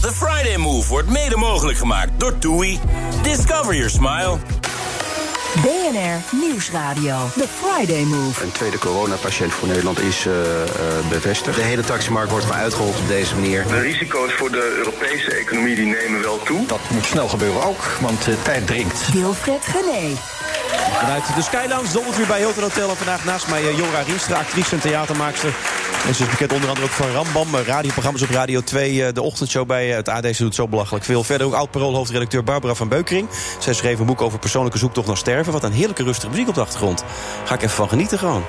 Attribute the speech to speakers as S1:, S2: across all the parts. S1: The Friday Move wordt mede mogelijk gemaakt door TUI. Discover your smile.
S2: BNR Nieuwsradio. The Friday Move.
S3: Een tweede coronapatiënt voor Nederland is eh, eh, bevestigd. De hele taximarkt wordt maar uitgehold op deze manier.
S4: De risico's voor de Europese economie die nemen wel toe.
S5: Dat moet snel gebeuren ook, want de tijd dringt.
S2: Wilfred Genee.
S6: Vanuit de Skylands dobbelt weer bij Hilton Hotel. En vandaag naast mij eh, Jora Riemstra, actrice en theatermaakster. En ze is bekend onder andere ook van Rambam, eh, radioprogramma's op Radio 2. eh, De ochtendshow bij eh, het AD, ze doet zo belachelijk veel. Verder ook oud-paroolhoofdredacteur Barbara van Beukering. Zij schreef een boek over persoonlijke zoektocht naar sterven. Wat een heerlijke rustige muziek op de achtergrond. Ga ik even van genieten gewoon.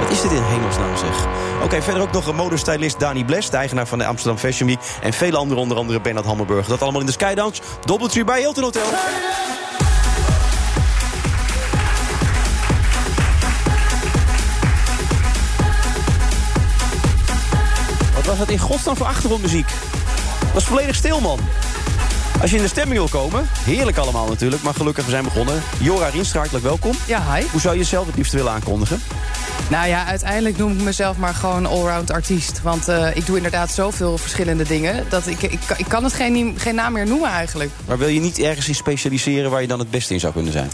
S6: Wat is dit in hemelsnaam zeg? Oké, verder ook nog een modestylist Dani Bles, de eigenaar van de Amsterdam Fashion Week. En vele anderen, onder andere Bernard Hammelburg. Dat allemaal in de Skydance. Doubletree bij Hilton Hotel. Wat was dat in godsnaam voor achtergrondmuziek? Dat was volledig stil, man. Als je in de stemming wil komen, heerlijk allemaal natuurlijk, maar gelukkig we zijn begonnen. Jora Rienstra, hartelijk welkom.
S7: Ja, hi.
S6: Hoe zou je jezelf het liefst willen aankondigen?
S7: Nou ja, uiteindelijk noem ik mezelf maar gewoon allround artiest. Want eh, ik doe inderdaad zoveel verschillende dingen... dat ik, ik, ik kan het geen, geen naam meer noemen eigenlijk.
S6: Maar wil je niet ergens in specialiseren waar je dan het beste in zou kunnen zijn?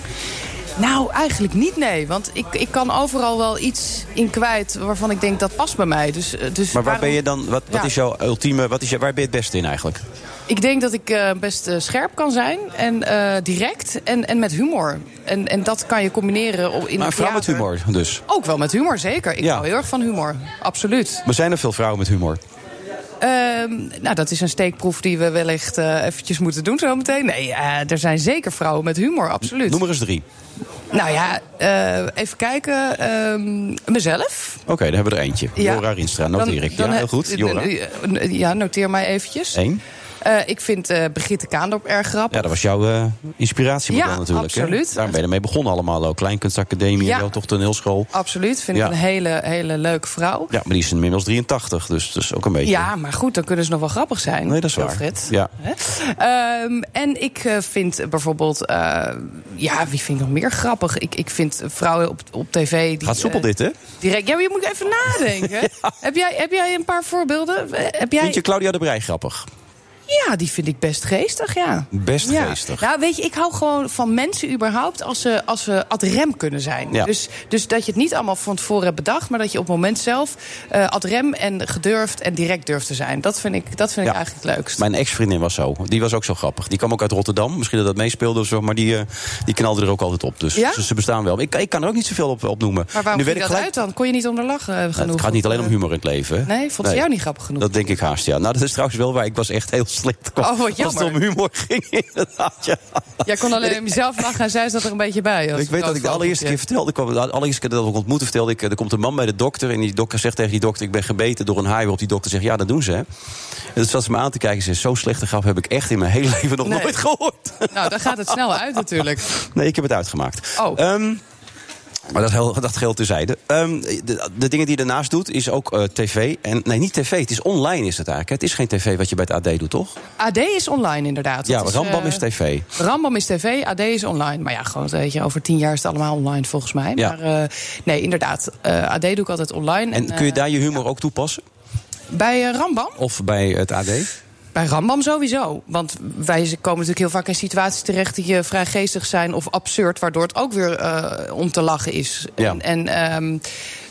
S7: Nou, eigenlijk niet, nee. Want ik, ik kan overal wel iets in kwijt waarvan ik denk dat past bij mij. Dus, eh, dus
S6: Maar waar
S7: waarom-
S6: ben je dan, wat, wat
S7: Ja.
S6: is jouw ultieme, wat is jou- waar ben je het beste in eigenlijk?
S7: Ik denk dat ik eh, best eh, scherp kan zijn en eh, direct en, en met humor. En, en dat kan je combineren op- in
S6: Maar
S7: het
S6: vrouw met
S7: theater.
S6: humor dus.
S7: Ook wel met humor, zeker. Ik
S6: Ja.
S7: hou heel erg van humor, absoluut.
S6: Maar zijn er veel vrouwen met humor?
S7: Ehm, nou, dat is een steekproef die we wellicht eh, eventjes moeten doen zometeen. Nee, eh, er zijn zeker vrouwen met humor, absoluut.
S6: Noem er eens drie.
S7: Nou ja, eh, even kijken. ehm, mezelf.
S6: Oké, dan hebben we er eentje.
S7: Ja.
S6: Jora Rienstra, noteer
S7: Dan-
S6: ik.
S7: dan,
S6: ja, heel
S7: eh,
S6: goed. Jora.
S7: eh, Ja, noteer mij eventjes.
S6: Eén.
S7: Eh, ik vind eh Brigitte Kaandorp erg grappig.
S6: Ja, dat was jouw eh, inspiratiemodel
S7: Ja,
S6: natuurlijk. hè?
S7: absoluut.
S6: Daar ben je mee begonnen allemaal ook. Kleinkunstacademie,
S7: Ja. Oh.
S6: wel toch toneelschool.
S7: Absoluut, vind
S6: Ja.
S7: ik een hele, hele leuke vrouw.
S6: Ja, maar die is inmiddels 83, dus dat is ook een beetje...
S7: Ja, maar goed, dan kunnen ze nog wel grappig zijn.
S6: Nee, dat is waar.
S7: Wilfred.
S6: Ja.
S7: Hè? Ehm, en ik eh, vind bijvoorbeeld... eh, ja, wie vind ik nog meer grappig? Ik, ik vind vrouwen op, op tv... Die,
S6: Gaat soepel
S7: eh,
S6: dit, hè?
S7: direct, ja, maar je moet even nadenken. heb, jij, heb jij een paar voorbeelden? Eh, Heb jij,
S6: Vind je Claudia de Brij grappig?
S7: Ja, die vind ik best geestig, ja.
S6: Best
S7: Ja.
S6: geestig.
S7: Nou, weet je, ik hou gewoon van mensen überhaupt als ze, als ze ad rem kunnen zijn.
S6: Ja.
S7: Dus, dus dat je het niet allemaal van tevoren hebt bedacht... maar dat je op het moment zelf eh ad rem en gedurfd en direct durft te zijn. Dat vind ik, dat vind
S6: Ja.
S7: ik eigenlijk het leukst.
S6: Mijn ex-vriendin was zo. Die was ook zo grappig. Die kwam ook uit Rotterdam. Misschien dat dat meespeelde of zo. Maar die, eh, die knalde er ook altijd op. Dus
S7: Ja?
S6: ze, ze bestaan wel. Maar Ik, ik kan er ook niet zoveel op, op noemen.
S7: Maar waarom
S6: nu
S7: ging
S6: weet
S7: dat
S6: ik gelijk-
S7: uit dan? Kon je niet onder lachen eh,
S6: Nou,
S7: genoeg?
S6: het gaat niet
S7: Of,
S6: alleen om
S7: eh,
S6: humor in het leven. Hè?
S7: Nee, vond ze jou niet grappig genoeg?
S6: Dat denk ik haast, ja. Nou, dat is trouwens wel waar. Ik was echt heel slecht.
S7: Oh, wat
S6: Als het
S7: jammer.
S6: om humor ging, inderdaad. Ja.
S7: Jij kon alleen om jezelf lachen en zij zat er een beetje bij. als
S6: Ik weet dat ik de allereerste keer vertelde, ik kwam, de allereerste keer dat ik ontmoette, vertelde ik, eh, er komt een man bij de dokter en die dokter zegt tegen die dokter, ik ben gebeten door een haai, waarop die dokter zegt, ja, dat doen ze, hè. En toen zat ze me aan te kijken en zei, zo'n slechte grap heb ik echt in mijn hele leven nog
S7: Nee.
S6: nooit gehoord.
S7: Nou, dan gaat het snel uit natuurlijk.
S6: Nee, ik heb het uitgemaakt.
S7: Oh.
S6: Ehm, maar dat, heel, dat geldt terzijde. Ehm de, de dingen die je daarnaast doet, is ook eh, tv. En, nee, niet tv, het is online is het eigenlijk. hè? Het is geen tv wat je bij het AD doet, toch?
S7: AD is online inderdaad.
S6: Ja,
S7: Dat is,
S6: Rambam
S7: eh,
S6: is tv.
S7: Rambam is tv, AD is online. Maar ja, gewoon, weet je, over tien jaar is het allemaal online volgens mij.
S6: Ja.
S7: Maar eh, nee, inderdaad, eh, AD doe ik altijd online.
S6: En kun je
S7: eh,
S6: daar je humor ook toepassen?
S7: Bij eh, Rambam?
S6: Of bij het AD?
S7: Bij Rambam sowieso. Want wij komen natuurlijk heel vaak in situaties terecht die eh, vrij geestig zijn of absurd, waardoor het ook weer eh, om te lachen is.
S6: Ja.
S7: En, en ehm,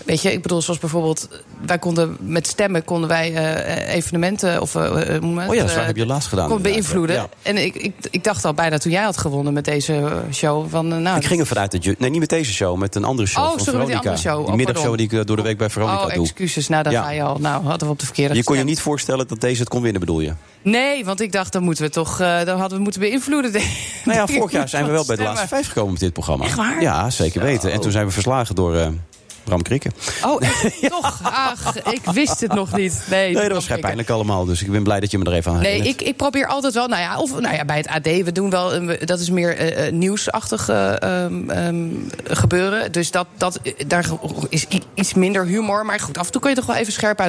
S7: weet je, ik bedoel, zoals bijvoorbeeld, wij konden met stemmen konden wij eh, evenementen of eh, eh, hoe noem je het?
S6: Oh ja, dat is waar,
S7: Eh,
S6: heb je laatst gedaan,
S7: Kon
S6: inderdaad,
S7: beïnvloeden.
S6: ja.
S7: En ik, ik, ik dacht al bijna toen jij had gewonnen met deze show van eh, nou.
S6: Ik ging er vanuit dat je... Nee, niet met deze show, met een andere show
S7: Oh,
S6: van
S7: sorry, met die
S6: Veronica.
S7: andere show. Oh,
S6: middagshow
S7: pardon.
S6: die ik eh, door de week bij Veronica
S7: oh,
S6: doe.
S7: excuses. Nou, daar
S6: Ja.
S7: ga je al. Nou, hadden we op de verkeerde
S6: Je kon je
S7: gestemd.
S6: niet voorstellen dat deze het kon winnen, bedoel je?
S7: Nee, want ik dacht, dan moeten we toch... eh, dan hadden we moeten beïnvloeden.
S6: Nou ja, vorig jaar zijn we wel bij de
S7: Stemmen.
S6: laatste vijf gekomen met dit programma.
S7: Echt waar?
S6: Ja, zeker weten. En toen zijn we verslagen door eh, Bram Krikken.
S7: Oh, echt? toch? Ach, ik wist het nog niet. Nee,
S6: Nee,
S7: kan
S6: dat was vrij
S7: ik.
S6: pijnlijk allemaal. Dus ik ben blij dat je me er even aan
S7: Nee,
S6: herinnert.
S7: ik, ik probeer altijd wel, nou ja, of nou ja, bij het AD, we doen wel, een- dat is meer eh, eh, nieuwsachtig eh, ehm, ehm, gebeuren. Dus dat, dat, eh, daar is i- iets minder humor. Maar goed, af en toe kun je toch wel even scherp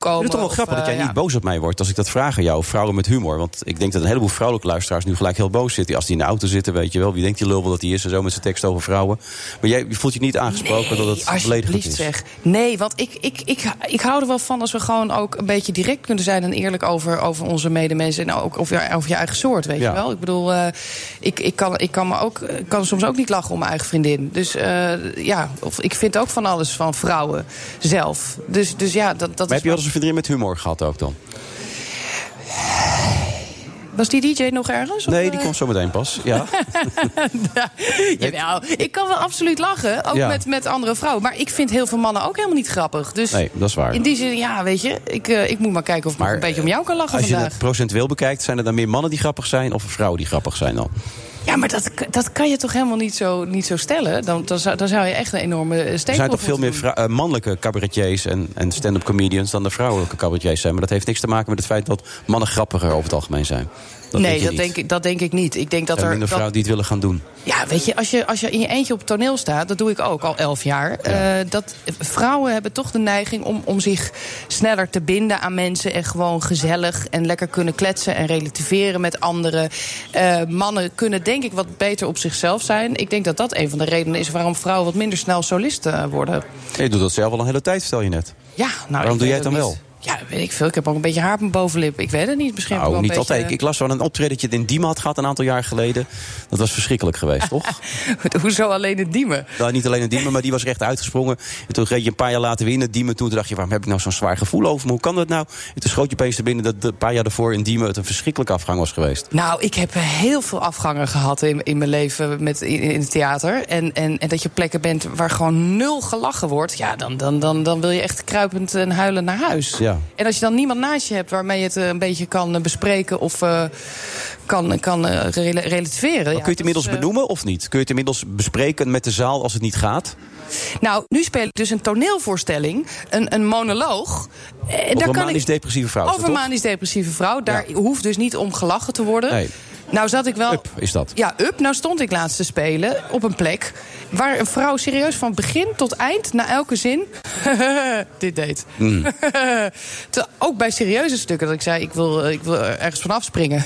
S6: Ik
S7: uitkomen.
S6: vind het toch wel
S7: Of,
S6: grappig dat
S7: eh,
S6: jij
S7: ja.
S6: niet boos op mij wordt als ik dat vraag aan jou. Vrouwen met humor. Want ik denk dat een heleboel vrouwelijke luisteraars nu gelijk heel boos zitten. Als die in de auto zitten, weet je wel. Wie denkt die lul wel dat die is en zo met zijn tekst over vrouwen. Maar jij voelt je niet aangesproken dat
S7: Nee,
S6: het beledigend
S7: alsjeblieft
S6: is.
S7: zeg. Nee, want ik, ik, ik, ik hou er wel van als we gewoon ook een beetje direct kunnen zijn en eerlijk over, over onze medemensen. En ook over, over je eigen soort, weet
S6: Ja.
S7: je wel. Ik bedoel, eh, ik, ik, kan, ik kan, me ook, ik kan soms ook niet lachen om mijn eigen vriendin. Dus eh, ja, of, ik vind ook van alles van vrouwen zelf. Dus, dus ja, dat, dat
S6: Maar
S7: is.
S6: heb je wel eens een vriendin met humor gehad ook dan?
S7: Was die DJ nog ergens? of,
S6: Nee, die
S7: eh?
S6: komt zo meteen pas. Ja.
S7: Jawel, ik kan wel absoluut lachen, ook
S6: Ja.
S7: met, met andere vrouwen. Maar ik vind heel veel mannen ook helemaal niet grappig. Dus
S6: Nee, dat is waar.
S7: In die zin, ja, weet je, ik, eh, ik moet maar kijken of ik nog een beetje om jou kan lachen
S6: Als je
S7: vandaag.
S6: het procentueel bekijkt, zijn er dan meer mannen die grappig zijn of vrouwen die grappig zijn dan?
S7: Ja, maar dat, dat kan je toch helemaal niet zo, niet zo stellen? Dan, dan, zou, dan zou je echt een enorme eh, steek
S6: Er zijn toch veel meer vrou- eh, mannelijke cabaretiers en, en stand-up comedians dan de vrouwelijke cabaretiers zijn. Maar dat heeft niks te maken met het feit dat mannen grappiger over het algemeen zijn. Dat
S7: nee,
S6: je
S7: dat
S6: niet.
S7: denk, ik, dat denk ik niet. Ik denk
S6: Er
S7: dat
S6: zijn
S7: er.
S6: minder
S7: dat-
S6: vrouwen die het willen gaan doen.
S7: Ja, weet je als, je, als je in je eentje op het toneel staat, dat doe ik ook al elf jaar. eh, dat, vrouwen hebben toch de neiging om, om zich sneller te binden aan mensen. En gewoon gezellig en lekker kunnen kletsen en relativeren met anderen. Eh, mannen kunnen denk ik wat beter op zichzelf zijn. Ik denk dat dat een van de redenen is waarom vrouwen wat minder snel solisten worden.
S6: Je doet dat zelf al een hele tijd, vertel je net.
S7: Ja, nou,
S6: Waarom doe
S7: ik
S6: jij
S7: weet
S6: het
S7: ook
S6: dan
S7: niet. Ja, weet ik veel. Ik heb ook een beetje haar op mijn bovenlip. Ik weet het niet. Misschien heb ik
S6: Nou,
S7: wel
S6: niet
S7: een beetje...
S6: altijd. Ik, ik las van een optreden dat je het in Diemen had gehad een aantal jaar geleden. Dat was verschrikkelijk geweest, toch?
S7: Hoezo alleen de diemen?
S6: Nou, niet alleen in Diemen, maar die was recht uitgesprongen. En toen reed je een paar jaar later weer in het Diemen. Toen dacht je, waarom heb ik nou zo'n zwaar gevoel over me? Hoe kan dat nou? En toen schoot je opeens te binnen dat een paar jaar daarvoor in Diemen... het een verschrikkelijke afgang was geweest.
S7: Nou, ik heb heel veel afgangen gehad in, in mijn leven met, in, in het theater. En, en, en dat je plekken bent waar gewoon nul gelachen wordt. Ja, dan, dan, dan, dan wil je echt kruipend en huilend naar huis.
S6: Ja.
S7: En als je dan niemand naast je hebt waarmee je het eh, een beetje kan eh, bespreken of eh, kan, kan eh, rela- relativeren.
S6: Maar kun
S7: ja,
S6: je het
S7: dat is,
S6: inmiddels
S7: eh,
S6: benoemen of niet? Kun je het inmiddels bespreken met de zaal als het niet gaat?
S7: Nou, nu speel ik dus een toneelvoorstelling, een, een monoloog. Eh,
S6: Over
S7: daar
S6: een
S7: kan ik,
S6: manisch-depressieve vrouw, is dat
S7: Over een
S6: toch?
S7: manisch-depressieve vrouw. Daar hoeft dus niet om gelachen te worden.
S6: Nee.
S7: Nou zat ik wel...
S6: Up is dat.
S7: Ja, up. Nou stond ik laatst te spelen op een plek... waar een vrouw serieus van begin tot eind, na elke zin... dit deed.
S6: Mm.
S7: Te- ook bij serieuze stukken, dat ik zei... ik wil, eh, ik wil er ergens vanaf springen.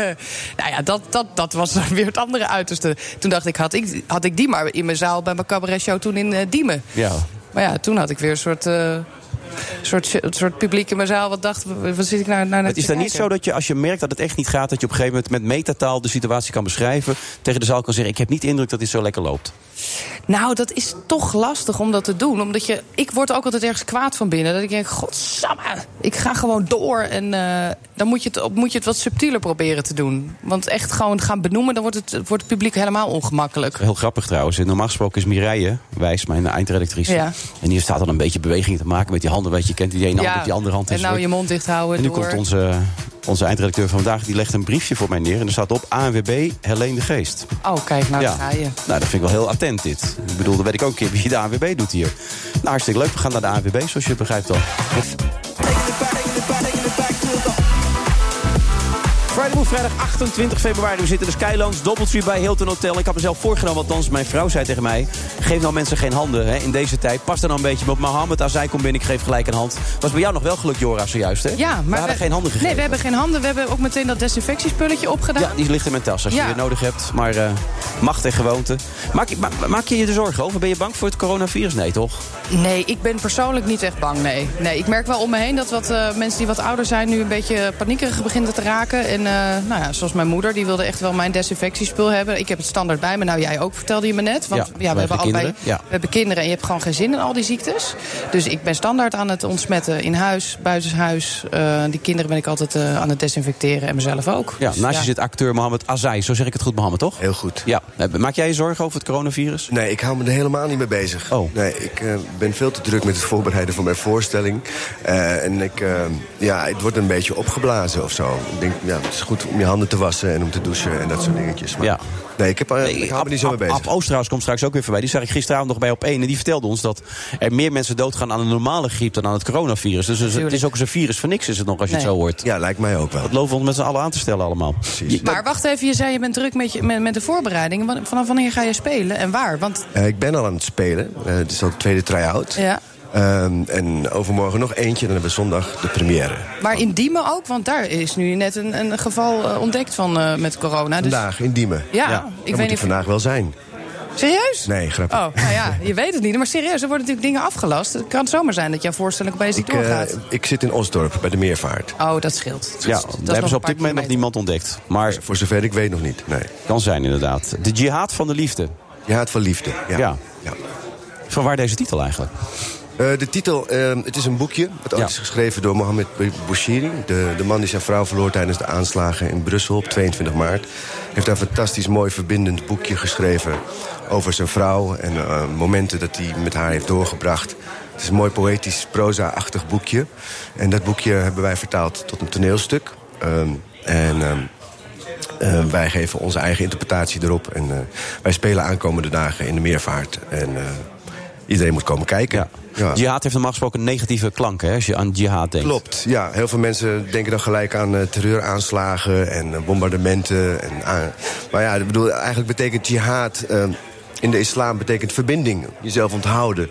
S7: nou ja, dat, dat, dat was dan weer het andere uiterste. Toen dacht ik had, ik, had ik die maar in mijn zaal... bij mijn cabaretshow toen in eh, Diemen.
S6: Ja.
S7: Maar ja, toen had ik weer een soort... eh, soort, soort publiek in mijn zaal wat dacht, wat zit ik nou, nou naar
S6: Het is
S7: te
S6: dan niet
S7: kijken?
S6: zo dat je, als je merkt dat het echt niet gaat... dat je op een gegeven moment met metataal de situatie kan beschrijven... tegen de zaal kan zeggen, ik heb niet de indruk dat dit zo lekker loopt.
S7: Nou, dat is toch lastig om dat te doen. Omdat je, ik word ook altijd ergens kwaad van binnen. Dat ik denk, godsamme, ik ga gewoon door. En eh, dan moet je, het, op- moet je het wat subtieler proberen te doen. Want echt gewoon gaan benoemen, dan wordt het, wordt het publiek helemaal ongemakkelijk.
S6: Heel grappig trouwens. Normaal gesproken is Mireille Wijs, mijn eindredactrice.
S7: Ja.
S6: En hier staat dan een beetje beweging te maken met die handen. Weet je, je kent die ene hand op die andere hand.
S7: en nou
S6: enzovoort.
S7: je mond dicht houden.
S6: En nu
S7: door.
S6: komt onze, onze eindredacteur van vandaag, die legt een briefje voor mij neer. En er staat op ANWB Helene de Geest.
S7: Oh, kijk, nou daar ga je.
S6: Nou, dat vind ik wel heel attent dit. Ik bedoel, dan weet ik ook een keer wie de ANWB doet hier. Nou, hartstikke leuk. We gaan naar de ANWB, zoals je begrijpt al.
S8: Friday Move, vrijdag 28 februari. We zitten in de Skylands, Doubletree bij Hilton Hotel. Ik had mezelf voorgenomen, althans mijn vrouw zei tegen mij... geef nou mensen geen handen hè, in deze tijd. Pas er nou een beetje op. Mohammed Azai komt binnen, ik geef gelijk een hand. Was bij jou nog wel geluk, Jora, zojuist, hè?
S7: Ja, maar
S6: we hadden geen handen gegeven.
S7: Nee, we hebben geen handen. We hebben ook meteen dat desinfectiespunnetje opgedaan.
S6: Ja, die ligt in mijn tas als je
S7: Ja.
S6: die nodig hebt. Maar eh, macht en gewoonte. Maak je, ma- maak je je er zorgen over? Ben je bang voor het coronavirus? Nee, toch?
S7: Nee, ik ben persoonlijk niet echt bang, nee. nee ik merk wel om me heen dat wat, eh, mensen die wat ouder zijn... nu een beetje paniekerig beginnen te raken. En eh, nou ja, zoals mijn moeder, die wilde echt wel mijn desinfectiespul hebben. Ik heb het standaard bij me. Nou, jij ook, vertelde je me net. Want
S6: Ja,
S7: ja,
S6: wij
S7: we, hebben
S6: hebben
S7: allebei,
S6: kinderen, ja.
S7: we hebben kinderen en je hebt gewoon geen zin in al die ziektes. Dus ik ben standaard aan het ontsmetten in huis, buitenshuis. Eh die kinderen ben ik altijd eh, aan het desinfecteren en mezelf ook.
S6: Ja,
S7: Dus,
S6: naast je zit acteur Mohammed Azai. Zo zeg ik het goed, Mohammed, toch?
S9: Heel goed.
S6: Ja. Eh, Maak jij je zorgen over het coronavirus?
S9: Nee, ik hou me er helemaal niet mee bezig.
S6: Oh.
S9: Nee, ik eh, ben veel te druk met het voorbereiden van mijn voorstelling. Eh, en ik, eh, ja, het wordt een beetje opgeblazen of zo. Ik denk, ja, het is goed goed om je handen te wassen en om te douchen en dat soort dingetjes. Maar
S6: Ja.
S9: nee, ik, heb, eh, ik hou me niet zo mee bezig.
S6: Ab Oosterhuis komt straks ook weer voorbij. Die zag ik gisteravond nog bij op 1. En die vertelde ons dat er meer mensen doodgaan aan een normale griep dan aan het coronavirus. Dus het is ook eens een virus van niks, is het nog, als je het
S7: Nee.
S6: zo hoort.
S9: Ja, lijkt mij ook wel.
S6: Dat lopen we ons met z'n allen aan te stellen allemaal. Precies.
S7: Maar wacht even, je zei je bent druk met, je, met, met de voorbereidingen. Wa- Vanaf wanneer ga je spelen en waar? Want
S9: Eh, ik ben al aan het spelen. Eh, het is al de tweede try-out.
S7: ja.
S9: Ehm, en overmorgen nog eentje en dan hebben we zondag de première.
S7: Maar in Diemen ook, want daar is nu net een, een geval eh, ontdekt van eh, met corona. Dus...
S9: Vandaag in Diemen.
S7: Ja, ik
S9: Dan
S7: weet
S9: moet
S7: niet
S9: ik
S7: of-
S9: vandaag wel zijn.
S7: Serieus?
S9: Nee, grapje.
S7: Oh, nou ja, je weet het niet. Maar serieus, er worden natuurlijk dingen afgelast. Het kan zomaar zijn dat jouw voorstelling opeens niet
S9: Ik, eh,
S7: doorgaat.
S9: ik zit in Osdorp bij de Meervaart.
S7: Oh, dat scheelt. Dat is-
S6: Ja,
S7: dat is
S6: daar hebben ze
S7: nog een
S6: op
S7: paar
S6: dit moment nog niemand ontdekt. Maar
S9: Voor zover ik weet nog niet. Nee.
S6: kan zijn inderdaad. De jihad van de liefde.
S9: Jihad van liefde. Ja.
S6: Ja.
S9: Ja.
S6: Van waar deze titel eigenlijk?
S9: Eh, de titel, ehm, het is een boekje. Wat ook
S6: Ja.
S9: is geschreven door Mohamed Bouchiri. De, de man die zijn vrouw verloor tijdens de aanslagen in Brussel op 22 maart. Heeft daar een fantastisch mooi verbindend boekje geschreven. Over zijn vrouw en eh, momenten dat hij met haar heeft doorgebracht. Het is een mooi poëtisch, proza-achtig boekje. En dat boekje hebben wij vertaald tot een toneelstuk. Ehm, en ehm, eh, wij geven onze eigen interpretatie erop. En eh, wij spelen aankomende dagen in de meervaart. En eh, iedereen moet komen kijken. Ja.
S6: Jihad heeft normaal gesproken negatieve klanken hè, als je aan jihad denkt.
S9: Klopt, ja. Heel veel mensen denken dan gelijk aan eh, terreuraanslagen en eh, bombardementen. En, aan- maar ja, ik bedoel, eigenlijk betekent jihad eh, in de islam betekent verbinding. Jezelf onthouden.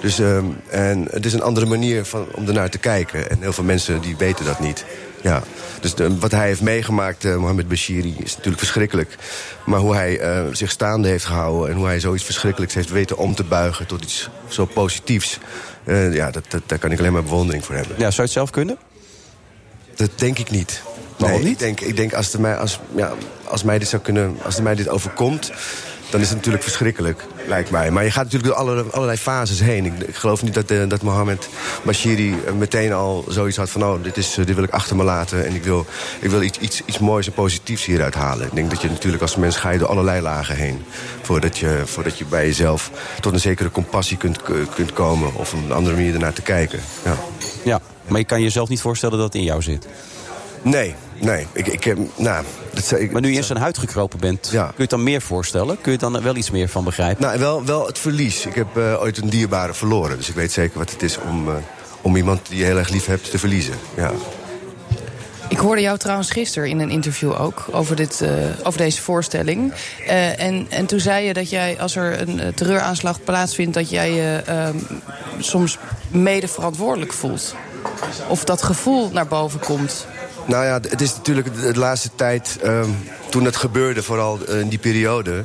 S9: Dus eh, en het is een andere manier van, om ernaar te kijken. En heel veel mensen die weten dat niet. Ja, dus de- wat hij heeft meegemaakt, eh, Mohammed Bashiri, is natuurlijk verschrikkelijk. Maar hoe hij eh, zich staande heeft gehouden en hoe hij zoiets verschrikkelijks heeft weten om te buigen tot iets zo positiefs. eh, ja, dat, dat, daar kan ik alleen maar bewondering voor hebben.
S6: Ja, zou je het zelf kunnen?
S9: Dat denk ik niet.
S6: Waarom
S9: Nee,
S6: niet?
S9: Ik denk, ik denk als, het mij, als, ja, als, mij dit zou kunnen, als het mij dit overkomt, dan is het natuurlijk verschrikkelijk, lijkt mij. Maar je gaat natuurlijk door alle, allerlei fases heen. Ik, ik geloof niet dat, eh, dat Mohammed Bashiri eh, meteen al zoiets had van... oh, dit, is, eh, dit wil ik achter me laten en ik wil, ik wil iets, iets, iets moois en positiefs hieruit halen. Ik denk dat je natuurlijk als mens ga je door allerlei lagen heen... voordat je, voordat je bij jezelf tot een zekere compassie kunt, eh, kunt komen... of op een andere manier ernaar te kijken. Ja.
S6: Ja, maar je kan jezelf niet voorstellen dat het in jou zit.
S9: Nee, nee. Ik, ik, eh, nou, dat, zei- ik,
S6: Maar nu je in zijn huid gekropen bent,
S9: Ja.
S6: kun je het dan meer voorstellen? Kun je het dan wel iets meer van begrijpen?
S9: Nou, wel, wel het verlies. Ik heb eh, ooit een dierbare verloren. Dus ik weet zeker wat het is om, eh, om iemand die je heel erg lief hebt te verliezen. Ja.
S7: Ik hoorde jou trouwens gisteren in een interview ook over, dit, eh, over deze voorstelling. Eh, en, en toen zei je dat jij, als er een eh, terreuraanslag plaatsvindt, dat jij je ehm, soms mede verantwoordelijk voelt. Of dat gevoel naar boven komt.
S9: Nou ja, het is natuurlijk de, de laatste tijd, ehm, toen dat gebeurde, vooral eh, in die periode.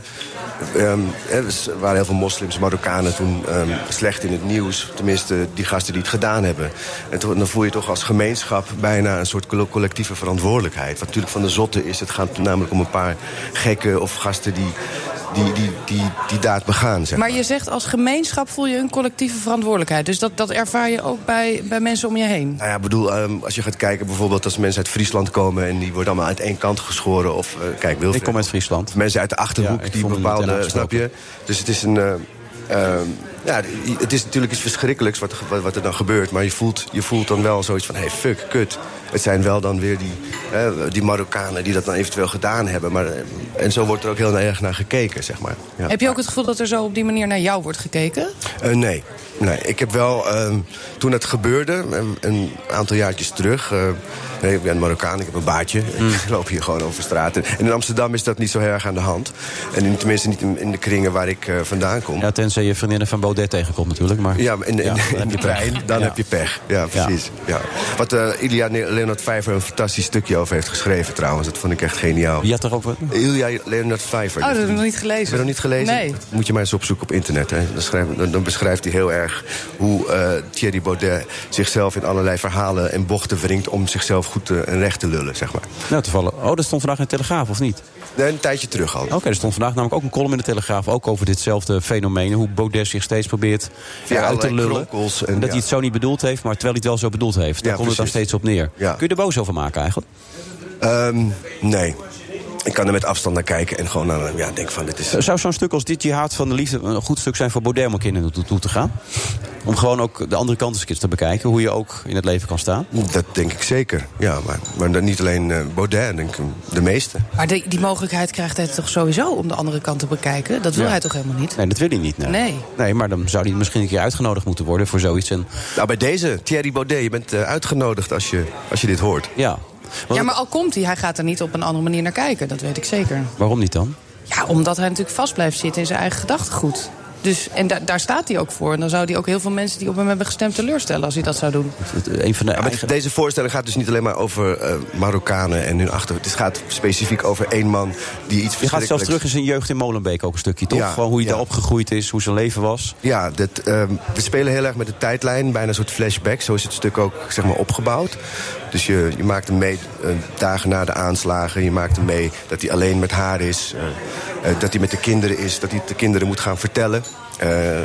S9: ehm, er was- er waren heel veel moslims, Marokkanen toen ehm, slecht in het nieuws. Tenminste, die gasten die het gedaan hebben. En toen, dan voel je toch als gemeenschap bijna een soort collo- collectieve verantwoordelijkheid. Wat natuurlijk van de zotte is, het gaat namelijk om een paar gekken of gasten die die, die, die, die daad begaan. Zeg
S7: Maar je zegt als gemeenschap voel je een collectieve verantwoordelijkheid. Dus dat, dat ervaar je ook bij, bij mensen om je heen.
S9: Nou ja, ik bedoel, ehm, als je gaat kijken bijvoorbeeld als mensen uit Friesland komen... en die worden allemaal uit één kant geschoren. Of, eh, kijk, Wilfred,
S6: Ik kom uit Friesland.
S9: Mensen uit de Achterhoek,
S6: Ja, ik
S9: die
S6: voel me meteen
S9: bepaalde, snap
S6: aangesproken.
S9: je? Dus het is een... eh, ehm, ja, het is natuurlijk iets verschrikkelijks wat, wat, wat er dan gebeurt. Maar je voelt, je voelt dan wel zoiets van, hey, fuck, kut. Het zijn wel dan weer die, eh, die Marokkanen die dat dan eventueel gedaan hebben. Maar, eh, en zo wordt er ook heel erg naar gekeken, zeg maar. Ja.
S7: Heb je ook het gevoel dat er zo op die manier naar jou wordt gekeken?
S9: Eh, nee. nee, ik heb wel, ehm, toen het gebeurde, een, een aantal jaartjes terug... eh, nee, ik ben Marokkaan, ik heb een baardje,
S6: Mm.
S9: ik loop hier gewoon over straat. En in Amsterdam is dat niet zo heel erg aan de hand. En in, tenminste niet in, in de kringen waar ik eh, vandaan kom.
S6: Ja, tenzij je vriendinnen van Baudet tegenkomt natuurlijk. Maar...
S9: Ja, in, in,
S6: Ja,
S9: in
S6: dan heb je
S9: de
S6: pech.
S9: trein, dan
S6: Ja.
S9: heb je pech. Ja, precies. Ja. Wat eh, Ilja Ne- Leonard Vijver een fantastisch stukje over heeft geschreven trouwens. Dat vond ik echt geniaal.
S6: Je had er ook wat-
S9: Ilja Leonard Vijver.
S7: Oh, dat heb ik nog niet gelezen.
S9: Heb je nog niet gelezen?
S7: Nee.
S9: Dat moet je maar eens opzoeken op internet. Hè. Dan, schrijf- dan- dan beschrijft hij heel erg hoe eh, Thierry Baudet zichzelf in allerlei verhalen en bochten wringt... om zichzelf goed eh, en recht te lullen, zeg maar.
S6: Nou, toevallig. Oh, dat stond vandaag in de Telegraaf, of niet?
S9: Nee, Een tijdje terug al.
S6: Oké, er stond vandaag namelijk ook een column in de Telegraaf... ook over ditzelfde fenomeen, hoe Baudet zich steeds probeert
S9: Ja,
S6: uit te
S9: allerlei
S6: lullen.
S9: kronkels en
S6: dat
S9: ja.
S6: hij het zo niet bedoeld heeft, maar terwijl hij het wel zo bedoeld heeft. Daar
S9: Ja,
S6: komt het dan
S9: precies.
S6: steeds op neer.
S9: Ja.
S6: Kun je er boos over maken eigenlijk?
S9: Ehm, nee. Ik kan er met afstand naar kijken en gewoon aan, ja, denk van dit is...
S6: Zou zo'n stuk als dit Jihad van de Liefde een goed stuk zijn voor Baudet om ook kinderen toe, toe te gaan? Om gewoon ook de andere kant eens een keer te bekijken, hoe je ook in het leven kan staan?
S9: Dat denk ik zeker, ja. Maar, maar dan niet alleen eh, Baudet, denk ik, de meeste.
S7: Maar die, die mogelijkheid krijgt hij toch sowieso om de andere kant te bekijken? Dat wil
S6: Ja.
S7: hij toch helemaal niet?
S6: Nee, dat wil hij niet. Nee.
S7: Nee.
S6: Nee, maar dan zou hij misschien een keer uitgenodigd moeten worden voor zoiets. En...
S9: Nou, bij deze, Thierry Baudet, je bent eh, uitgenodigd als je, als je dit hoort.
S6: Ja.
S7: Ja, maar al komt hij, hij gaat er niet op een andere manier naar kijken. Dat weet ik zeker.
S6: Waarom niet dan?
S7: Ja, omdat hij natuurlijk vast blijft zitten in zijn eigen gedachtegoed. Dus, en da- daar staat hij ook voor. En dan zou hij ook heel veel mensen die op hem hebben gestemd teleurstellen als hij dat zou doen.
S6: eh, Een van de
S9: maar dit- deze voorstelling gaat dus niet alleen maar over eh, Marokkanen en hun achter. Het gaat specifiek over één man die iets
S6: Je gaat zelfs terug in
S9: verschrikkelijks-
S6: zijn jeugd in Molenbeek ook een stukje, toch?
S9: Ja,
S6: Gewoon hoe hij
S9: ja.
S6: daar opgegroeid is, hoe zijn leven was.
S9: Ja, dat, ehm, we spelen heel erg met de tijdlijn, bijna een soort flashback. Zo is het stuk ook zeg maar, opgebouwd. Dus je, je maakt hem mee eh, dagen na de aanslagen. Je maakt hem mee dat hij alleen met haar is. eh, eh, dat hij met de kinderen is. Dat hij het de kinderen moet gaan vertellen. Eh, je-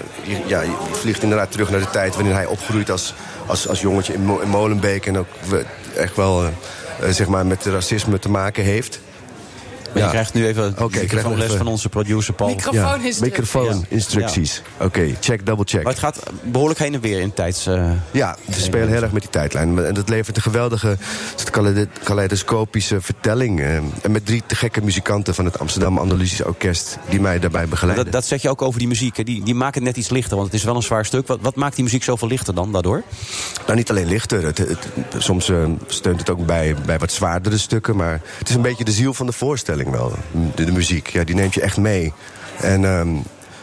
S9: ja, je vliegt inderdaad terug naar de tijd wanneer hij opgroeit als, als, als jongetje in, Mo- in Molenbeek. En ook we- echt wel eh, eh, zeg maar met racisme te maken heeft.
S6: Maar je krijgt nu even
S9: Oké, ik krijg
S6: een les
S9: even-
S6: van onze producer Paul.
S7: Microfooninstructies. Ja,
S9: microfooninstructies. Oké, check, double check.
S6: Maar het gaat behoorlijk heen en weer in tijds... eh,
S9: Ja, we spelen heel erg met die tijdlijn. En dat levert een geweldige soort kale- kaleidoscopische vertelling. eh, En met drie te gekke muzikanten van het Amsterdam Andalusisch Orkest... die mij daarbij begeleiden.
S6: Dat, dat zeg je ook over die muziek. hè. Die, die maakt het net iets lichter, want het is wel een zwaar stuk. Wat, wat maakt die muziek zoveel lichter dan daardoor?
S9: Nou, niet alleen lichter. Het, het- soms eh, steunt het ook bij, bij wat zwaardere stukken. Maar het is een beetje de ziel van de voorstelling wel. De, de muziek, ja, die neemt je echt mee. En, ehm,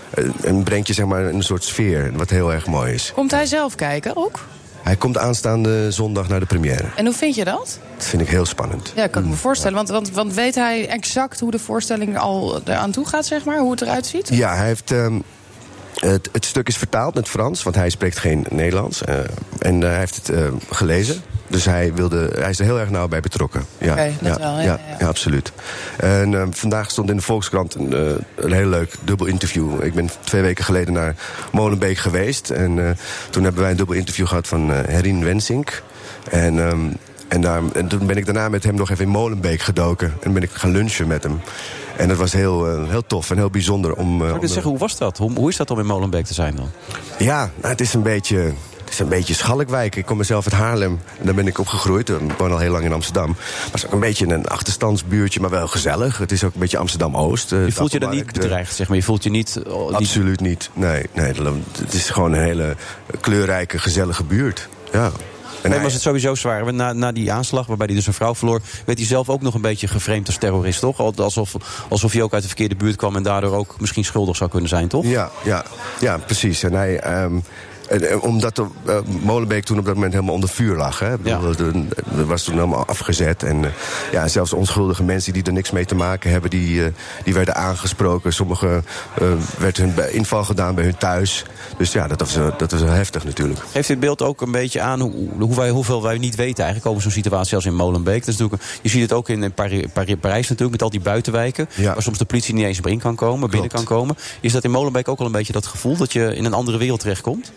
S9: eh, en brengt je zeg maar in een soort sfeer, wat heel erg mooi is.
S7: Komt hij zelf kijken ook?
S9: Hij komt aanstaande zondag naar de première.
S7: En hoe vind je dat?
S9: Dat vind ik heel spannend.
S7: Ja, kan ik me
S6: Hmm.
S7: voorstellen. Want, want, want weet hij exact hoe de voorstelling al eraan toe gaat, zeg maar? Hoe het eruit ziet?
S9: Ja, hij heeft. ehm, het, het stuk is vertaald naar het Frans, want hij spreekt geen Nederlands. eh, en eh, hij heeft het eh, gelezen. Dus hij, wilde, hij is er heel erg nauw bij betrokken. Ja,
S7: Oké, dat
S9: ja,
S7: wel, ja,
S9: ja,
S7: ja.
S9: ja, absoluut. En ehm, vandaag stond in de Volkskrant een, eh, een heel leuk dubbel interview. Ik ben twee weken geleden naar Molenbeek geweest. En eh, toen hebben wij een dubbel interview gehad van eh Herin Wensink. En, ehm, en, daar, en toen ben ik daarna met hem nog even in Molenbeek gedoken. En ben ik gaan lunchen met hem. En dat was heel, eh, heel tof en heel bijzonder om... eh,
S6: Zou ik
S9: om-
S6: dit zeggen, hoe was dat? Hoe, hoe is dat om in Molenbeek te zijn dan?
S9: ja, nou, het is een beetje. Het is een beetje Schalkwijk. Ik kom mezelf uit Haarlem. En daar ben ik opgegroeid. Ik woon al heel lang in Amsterdam. Maar het is ook een beetje een achterstandsbuurtje, maar wel gezellig. Het is ook een beetje eh, Amsterdam-Oost.
S6: Je voelt je dan niet bedreigd, zeg maar. Je voelt je niet... oh, die-
S9: Absoluut niet. Nee, nee, het is gewoon een hele kleurrijke, gezellige buurt. Ja. En
S6: En
S9: hij-
S6: was het sowieso zwaar. Want Na, na die aanslag, waarbij hij dus een vrouw verloor... werd hij zelf ook nog een beetje gevreemd als terrorist, toch? Al- Alsof, alsof hij ook uit de verkeerde buurt kwam... en daardoor ook misschien schuldig zou kunnen zijn, toch?
S9: Ja, ja, ja precies. En hij, ehm, en, eh, omdat de, eh, Molenbeek toen op dat moment helemaal onder vuur lag. Hè? Ik bedoel, de- de- was toen helemaal afgezet. En eh, ja, zelfs onschuldige mensen die er niks mee te maken hebben, die, eh, die werden aangesproken. Sommigen eh, werd hun bij- inval gedaan bij hun thuis. Dus ja, dat was, eh, dat was heel heftig natuurlijk.
S6: Geeft dit beeld ook een beetje aan hoe, hoe wij, hoeveel wij niet weten eigenlijk over zo'n situatie als in Molenbeek? Dat is natuurlijk, een- je ziet het ook in eh, Pari- Pari- Parijs natuurlijk, met al die buitenwijken.
S9: Ja.
S6: Waar soms de politie niet eens meer in kan komen, binnen kan komen. Is dat in Molenbeek ook al een beetje dat gevoel dat je in een andere wereld terechtkomt?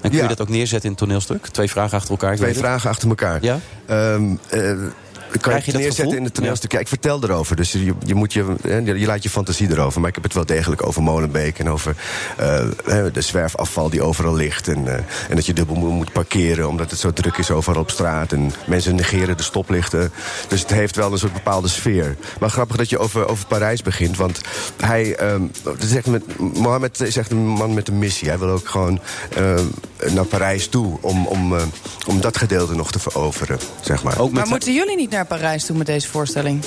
S6: En kun
S9: Ja.
S6: je dat ook neerzetten in het toneelstuk? Twee vragen achter elkaar. ik
S9: Twee
S6: weet het.
S9: vragen achter elkaar.
S6: Ja?
S9: Ehm, eh, kan
S6: Krijg
S9: je het
S6: je dat
S9: neerzetten
S6: gevoel?
S9: in het toneelstuk? Ja, ik vertel erover. Dus je, je, moet je, hè, je laat je fantasie erover. Maar ik heb het wel degelijk over Molenbeek en over eh, hè, de zwerfafval die overal ligt. En, eh, en dat je dubbel moet- moet parkeren omdat het zo druk is overal op straat. En mensen negeren de stoplichten. Dus het heeft wel een soort bepaalde sfeer. Maar grappig dat je over, over Parijs begint. Want hij, ehm, dat is echt met, Mohammed is echt een man met een missie. Hij wil ook gewoon ehm, naar Parijs toe om, om, eh, om dat gedeelte nog te veroveren. Zeg maar.
S6: Ook met,
S7: Maar moeten jullie niet naar Parijs toe met deze voorstelling?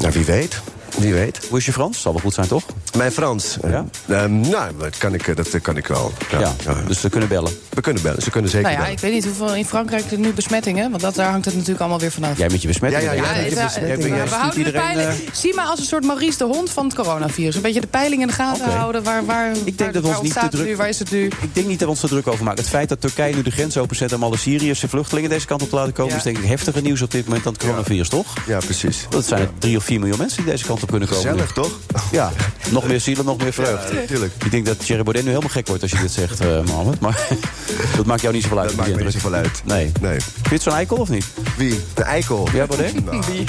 S9: Nou, wie weet. Wie weet.
S6: Hoe is je Frans? Zal wel goed zijn, toch?
S9: Mijn Frans. eh,
S6: Ja?
S9: ehm, nou, dat kan ik, eh, dat eh, kan ik wel. Ja, ja.
S6: Dus we kunnen bellen.
S9: We kunnen bellen. Ze kunnen zeker
S7: Nou ja,
S9: bellen.
S7: ik weet niet hoeveel in Frankrijk er nu besmettingen... want dat, daar hangt het natuurlijk allemaal weer vanaf.
S6: Jij met je besmetting.
S9: Ja, ja,
S7: Ja,
S9: ik
S7: het-
S9: heb
S7: ja,
S9: dus-
S7: het-
S9: heb ik-
S7: we
S9: ja,
S7: houden de peiling.
S6: eh,
S7: Zie maar als een soort Maurice de Hond van het coronavirus. Een beetje de peiling in de gaten
S6: Oké.
S7: houden. Waar, waar, ik
S6: denk dat we ons niet te druk-
S7: Nu, Nou, waar is het nu?
S6: Ik denk niet dat we ons er druk over maken. Het feit dat Turkije nu de grens openzet om alle Syriërs vluchtelingen deze kant op te laten komen,
S7: Ja.
S6: is denk ik heftiger nieuws op dit moment dan het coronavirus, toch?
S9: Ja, precies.
S6: Dat zijn er drie of vier miljoen mensen die deze kant op kunnen komen.
S9: Gezellig, toch?
S6: Ja, nog meer zielen, nog meer vreugd.
S9: Ja, natuurlijk.
S6: Ik denk dat Thierry Baudet nu helemaal gek wordt als je dit zegt, eh Mohammed. Maar dat maakt jou niet zoveel uit.
S9: Dat maakt me
S6: die
S9: niet
S6: indruk.
S9: zoveel uit.
S6: Nee.
S9: Nee.
S6: Vind je het zo'n eikel of niet?
S9: Wie? De eikel.
S6: Ja, Baudet?
S9: Nou, nee, nee,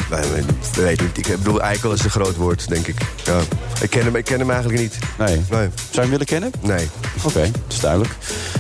S9: dat weet ik niet. Ik bedoel, eikel is een groot woord, denk ik. Ja. Ik, ken hem, ik ken hem eigenlijk niet.
S6: Nee.
S9: nee.
S6: Zou je hem willen kennen?
S9: Nee.
S6: Oké, dat is duidelijk.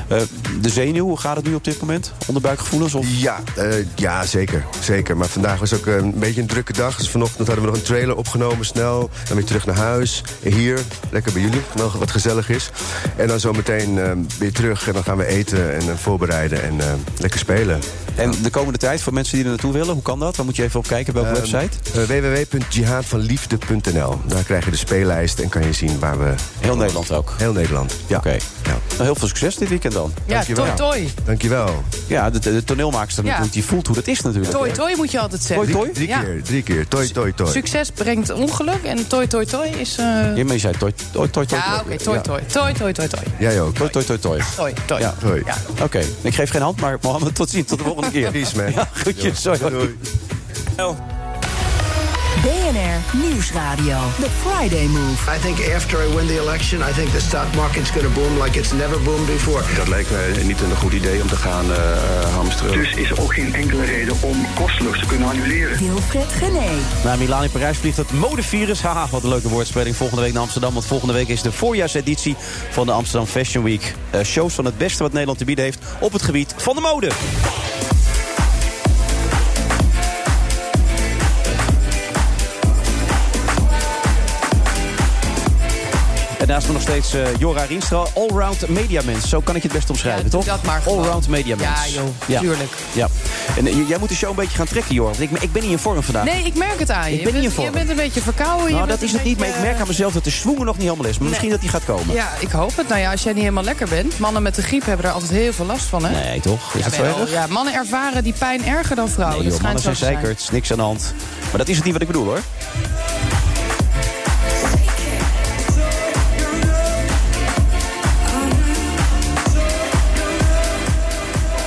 S6: Eh, de zenuw, hoe gaat het nu op dit moment? Onderbuikgevoelens? Of?
S9: Ja, eh, ja zeker, zeker. Maar vandaag was ook eh, een beetje een drukke dag. Dus vanochtend hadden we nog een trailer opgenomen, snel. Dan weer terug naar huis. En Hier, lekker bij jullie, wel wat gezellig is. En dan zometeen eh, weer terug. En dan gaan we eten en eh, voorbereiden en eh, lekker spelen.
S6: En de komende tijd, voor mensen die er naartoe willen, hoe kan dat? Waar moet je even op kijken? Op welke
S9: Ehm,
S6: website?
S9: www.jihadvanliefde.nl Eh, Daar krijg je de speellijst en kan je zien waar we...
S6: Heel Nederland ook?
S9: Heel Nederland, ja.
S6: Oké. Nou, heel veel succes dit weekend dan.
S7: Ja, toi toi.
S9: Dankjewel.
S6: Ja, de, de toneelmaakster
S7: Ja.
S6: natuurlijk, die voelt hoe dat is natuurlijk.
S7: Toi toi moet je altijd zeggen.
S6: Toi toi?
S9: Drie
S7: Ja.
S9: keer, drie keer. Toi, toi, toi.
S7: Succes brengt ongeluk en toi toi toi is... eh,
S6: Ja, maar je zei toi, toi, toi, toi.
S7: Ja, oké, toi toi. Toi toi toi toi.
S9: Jij ook.
S6: Toi, toi, toi, toi.
S7: Toi toi.
S6: Ja.
S9: Toi.
S7: Ja.
S6: Oké, ik geef geen hand, maar Mohammed, tot ziens. Tot de volgende keer.
S9: Peace, man.
S6: Ja, groetjes. Sorry.
S2: BNR Nieuwsradio. The Friday Move.
S10: I think after I win the election, I think the stock market's going to boom like it's never boomed before.
S11: Dat lijkt me niet een goed idee om te gaan eh, hamsteren.
S4: Dus is er ook geen enkele reden om kosteloos te kunnen annuleren.
S2: Wilfred Genee.
S6: Naar Milaan in Parijs vliegt het modevirus. Haha, wat een leuke woordspeling. Volgende week naar Amsterdam. Want volgende week is de voorjaarseditie van de Amsterdam Fashion Week. Eh, shows van het beste wat Nederland te bieden heeft op het gebied van de mode. En naast me nog steeds eh, Jora Rienstra, allround mediamens. Zo kan ik je het best omschrijven,
S7: Ja, doe
S6: toch?
S7: dat maar gewoon.
S6: allround mediamens.
S7: Ja, joh, tuurlijk.
S6: Ja. En eh, j- jij moet de show een beetje gaan trekken, Jora. Want ik, ik ben niet in vorm vandaag.
S7: Nee, ik merk het aan je.
S6: Ik ben
S7: je,
S6: niet in
S7: bent, je
S6: vorm.
S7: bent een beetje verkouden. Oh, je
S6: Nou,
S7: bent dus
S6: dat is
S7: een
S6: het niet, maar
S7: beetje- eh,
S6: ik merk aan mezelf dat de zwoenger nog niet helemaal is. Maar misschien dat die gaat komen.
S7: Ja, ik hoop het. Nou ja, als jij niet helemaal lekker bent. Mannen met de griep hebben er altijd heel veel last van, hè?
S6: Nee, toch? Is dat zo
S7: Jawel,
S6: erg?
S7: ja, mannen ervaren die pijn erger dan vrouwen.
S6: Nee,
S7: dat
S6: Oh, joh,
S7: schijnt
S6: mannen zijn
S7: zo te zijn.
S6: zeker. Het is niks aan de hand. Maar dat is het niet wat ik bedoel, hoor.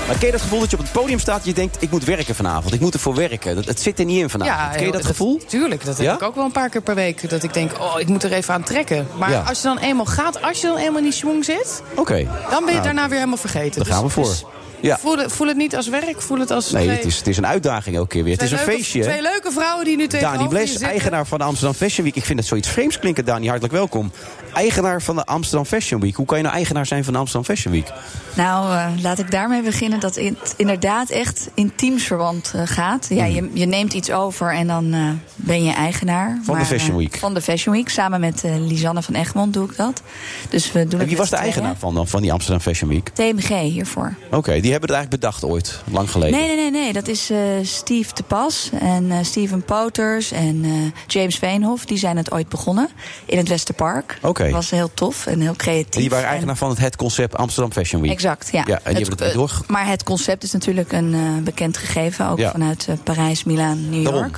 S6: Maar ken je dat gevoel dat je op het podium staat en je denkt... ik moet werken vanavond, ik moet ervoor werken. Dat, het zit er niet in vanavond. ken je
S7: joh,
S6: dat gevoel?
S7: Tuurlijk, dat heb
S6: Ja?
S7: ik ook wel een paar keer per week. Dat ik denk, oh, ik moet er even aan trekken. Maar
S6: Ja.
S7: als je dan eenmaal gaat, als je dan eenmaal in die schwung zit...
S6: Oké, Nou,
S7: dan ben je daarna weer helemaal vergeten. Dus
S6: daar gaan we voor. ja.
S7: voel, het- voel het niet als werk, voel het als...
S6: Nee,
S7: twee-
S6: het is, het is een uitdaging elke keer weer. Het
S7: twee
S6: is een
S7: leuke-
S6: feestje. hè?
S7: Twee leuke vrouwen die nu tegenover
S6: Dani
S7: je
S6: Bles,
S7: zitten.
S6: eigenaar van de Amsterdam Fashion Week. Ik vind dat zoiets vreemds klinken, Dani. Hartelijk welkom. Eigenaar van de Amsterdam Fashion Week. Hoe kan je nou eigenaar zijn van de Amsterdam Fashion Week?
S12: Nou, eh, laat ik daarmee beginnen dat het inderdaad echt in teamsverband eh, gaat. Ja,
S6: Mhm.
S12: je, je neemt iets over en dan eh, ben je eigenaar.
S6: Van de
S12: Maar,
S6: Fashion
S12: eh,
S6: Week.
S12: van de Fashion Week, samen met eh, Lisanne van Egmond doe ik dat. Dus we doen
S6: En
S12: het
S6: wie
S12: met
S6: was de
S12: z'n tweeën.
S6: eigenaar van, dan, van die Amsterdam Fashion Week?
S12: TMG hiervoor.
S6: Oké, die hebben het eigenlijk bedacht ooit, lang geleden.
S12: Nee, nee, nee, nee. Dat is eh, Steve de Pas en eh, Steven Poters en eh, James Veenhof. Die zijn het ooit begonnen in het Westerpark.
S6: Oké.
S12: Dat was heel tof en heel creatief.
S6: En die waren
S12: En- eh,
S6: eigenaar van het, het concept Amsterdam Fashion Week.
S12: Exact, ja.
S6: Ja, en die hebben het
S12: eh,
S6: doorge-
S12: Maar het concept is natuurlijk een eh, bekend gegeven, ook
S6: Ja.
S12: vanuit eh, Parijs, Milaan, New York.
S6: Daarom.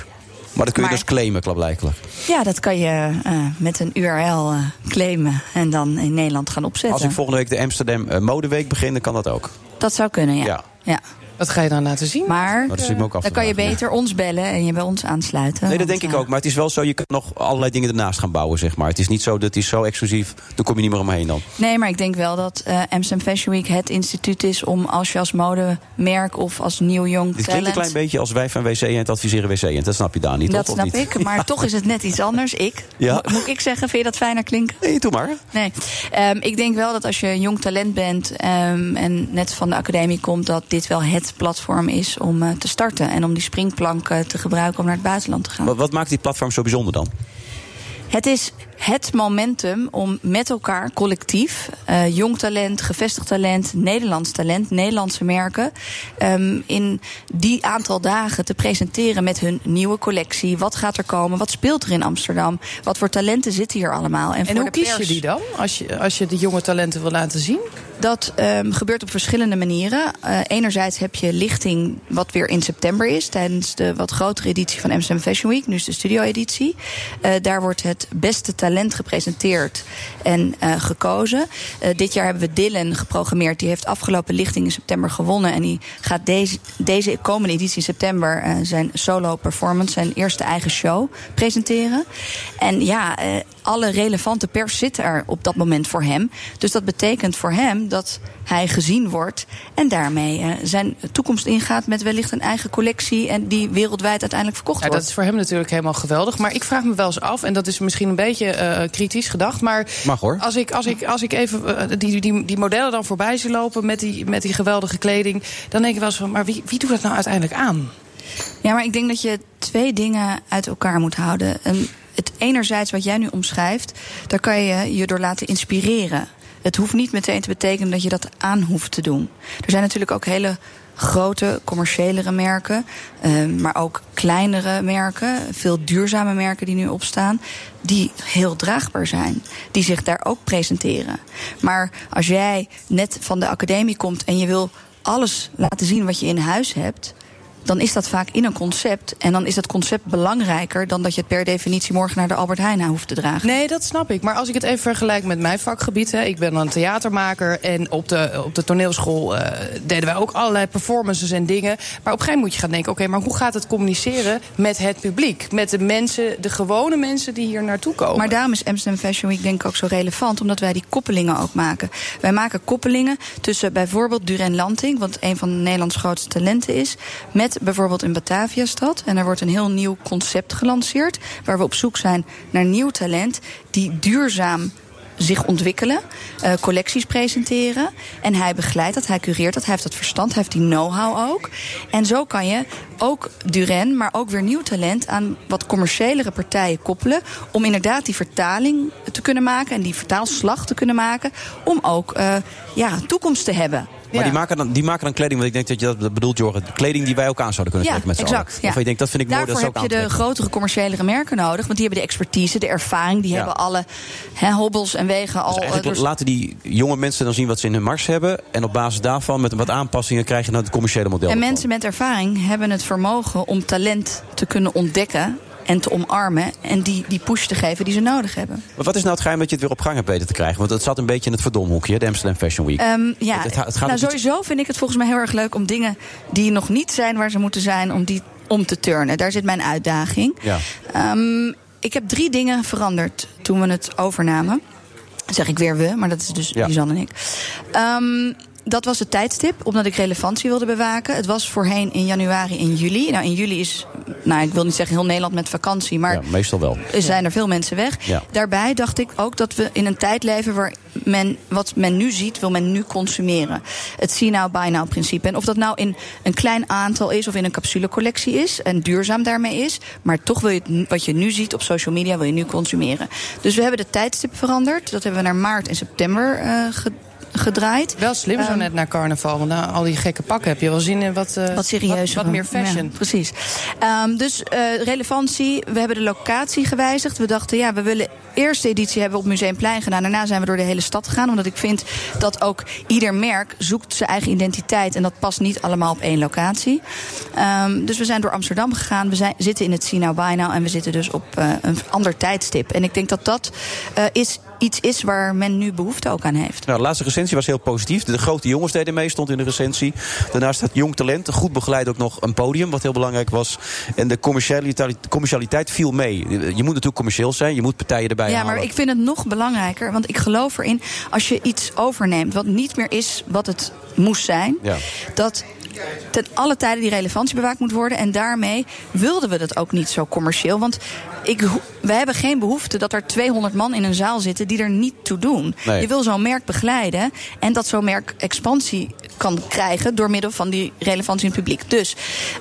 S6: Maar dat kun je
S12: Maar-
S6: dus claimen, blijkbaar.
S12: Ja, dat kan je eh, met een URL eh, claimen en dan in Nederland gaan opzetten.
S6: Als ik volgende week de Amsterdam eh, Modeweek begin, dan kan dat ook.
S12: Dat zou kunnen, ja.
S6: Ja. Nou,
S12: ja.
S7: Wat ga je dan laten zien?
S12: Maar eh,
S6: dat zit me ook af te
S12: dan kan je
S6: vragen,
S12: beter ons bellen en je bij ons aansluiten.
S6: Nee, dat
S12: want,
S6: denk ik
S12: eh,
S6: ook. Maar het is wel zo, je kan nog allerlei dingen ernaast gaan bouwen, zeg maar. Het is niet zo, dat het is zo exclusief, daar kom je niet meer omheen dan.
S12: Nee, maar ik denk wel dat eh Amsterdam Fashion Week het instituut is om als je als modemerk of als nieuw jong
S6: Dit klinkt een
S12: talent...
S6: klein beetje als wij van WC en het adviseren WC en dat snap je daar nou niet,
S12: dat
S6: toch? Of
S12: snap
S6: niet?
S12: ik, maar toch is het net iets anders. Ik,
S6: Ja.
S12: Mo- moet ik zeggen, vind je dat fijner klinken?
S6: Nee, doe maar.
S12: Nee. Ehm, ik denk wel dat als je een jong talent bent ehm, en net van de academie komt, dat dit wel het platform is om eh, te starten. En om die springplank eh, te gebruiken om naar het buitenland te gaan.
S6: Wat, wat maakt die platform zo bijzonder dan?
S12: Het is het momentum om met elkaar collectief eh, jong talent, gevestigd talent, Nederlands talent, Nederlandse merken. ehm, in die aantal dagen te presenteren met hun nieuwe collectie. Wat gaat er komen? Wat speelt er in Amsterdam? Wat voor talenten zitten hier allemaal?
S7: En
S12: voor
S7: hoe
S12: de
S7: kies je
S12: pers-
S7: die dan? Als je, als je de jonge talenten wil laten zien?
S12: Dat ehm, gebeurt op verschillende manieren. Eh, enerzijds heb je lichting, wat weer in september is, tijdens de wat grotere editie van Amsterdam Fashion Week, nu is de studio-editie. Eh, daar wordt het beste talent gepresenteerd en eh, gekozen. Eh, dit jaar hebben we Dylan geprogrammeerd. Die heeft afgelopen lichting in september gewonnen. En die gaat deze, deze komende editie in september eh, zijn solo performance, zijn eerste eigen show presenteren. En ja, eh, alle relevante pers zit er op dat moment voor hem. Dus dat betekent voor hem dat hij gezien wordt en daarmee eh, zijn toekomst ingaat met wellicht een eigen collectie en die wereldwijd uiteindelijk verkocht
S7: Ja,
S12: wordt.
S7: dat is voor hem natuurlijk helemaal geweldig. Maar ik vraag me wel eens af, en dat is misschien een beetje eh, kritisch gedacht. Maar
S6: Mag hoor.
S7: Als ik, als ik, als ik even eh, die, die, die modellen dan voorbij zie lopen met die, met die geweldige kleding. dan denk ik wel eens van: maar wie, wie doet dat nou uiteindelijk aan?
S12: Ja, maar ik denk dat je twee dingen uit elkaar moet houden. En het enerzijds wat jij nu omschrijft, daar kan je je door laten inspireren. Het hoeft niet meteen te betekenen dat je dat aan hoeft te doen. Er zijn natuurlijk ook hele grote commerciëlere merken, eh, maar ook kleinere merken, veel duurzame merken die nu opstaan, die heel draagbaar zijn, die zich daar ook presenteren. Maar als jij net van de academie komt en je wil alles laten zien wat je in huis hebt, dan is dat vaak in een concept. En dan is dat concept belangrijker dan dat je het per definitie morgen naar de Albert Heijn hoeft te dragen.
S7: Nee, dat snap ik. Maar als ik het even vergelijk met mijn vakgebied. Hè, ik ben een theatermaker. En op de, op de toneelschool eh, deden wij ook allerlei performances en dingen. Maar op een gegeven moment moet je gaan denken: oké, maar hoe gaat het communiceren met het publiek? Met de mensen, de gewone mensen die hier naartoe komen.
S12: Maar daarom is Amsterdam Fashion Week denk ik ook zo relevant, omdat wij die koppelingen ook maken. Wij maken koppelingen tussen bijvoorbeeld Duren Lanting, wat een van Nederlands grootste talenten is, met bijvoorbeeld een Bataviastad. En er wordt een heel nieuw concept gelanceerd, waar we op zoek zijn naar nieuw talent die duurzaam zich ontwikkelen, eh, collecties presenteren. En hij begeleidt dat, hij cureert dat, hij heeft dat verstand, hij heeft die know-how ook. En zo kan je ook Duren, maar ook weer nieuw talent aan wat commerciëlere partijen koppelen. Om inderdaad die vertaling te kunnen maken en die vertaalslag te kunnen maken. Om ook eh, ja, toekomst te hebben.
S6: Maar die maken, dan, die maken dan kleding, want ik denk dat je dat- dat bedoelt, Jorgen. Kleding die wij ook aan zouden kunnen
S12: ja,
S6: trekken met z'n
S12: exact.
S6: allen.
S12: Ja.
S6: Of je denkt, dat vind ik mooi,
S12: Daarvoor
S6: dat is ook
S12: heb je de
S6: aantrekken.
S12: grotere commerciëlere merken nodig. Want die hebben de expertise, de ervaring. Die hebben alle hè, hobbels en wegen al. eh,
S6: Eigenlijk
S12: door-
S6: laten die jonge mensen dan zien wat ze in hun mars hebben. En op basis daarvan, met wat aanpassingen, krijg je dan het commerciële model.
S12: En mensen met ervaring hebben het vermogen om talent te kunnen ontdekken en te omarmen. En die, die push te geven die ze nodig hebben.
S6: Maar wat is nou het geheim dat je het weer op gang hebt weten te krijgen? Want het zat een beetje in het verdomhoekje, de Amsterdam Fashion Week.
S12: Ehm, ja,
S6: Het- het gaat- het gaat
S12: nou,
S6: ook niet-
S12: sowieso vind ik het volgens mij heel erg leuk om dingen die nog niet zijn waar ze moeten zijn, om die om te turnen. Daar zit mijn uitdaging.
S6: Ja.
S12: Ehm, ik heb drie dingen veranderd toen we het overnamen. Dan zeg ik weer we, maar dat is dus
S13: Ja.
S12: Lisanne en ik. Ehm, dat was het tijdstip, omdat ik relevantie wilde bewaken. Het was voorheen in januari en juli. Nou, in juli is, nou, ik wil niet zeggen heel Nederland met vakantie, maar
S6: Ja, meestal wel.
S12: er zijn er veel mensen weg.
S6: Ja.
S12: Daarbij dacht ik ook dat we in een tijd leven waar men wat men nu ziet, wil men nu consumeren. Het see now, buy now principe. En of dat nou in een klein aantal is of in een capsulecollectie is en duurzaam daarmee is, maar toch wil je het, nu- wat je nu ziet op social media wil je nu consumeren. Dus we hebben de tijdstip veranderd. Dat hebben we naar maart en september eh, ge- gedraaid.
S7: Wel slim zo
S12: Ehm,
S7: net naar carnaval. Want na al die gekke pakken heb je wel zin in wat, eh,
S12: wat serieuzer.
S7: Wat, wat meer fashion.
S12: Ja, precies. Ehm, dus eh, relevantie, we hebben de locatie gewijzigd. We dachten, ja, we willen eerste editie hebben we op Museumplein gedaan. Daarna zijn we door de hele stad gegaan. Omdat ik vind dat ook ieder merk zoekt zijn eigen identiteit. En dat past niet allemaal op één locatie. Ehm, dus we zijn door Amsterdam gegaan. We zijn, zitten in het See Now Buy Now. En we zitten dus op eh, een ander tijdstip. En ik denk dat dat eh, is, iets is waar men nu behoefte ook aan heeft.
S6: Nou, de laatste recensie was heel positief. De grote jongens deden mee, stond in de recensie. Daarnaast had jong talent, goed begeleid ook nog een podium, wat heel belangrijk was. En de commercialiteit, commercialiteit viel mee. Je moet natuurlijk commercieel zijn, je moet partijen erbij
S12: Ja,
S6: halen.
S12: maar ik vind het nog belangrijker. Want ik geloof erin, als je iets overneemt wat niet meer is wat het moest zijn.
S6: Ja.
S12: Dat ten alle tijden die relevantie bewaakt moet worden. En daarmee wilden we dat ook niet zo commercieel. Want ik, ho- we hebben geen behoefte dat er 200 man in een zaal zitten die er niet toe doen.
S13: Nee.
S12: Je wil zo'n merk begeleiden. En dat zo'n merk expansie kan krijgen door middel van die relevantie in het publiek. Dus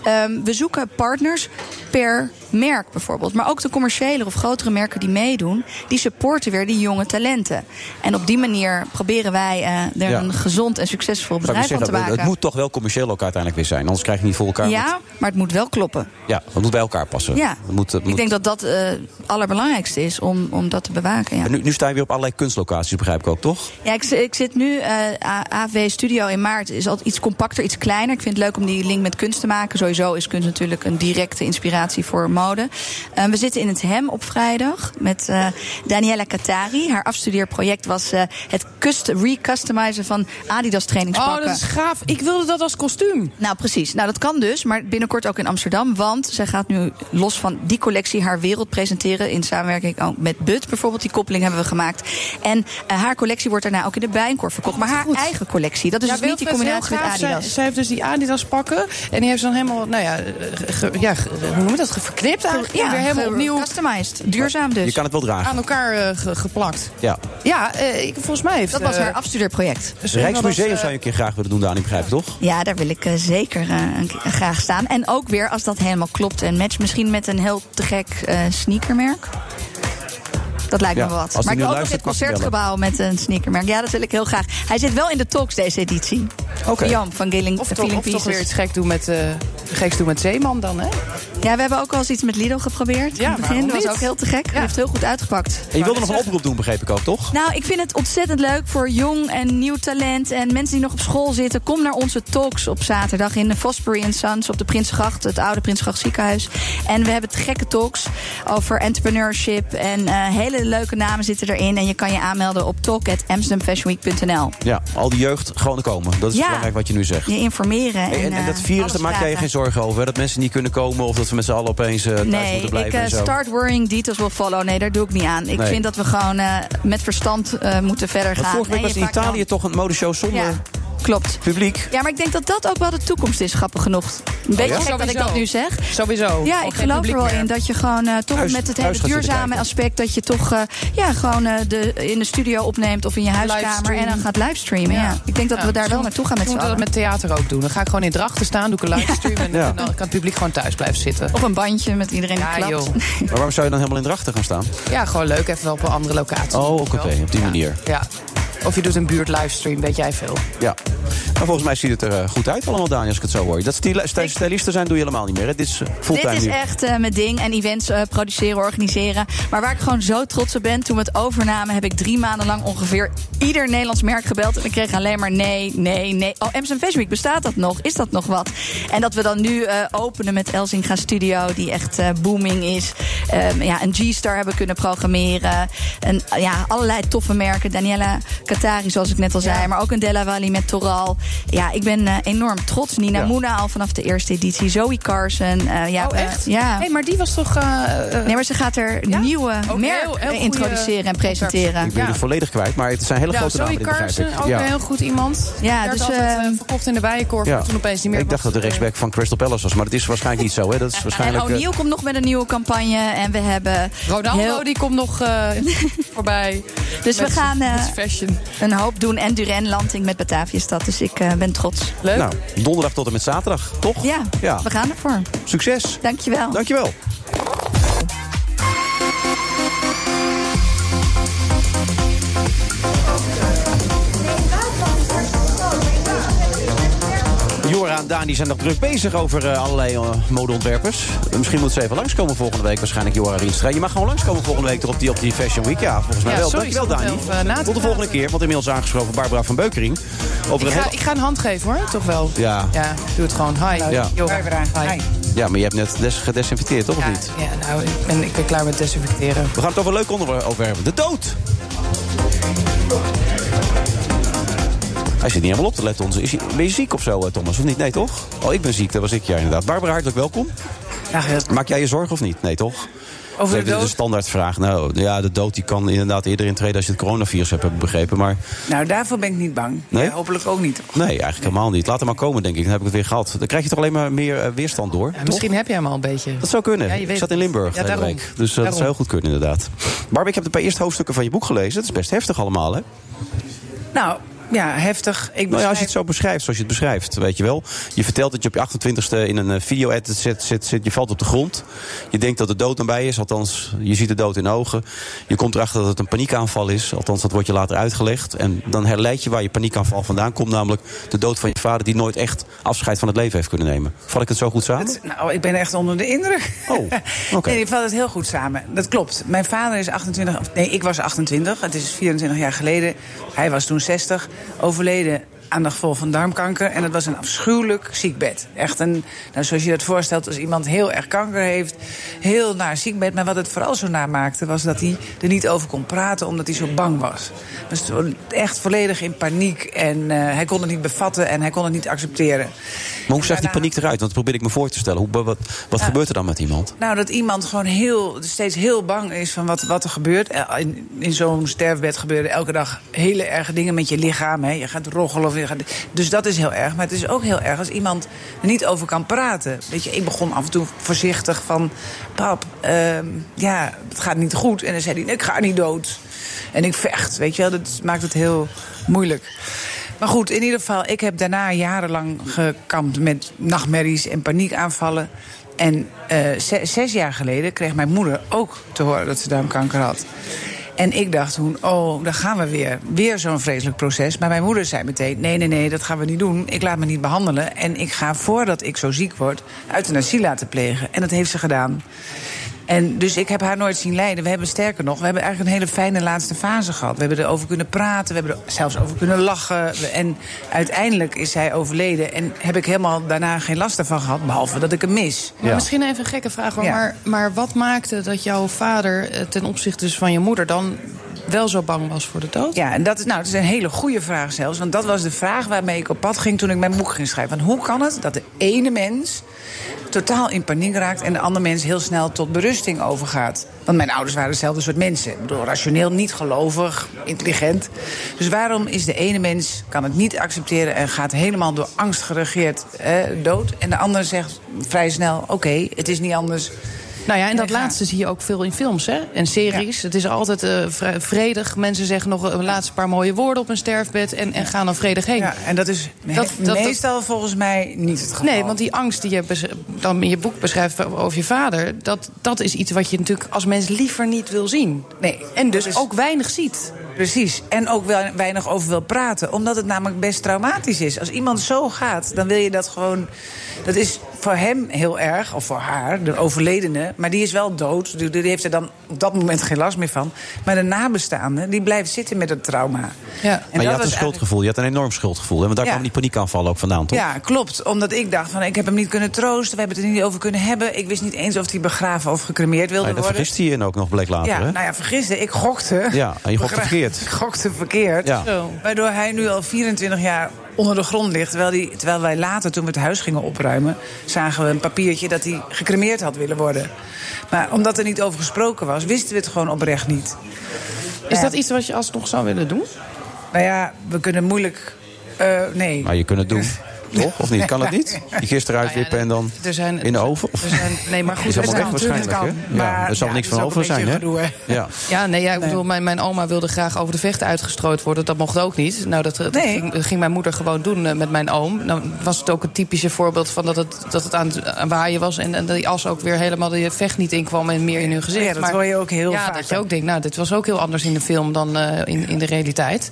S12: ehm, we zoeken partners per merk bijvoorbeeld. Maar ook de commerciële of grotere merken die meedoen, die supporten weer die jonge talenten. En op die manier proberen wij eh er
S6: Ja.
S12: een gezond en succesvol
S6: Zou ik
S12: bedrijf
S6: zeggen,
S12: van te
S6: het-
S12: maken.
S6: het moet toch wel commercieel ook uiteindelijk weer zijn. Anders krijg je niet voor elkaar.
S12: Ja, maar het moet wel kloppen.
S6: Ja, het moet bij elkaar passen.
S12: Ja.
S6: Het moet, het
S12: Ik
S6: moet-
S12: denk dat dat eh, het allerbelangrijkste is om, om dat te bewaken. Ja.
S6: En nu, nu sta je weer op allerlei kunstlocaties, begrijp ik ook, toch?
S12: Ja, ik, ik zit nu, eh A- AFW Studio in maart is altijd iets compacter, iets kleiner. Ik vind het leuk om die link met kunst te maken. Sowieso is kunst natuurlijk een directe inspiratie voor mode. Eh, we zitten in het Hem op vrijdag met eh, Daniela Katari. Haar afstudeerproject was eh, het cust- recustomizen van Adidas trainingspakken.
S7: Oh, dat is gaaf. Ik wilde dat als kostuum.
S12: Nou, precies. Nou, dat kan dus, maar binnenkort ook in Amsterdam. Want zij gaat nu los van die collectie haar wereld presenteren. In samenwerking ook met Bud bijvoorbeeld. Die koppeling hebben we gemaakt. En eh, haar collectie wordt daarna ook in de Bijenkorf verkocht. Maar haar eigen collectie. Dat is
S7: Oh, Ja,
S12: dus niet die
S7: Wilfred is
S12: combinatie met
S7: heel gaaf.
S12: Adidas.
S7: Zij, zij heeft dus die Adidas pakken. En die heeft ze dan helemaal, nou ja, eh, ge- ja ge- hoe noem je dat? ge- Verknipt eigenlijk.
S12: Ja,
S7: en weer helemaal
S12: ge-
S7: opnieuw.
S12: Customized. Duurzaam dus.
S6: Je kan het wel dragen.
S7: Aan elkaar eh, ge- geplakt.
S6: Ja.
S7: Ja, eh, ik, volgens mij heeft...
S12: Dat was
S7: eh,
S12: haar afstudeerproject.
S6: Het Rijksmuseum zou je een keer graag willen doen, Dani, begrijp ik, toch?
S12: Ja, daar wil ik eh, zeker eh, een keer graag staan. En ook weer, als dat helemaal klopt en matcht, misschien met een heel te gek eh, sneakermerk. Dat lijkt
S13: Ja,
S12: me
S13: als
S12: wat.
S13: hij
S12: Maar ik
S13: nu
S12: wil ook nog in het
S13: luistert, mag hij
S12: concertgebouw met een sneakermerk. Ja, dat wil ik heel graag. Hij zit wel in de talks deze editie.
S7: Oké.
S12: Jam van Gilling
S7: Of,
S12: Feeling
S7: toch, of toch
S12: Pieces.
S7: weer iets gek doen met, eh, geks doen met Zeeman dan, hè?
S12: Ja, we hebben ook al eens iets met Lidl geprobeerd. in het begin.
S7: waarom
S12: Dat was
S7: niet?
S12: ook heel te gek. Die heeft heel goed uitgepakt.
S6: En je wilde nog een oproep doen, begreep ik ook, toch?
S12: Nou, ik vind het ontzettend leuk voor jong en nieuw talent. En mensen die nog op school zitten. Kom naar onze talks op zaterdag in de Fosbury and Sons op de Prinsengracht. Het oude Prinsengracht ziekenhuis. En we hebben te gekke talks over entrepreneurship. En eh, hele leuke namen zitten erin. En je kan je aanmelden op talk.amsterdamfashionweek.nl.
S6: Ja, al die jeugd gewoon komen. Dat is
S12: Ja.
S6: belangrijk wat je nu zegt.
S12: Je informeren.
S6: Hey, en, en
S12: eh,
S6: dat virus,
S12: alles
S6: daar maak jij je
S12: praten.
S6: geen zorgen over. Hè? Dat mensen niet kunnen komen of dat we met z'n allen opeens eh thuis
S12: Nee,
S6: moeten
S12: ik
S6: blijven
S12: eh,
S6: en zo.
S12: start worrying, details will follow. Nee, daar doe ik niet aan. Ik
S6: Nee.
S12: vind dat we gewoon eh, met verstand eh, moeten verder
S6: Want
S12: gaan.
S6: vorige week
S12: En
S6: was
S12: je
S6: in
S12: vaak dan-
S6: Italië toch een modeshow zonder
S12: Ja, klopt.
S6: publiek.
S12: Ja, maar ik denk dat dat ook wel de toekomst is, grappig genoeg. Een
S7: Oh
S12: beetje
S6: ja?
S12: gek dat ik dat nu zeg.
S7: Sowieso.
S12: Ja, ik geloof er wel in dat je gewoon eh, toch
S7: Huis-
S12: met het hele
S7: huis gaat zitten
S12: duurzame
S7: kijken.
S12: aspect... dat je toch eh, ja, gewoon eh, de, in de studio opneemt of in je huiskamer... en dan gaat livestreamen. Ja. Ik denk dat we daar wel naartoe gaan met z'n
S7: moeten we
S12: allen.
S7: dat met theater ook doen. Dan ga ik gewoon in drachten staan, doe ik een livestream... en
S6: Ja.
S7: dan kan het publiek gewoon thuis blijven zitten.
S12: Op een bandje met iedereen
S7: ja,
S12: geklapt.
S7: joh.
S6: Maar waarom zou je dan helemaal in drachten gaan staan?
S7: Ja, gewoon leuk, even wel op een andere locatie.
S6: Oh, oké, op die manier.
S7: Ja. Of je doet een buurt livestream, weet jij veel.
S6: Ja. Maar volgens mij ziet het er eh, goed uit allemaal, Dani, als ik het zo hoor. Dat stila- st- stylisten zijn doe je helemaal niet meer. Hè? Dit is eh, fulltime
S12: Dit is
S6: nu.
S12: echt eh, mijn ding. En events eh, produceren, organiseren. Maar waar ik gewoon zo trots op ben, toen we het overnamen, heb ik drie maanden lang ongeveer ieder Nederlands merk gebeld. En ik kreeg alleen maar nee, nee, nee. Oh, Amsterdam Fashion Week, bestaat dat nog? Is dat nog wat? En dat we dan nu eh, openen met Elsinga Studio, die echt eh, booming is. Ehm, ja, een G-Star hebben kunnen programmeren. En, eh, ja, allerlei toffe merken. Daniela Katari, zoals ik net al zei. Maar ook een Della Valle met Toral. Ja, ik ben eh, enorm trots. Nina
S7: Ja.
S12: Moena al vanaf de eerste editie. Zoe Carson. eh, ja,
S7: Oh,
S12: eh,
S7: echt?
S12: ja.
S7: Hey, maar die was toch... eh, eh,
S12: Nee, maar ze gaat er nieuwe
S7: Ook
S12: merk
S7: heel- heel goede
S12: introduceren en presenteren.
S6: Ik ben het volledig kwijt, maar het zijn hele
S12: Nou,
S6: grote
S7: Zoe
S6: namen, dit begrijp
S7: Carson,
S6: ik.
S7: ook een heel goed iemand.
S12: Ja,
S7: Werd
S12: dus,
S7: altijd, eh, verkocht in de bijenkorf, maar toen opeens niet meer.
S6: Ik dacht dat de rechtsback van Crystal Palace was, maar dat is waarschijnlijk niet zo. Hè? Dat is
S12: En
S6: waarschijnlijk... eh,
S12: O'Neill komt nog met een nieuwe campagne. En we hebben...
S7: Ronaldo,
S12: heel-
S7: die komt nog eh, voorbij.
S12: Dus
S7: Met
S12: we gaan
S7: z'n-
S12: eh,
S7: met z'n fashion.
S12: een hoop doen. En Duran Lanting met Bataviastad. Dus ik eh, ben trots.
S6: Nou, donderdag tot en met zaterdag, toch?
S12: Ja,
S6: Ja.
S12: we gaan ervoor.
S6: Succes.
S12: Dankjewel.
S6: Dankjewel. Jora en Dani zijn nog druk bezig over eh, allerlei eh, modeontwerpers. Eh, Misschien moeten ze even langskomen volgende week waarschijnlijk, Jora Rienstra. Je mag gewoon langskomen volgende week toch op die, op die Fashion Week. Ja, volgens mij
S7: Ja,
S6: wel.
S7: sorry,
S6: Dankjewel,
S7: ik stond
S6: Dani.
S7: wel even na te
S6: Tot de volgende keer, want inmiddels aangeschoven Barbara van Beukering. Over
S7: Ik
S6: een
S7: ga,
S6: hele-
S7: ik ga een hand geven hoor, toch wel.
S6: Ja.
S7: Ja, doe het gewoon. Hi.
S6: Ja.
S7: Yo. Hi.
S6: ja, maar je hebt net des- gedesinfecteerd, toch? Of niet?
S7: Ja, nou, ik ben, ik ben klaar met desinfecteren.
S6: We gaan het over een leuk onderwerp over hebben. De dood. Hij zit niet helemaal op te letten. Onze. Is hij, ben je ziek of zo, eh, Thomas? Of niet? Nee, toch? Oh, ik ben ziek. Dat was ik, ja, inderdaad. Barbara, hartelijk welkom. Maak jij je zorgen of niet? Nee, toch?
S7: Over de
S6: Nee, dit is
S7: dood?
S6: een standaardvraag. Nou, ja, de dood die kan inderdaad eerder intreden als je het coronavirus hebt, heb ik begrepen. Maar
S14: Nou, daarvoor ben ik niet bang.
S6: Nee?
S14: Ja, hopelijk ook niet.
S6: nee, eigenlijk helemaal niet. Laat hem maar komen, denk ik. Dan heb ik het weer gehad. Dan krijg je toch alleen maar meer eh, weerstand door.
S7: Ja,
S6: toch?
S7: misschien heb jij hem al een beetje.
S6: Dat zou kunnen.
S7: Ja, je
S6: ik
S7: weet
S6: zat in Limburg
S7: Ja,
S6: de hele
S7: daarom.
S6: week. Dus eh, dat zou heel goed kunnen, inderdaad. Barb, ik heb de paar eerste hoofdstukken van je boek gelezen. Het is best heftig allemaal, hè?
S14: Nou, ja, heftig. Ik
S6: Nou ja, als je het zo beschrijft, zoals je het beschrijft, weet je wel. Je vertelt dat je op je 28ste in een eh, video-edit zit, zit, zit, je valt op de grond. Je denkt dat de dood nabij is, althans, je ziet de dood in de ogen. Je komt erachter dat het een paniekaanval is, althans, dat wordt je later uitgelegd. En dan herleid je waar je paniekaanval vandaan komt, namelijk de dood van je vader... die nooit echt afscheid van het leven heeft kunnen nemen. Vat ik het zo goed samen?
S14: Nou, ik ben echt onder de indruk.
S6: Oh, oké.
S14: Nee, je valt het heel goed samen. Dat klopt. Mijn vader is 28... of Nee, ik was 28. Het is 24 jaar geleden. Hij was toen 60. Overleden aandachtvol van darmkanker. En het was een afschuwelijk ziekbed. Echt een, nou, zoals je dat voorstelt, als iemand heel erg kanker heeft. Heel naar ziekbed. Maar wat het vooral zo naar maakte, was dat hij er niet over kon praten. Omdat hij zo bang was. Dus echt volledig in paniek. En eh, hij kon het niet bevatten en hij kon het niet accepteren.
S6: Maar hoe zag die paniek eruit? Want dat probeer ik me voor te stellen. Hoe, wat wat gebeurt er dan met iemand?
S14: Nou, dat iemand gewoon heel, steeds heel bang is van wat, wat er gebeurt. Eh, In, in zo'n sterfbed gebeuren elke dag hele erge dingen met je lichaam. Hè. Je gaat roggelen. Of je gaat, dus dat is heel erg. Maar het is ook heel erg als iemand er niet over kan praten. Weet je, ik begon af en toe voorzichtig van... Pap, ehm, ja, het gaat niet goed. En dan zei hij, ik ga niet dood. En ik vecht, weet je wel. Dat maakt het heel moeilijk. Maar goed, in ieder geval, ik heb daarna jarenlang gekampt met nachtmerries en paniekaanvallen. En eh, ze- zes jaar geleden kreeg mijn moeder ook te horen dat ze darmkanker had. En ik dacht toen, oh, daar gaan we weer. Weer zo'n vreselijk proces. Maar mijn moeder zei meteen, nee, nee, nee, dat gaan we niet doen. Ik laat me niet behandelen. En ik ga, voordat ik zo ziek word, euthanasie laten plegen. En dat heeft ze gedaan. En dus ik heb haar nooit zien lijden. We hebben sterker nog, we hebben eigenlijk een hele fijne laatste fase gehad. We hebben erover kunnen praten, we hebben er zelfs over kunnen lachen. We- En uiteindelijk is zij overleden. En heb ik helemaal daarna geen last ervan gehad, behalve dat ik hem mis.
S7: Maar Misschien even een gekke vraag, hoor,
S14: Ja.
S7: maar, maar wat maakte dat jouw vader eh, ten opzichte dus van je moeder dan wel zo bang was voor de dood?
S14: Ja, en dat is, nou, het is een hele goede vraag zelfs. Want dat was de vraag waarmee ik op pad ging toen ik mijn boek ging schrijven. Want hoe kan het dat de ene mens totaal in paniek raakt... en de andere mens heel snel tot berusting overgaat? Want mijn ouders waren hetzelfde soort mensen. Ik bedoel, rationeel, niet gelovig, intelligent. Dus waarom is de ene mens, kan het niet accepteren... en gaat helemaal door angst geregeerd eh, dood... en de andere zegt vrij snel, oké, het is niet anders...
S7: Nou ja, en dat laatste zie je ook veel in films hè? en series. Het is altijd eh, vri- vredig. Mensen zeggen nog eh, een laatste paar mooie woorden op een sterfbed en, en gaan dan vredig heen. Ja,
S14: en dat is meestal volgens mij niet het geval.
S7: Nee, want die angst die je bes- dan in je boek beschrijft over je vader... dat, dat is iets wat je natuurlijk als mens liever niet wil zien.
S14: Nee,
S7: en dus ook weinig ziet.
S14: Precies. En ook wel weinig over wil praten. Omdat het namelijk best traumatisch is. Als iemand zo gaat, dan wil je dat gewoon. Dat is voor hem heel erg, of voor haar, de overledene. Maar die is wel dood. Dus Die die heeft er dan op dat moment geen last meer van. Maar de nabestaande, die blijft zitten met het trauma. Ja.
S6: maar je had een schuldgevoel. Je had een enorm schuldgevoel. Hè? Want daar
S14: Ja.
S6: kwam die paniekaanvallen ook vandaan, toch?
S14: Ja, klopt. Omdat ik dacht van ik heb hem niet kunnen troosten. We hebben het er niet over kunnen hebben. Ik wist niet eens of hij begraven of gecremeerd wilde
S6: Nee, dat
S14: worden.
S6: vergist hij je ook nog, bleek later.
S14: ja,
S6: hè?
S14: nou ja, vergiste. Ik gokte.
S6: Ja, en je gokte
S14: Begra-
S6: verkeerd.
S14: Ik gokte verkeerd.
S6: Ja.
S14: Waardoor hij nu al 24 jaar onder de grond ligt. Terwijl, die, terwijl wij later, toen we het huis gingen opruimen... zagen we een papiertje dat hij gecremeerd had willen worden. Maar omdat er niet over gesproken was, wisten we het gewoon oprecht niet.
S7: Is dat iets wat je alsnog zou willen doen?
S14: Nou ja, we kunnen moeilijk... eh, nee.
S6: Maar je kunt het doen. Toch? Of niet? Kan het niet? Je gisteren uitwippen en dan
S7: er zijn-
S6: in de oven? Of?
S7: Er zijn- nee, maar goed,
S6: is
S7: er
S6: allemaal weg
S7: zijn-
S6: waarschijnlijk, hè?
S7: natuurlijk kan,
S6: Ja,
S7: maar-
S6: er zal
S7: ja,
S6: niks
S7: dat
S6: van
S7: is ook
S6: over
S7: een
S6: zijn, hè?
S7: beetje gedoe,
S6: Ja.
S7: Ja, nee, ja, ik bedoel, mijn, mijn oma wilde graag over de vechten uitgestrooid worden. Dat mocht ook niet. Nou, dat, dat ging, dat ging mijn moeder gewoon doen eh, met mijn oom. Nou, was het ook een typische voorbeeld van dat het, dat het aan het aan waaien was... en, en dat die as ook weer helemaal de vecht niet inkwam en meer in hun gezicht.
S14: Oh Ja, dat hoor je ook heel
S7: ja,
S14: vaak,
S7: dat je
S14: hè?
S7: ook denkt, nou, dit was ook heel anders in de film dan eh, in, in de realiteit.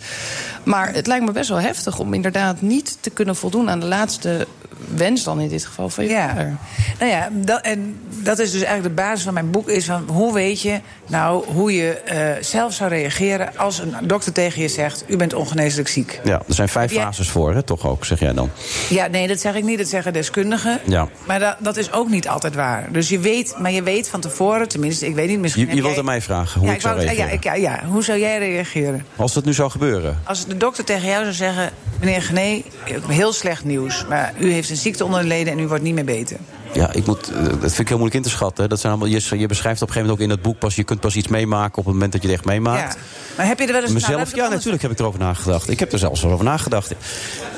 S7: Maar het lijkt me best wel heftig om inderdaad niet te kunnen voldoen... aan de laatste wens dan in dit geval van je
S14: Ja.
S7: vader.
S14: Nou ja, dat, en dat is dus eigenlijk de basis van mijn boek. Is van hoe weet je nou hoe je eh, zelf zou reageren als een dokter tegen je zegt: U bent ongeneeslijk ziek.
S6: Ja, er zijn vijf
S14: Heb jij-
S6: fases voor, hè? toch ook, zeg jij dan.
S14: Ja, nee, dat zeg ik niet. Dat zeggen deskundigen.
S6: Ja.
S14: Maar dat, dat is ook niet altijd waar. Dus je weet, maar je weet van tevoren, tenminste, ik weet niet, misschien.
S6: Je,
S14: heb
S6: je wilt
S14: jij-
S6: aan mij vragen hoe
S14: ja,
S6: ik zou
S14: wou-
S6: reageren.
S14: ja, ik- ja, ja, hoe zou jij reageren?
S6: Als dat nu zou gebeuren.
S14: Als de dokter tegen jou zou zeggen: Meneer Gené, ik heb heel slecht nieuws. Maar u heeft een ziekte onder de leden en u wordt niet meer beter.
S6: Ja, ik moet, eh, dat vind ik heel moeilijk in te schatten. hè. Dat zijn allemaal, je, je beschrijft op een gegeven moment ook in dat boek pas... je kunt pas iets meemaken op het moment dat je het echt meemaakt.
S14: Maar heb je er wel eens nou, laat
S6: Mezelf,
S14: ik
S6: ja, natuurlijk heb ik erover nagedacht. Ik heb er zelfs wel over nagedacht.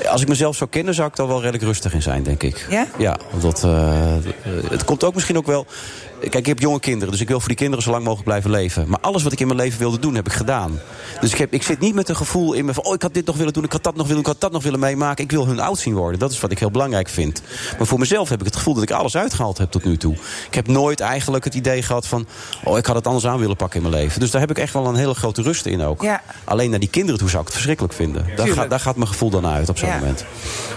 S6: Als ik mezelf zou kennen, zou ik daar wel redelijk rustig in zijn, denk ik.
S14: Ja?
S6: Ja, want dat, eh, eh, het komt ook misschien ook wel... Kijk, ik heb jonge kinderen, dus ik wil voor die kinderen zo lang mogelijk blijven leven. Maar alles wat ik in mijn leven wilde doen, heb ik gedaan. Dus ik, heb, ik zit niet met een gevoel in me van... oh, ik had dit nog willen doen, ik had dat nog willen doen, ik had dat nog willen meemaken. Ik wil hun oud zien worden, dat is wat ik heel belangrijk vind. Maar voor mezelf heb ik het gevoel dat ik alles uitgehaald heb tot nu toe. Ik heb nooit eigenlijk het idee gehad van... oh, ik had het anders aan willen pakken in mijn leven. Dus daar heb ik echt wel een hele grote rust in. in ook.
S14: Ja.
S6: Alleen naar die kinderen toe zou ik het verschrikkelijk vinden. Daar,
S14: Tuurlijk.
S6: gaat- daar gaat mijn gevoel dan naar uit op zo'n
S14: Ja.
S6: moment.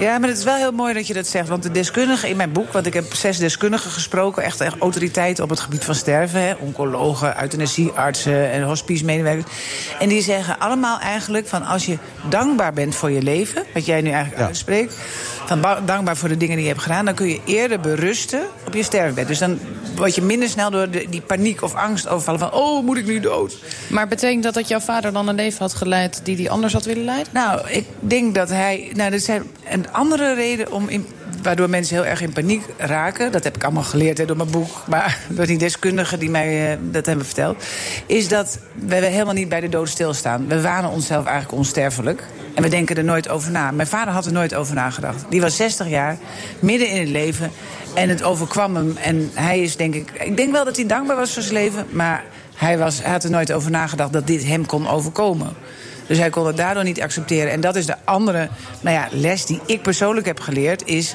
S14: Ja, maar het is wel heel mooi dat je dat zegt. Want de deskundigen in mijn boek, want ik heb zes deskundigen gesproken, echt, echt autoriteiten op het gebied van sterven: hè, oncologen, euthanasieartsen en hospicemedewerkers. En die zeggen allemaal eigenlijk van als je dankbaar bent voor je leven, wat jij nu eigenlijk uitspreekt, van ba- dankbaar voor de dingen die je hebt gedaan, dan kun je eerder berusten op je sterfbed. Dus dan word je minder snel door de- die paniek of angst overvallen van oh, moet ik nu dood?
S7: Maar betekent dat dat jouw vader dan een leven had geleid die hij anders had willen leiden?
S14: Nou, ik denk dat hij. Nou, er zijn een andere reden om in, waardoor mensen heel erg in paniek raken. Dat heb ik allemaal geleerd hè, door mijn boek. Maar door die deskundigen die mij eh, dat hebben verteld. Is dat we helemaal niet bij de dood stilstaan. We wanen onszelf eigenlijk onsterfelijk. En we denken er nooit over na. Mijn vader had er nooit over nagedacht. Die was 60 jaar, midden in het leven. En het overkwam hem. En hij is denk ik. Ik denk wel dat hij dankbaar was voor zijn leven. Maar hij, was, hij had er nooit over nagedacht dat dit hem kon overkomen. Dus hij kon het daardoor niet accepteren. En dat is de andere nou ja, les die ik persoonlijk heb geleerd. Is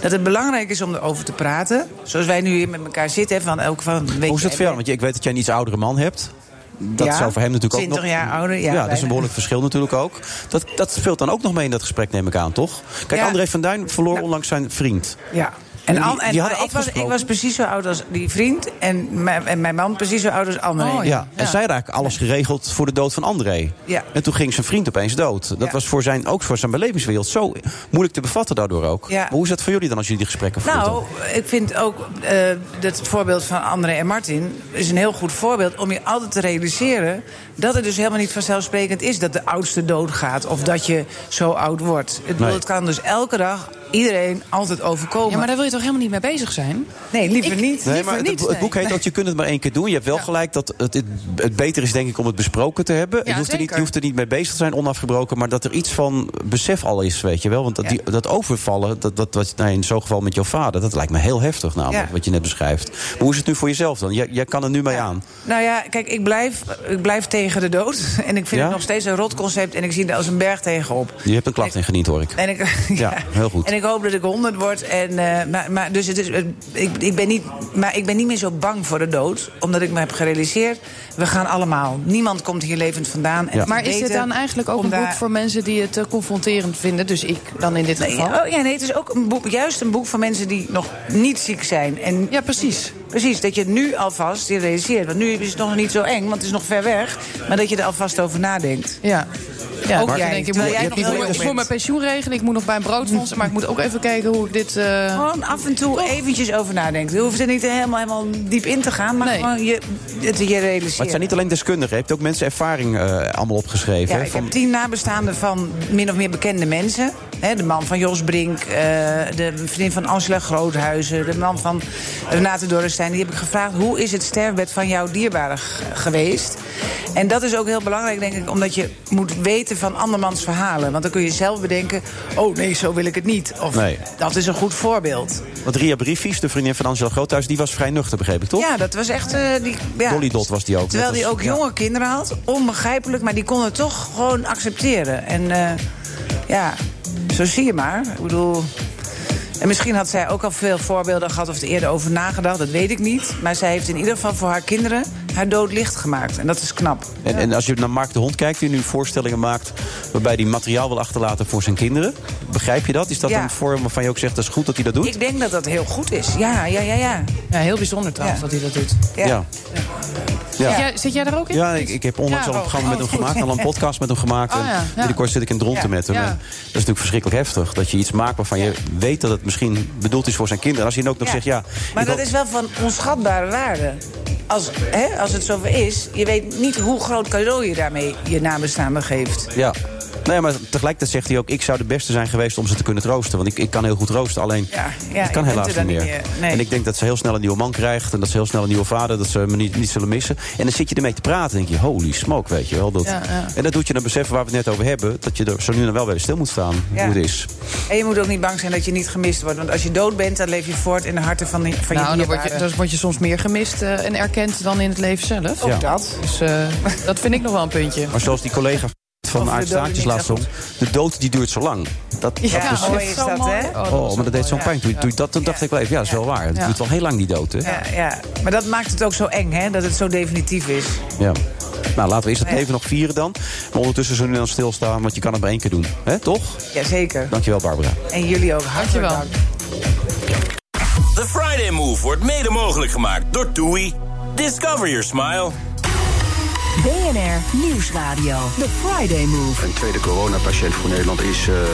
S14: dat het belangrijk is om erover te praten. Zoals wij nu hier met elkaar zitten. hè, Van elk van, weet
S6: Hoe is
S14: je- eh,
S6: dat voor jou? Want ik weet dat jij een iets oudere man hebt. Dat
S14: Ja,
S6: zou voor hem natuurlijk ook
S14: 20
S6: nog...
S14: jaar ouder, ja,
S6: dat is een
S14: bijna.
S6: behoorlijk verschil natuurlijk ook. Dat, dat speelt dan ook nog mee in dat gesprek, neem ik aan, toch? Kijk,
S14: Ja.
S6: André van Duin verloor onlangs zijn vriend.
S14: Ja. En,
S6: Jullie-
S14: An- en
S6: die hadden
S14: ik, was, ik
S6: afgesproken.
S14: was precies zo oud als die vriend. En mijn, en mijn man precies zo oud als André.
S6: Oh, ja. En zij had eigenlijk alles geregeld voor de dood van André.
S14: Ja.
S6: En toen ging zijn vriend opeens dood. Dat was voor zijn, ook voor zijn belevingswereld zo moeilijk te bevatten daardoor ook.
S14: Ja.
S6: Maar hoe is dat voor jullie dan als jullie die gesprekken voeren?
S14: Nou, ik vind ook eh, dat het voorbeeld van André en Martin is een heel goed voorbeeld om je altijd te realiseren dat het dus helemaal niet vanzelfsprekend is dat de oudste doodgaat of dat je zo oud wordt. Ik bedoel,
S7: Nee.
S14: het kan dus elke dag iedereen altijd overkomen.
S7: Ja, maar daar wil je toch helemaal niet mee bezig zijn?
S14: Nee, liever niet.
S6: Nee, maar het, bo- het boek heet dat je kunt het maar één keer doen. Je hebt wel gelijk dat het, het, het beter is denk ik om het besproken te hebben. je, hoeft er niet,
S7: zeker.
S6: je hoeft er niet mee bezig te zijn, onafgebroken. Maar dat er iets van besef al is, weet je wel. Want dat, die, dat overvallen, dat, dat, wat, nou, in zo'n geval met jouw vader... dat lijkt me heel heftig namelijk,
S14: Ja.
S6: wat je net beschrijft. Maar hoe is het nu voor jezelf dan? Jij, jij kan er nu mee aan.
S14: Nou ja, kijk, ik blijf, ik blijf tegen de dood. En ik vind
S6: Ja?
S14: het nog steeds een rot concept en ik zie er als een berg tegenop.
S6: Je hebt een klacht ingediend, hoor ik.
S14: En ik,
S6: Ja, heel goed.
S14: En ik hoop dat ik 100 word. En, eh, maar, maar, dus het is, het- ik, ik ben niet, maar ik ben niet meer zo bang voor de dood. Omdat ik me heb gerealiseerd. We gaan allemaal. Niemand komt hier levend vandaan. En het
S7: Maar is
S14: beter
S7: dit dan eigenlijk ook
S14: om
S7: een boek
S14: daar-
S7: voor mensen die het eh, confronterend vinden? Dus ik dan in dit
S14: Nee,
S7: geval.
S14: oh, ja, nee, het is ook een boek, juist een boek voor mensen die nog niet ziek zijn. En, ja, precies. Precies, dat je het nu alvast je realiseert. Want nu is het nog niet zo eng, want het is nog ver weg. Maar dat je er alvast over nadenkt.
S7: Ja. Ja,
S14: ook
S7: maar
S14: jij.
S7: denk ik,
S14: terwijl
S7: moet-
S14: jij
S7: ik
S14: nog
S7: moet
S14: heel jong
S7: voor,
S14: bent.
S7: mijn pensioen regelen, ik moet nog bij een broodfonds... maar ik moet ook even kijken hoe ik dit... eh,
S14: Gewoon af en toe eventjes over nadenken. Je hoeft er niet helemaal, helemaal diep in te gaan, maar gewoon je, het je realiseren.
S6: Maar het zijn niet alleen deskundigen. Je hebt ook mensen ervaring eh, allemaal opgeschreven.
S14: ja,
S6: hè,
S14: ik
S6: van-
S14: heb tien nabestaanden van min of meer bekende mensen. Hè, de man van Jos Brink, eh, de vriendin van Angela Groothuizen... de man van Renate Dorrestein. Die heb ik gevraagd, hoe is het sterfbed van jouw dierbare g- geweest? En dat is ook heel belangrijk, denk ik... omdat je moet weten van andermans verhalen. Want dan kun je zelf bedenken, oh nee, zo wil ik het niet. Of
S6: Nee.
S14: dat is een goed voorbeeld.
S6: Want Ria Briefies, de vriendin van Angela Groothuis... die was vrij nuchter, begreep ik, toch?
S14: Ja, dat was echt... eh, die, ja.
S6: Dolly Dot was die ook.
S14: Terwijl
S6: net
S14: die
S6: als-
S14: ook
S6: ja.
S14: jonge kinderen had, onbegrijpelijk, maar die kon het toch gewoon accepteren. En eh, ja, zo zie je maar. Ik bedoel. En misschien had zij ook al veel voorbeelden gehad of er eerder over nagedacht, dat weet ik niet. Maar zij heeft in ieder geval voor haar kinderen haar dood licht gemaakt. En dat is knap.
S6: En, en als je naar Mark de Hond kijkt, die nu voorstellingen maakt... waarbij hij materiaal wil achterlaten voor zijn kinderen. Begrijp je dat? Is dat
S14: Ja.
S6: een vorm waarvan je ook zegt, dat is goed dat hij dat doet?
S14: Ik denk dat dat heel goed is. Ja, ja, ja, ja.
S7: Ja, heel bijzonder trouwens dat hij dat doet.
S6: ja. ja.
S7: Zit, jij, zit jij daar ook in?
S6: Ja, ik, ik heb onlangs
S7: Ja,
S6: al een
S7: oh,
S6: programma met
S7: oh,
S6: hem
S7: goed.
S6: gemaakt, al een podcast met hem gemaakt.
S7: Oh,
S6: en
S7: ja, ja.
S6: Binnenkort zit ik in Dronten
S7: Ja,
S6: met hem.
S7: ja.
S6: En dat is natuurlijk verschrikkelijk heftig. Dat je iets maakt waarvan je weet dat het misschien bedoeld is voor zijn kinderen. En als hij dan ook nog
S14: Ja.
S6: zegt, ja...
S14: Maar
S6: ik
S14: dat
S6: wil-
S14: is wel van onschatbare waarde. Als, hè, als het zover is, je weet niet hoe groot cadeau je daarmee je nabestaanden geeft.
S6: Ja. Nee, maar tegelijkertijd zegt hij ook... ik zou de beste zijn geweest om ze te kunnen troosten. Want ik, ik kan heel goed roosten, alleen
S14: ja,
S6: het kan
S14: je bent
S6: helaas
S14: er
S6: niet
S14: dan
S6: meer.
S14: niet meer, nee.
S6: En ik denk dat ze heel snel een nieuwe man krijgt... en dat ze heel snel een nieuwe vader, dat ze me niet, niet zullen missen. En dan zit je ermee te praten en denk je... holy smoke, weet je wel. Dat.
S14: Ja, ja.
S6: En dat doet je dan beseffen waar we het net over hebben... dat je er zo nu dan wel weer stil moet staan,
S14: Ja.
S6: hoe het is.
S14: En je moet ook niet bang zijn dat je niet gemist wordt. Want als je dood bent, dan leef je voort in de harten van, die, van
S7: nou,
S14: je
S7: dan word, je,
S14: dierbaren.
S7: dan word je soms meer gemist eh, en erkend dan in het leven zelf.
S6: Ook Ja. dat.
S7: Dus eh, dat vind ik nog wel een puntje.
S6: Maar zoals die collega van
S7: Over de
S6: Aard
S7: doden
S6: Staartjes
S7: niet
S6: laatst zong... de dood die duurt zo lang. Dat,
S7: Ja,
S6: dat besef-
S14: mooi is dat, hè?
S7: Oh,
S6: Oh, maar dat deed zo'n pijn. Toen, toen dat, toen dacht ik wel even, ja, dat is wel waar. Het
S14: Ja.
S6: duurt wel heel lang, die dood, hè?
S14: Ja, ja, maar dat maakt het ook zo eng, hè? Dat het zo definitief is.
S6: Ja. Nou, laten we eerst dat even nog vieren dan. Maar ondertussen zullen we dan stilstaan, want je kan het maar één keer doen. hè? toch?
S14: Jazeker.
S6: Dankjewel, Barbara.
S14: En jullie ook. Hartelijk dank.
S1: The Friday Move wordt mede mogelijk gemaakt door TUI. Discover your smile.
S2: BNR Nieuwsradio. The Friday Move.
S3: Een tweede coronapatiënt voor Nederland is eh, eh,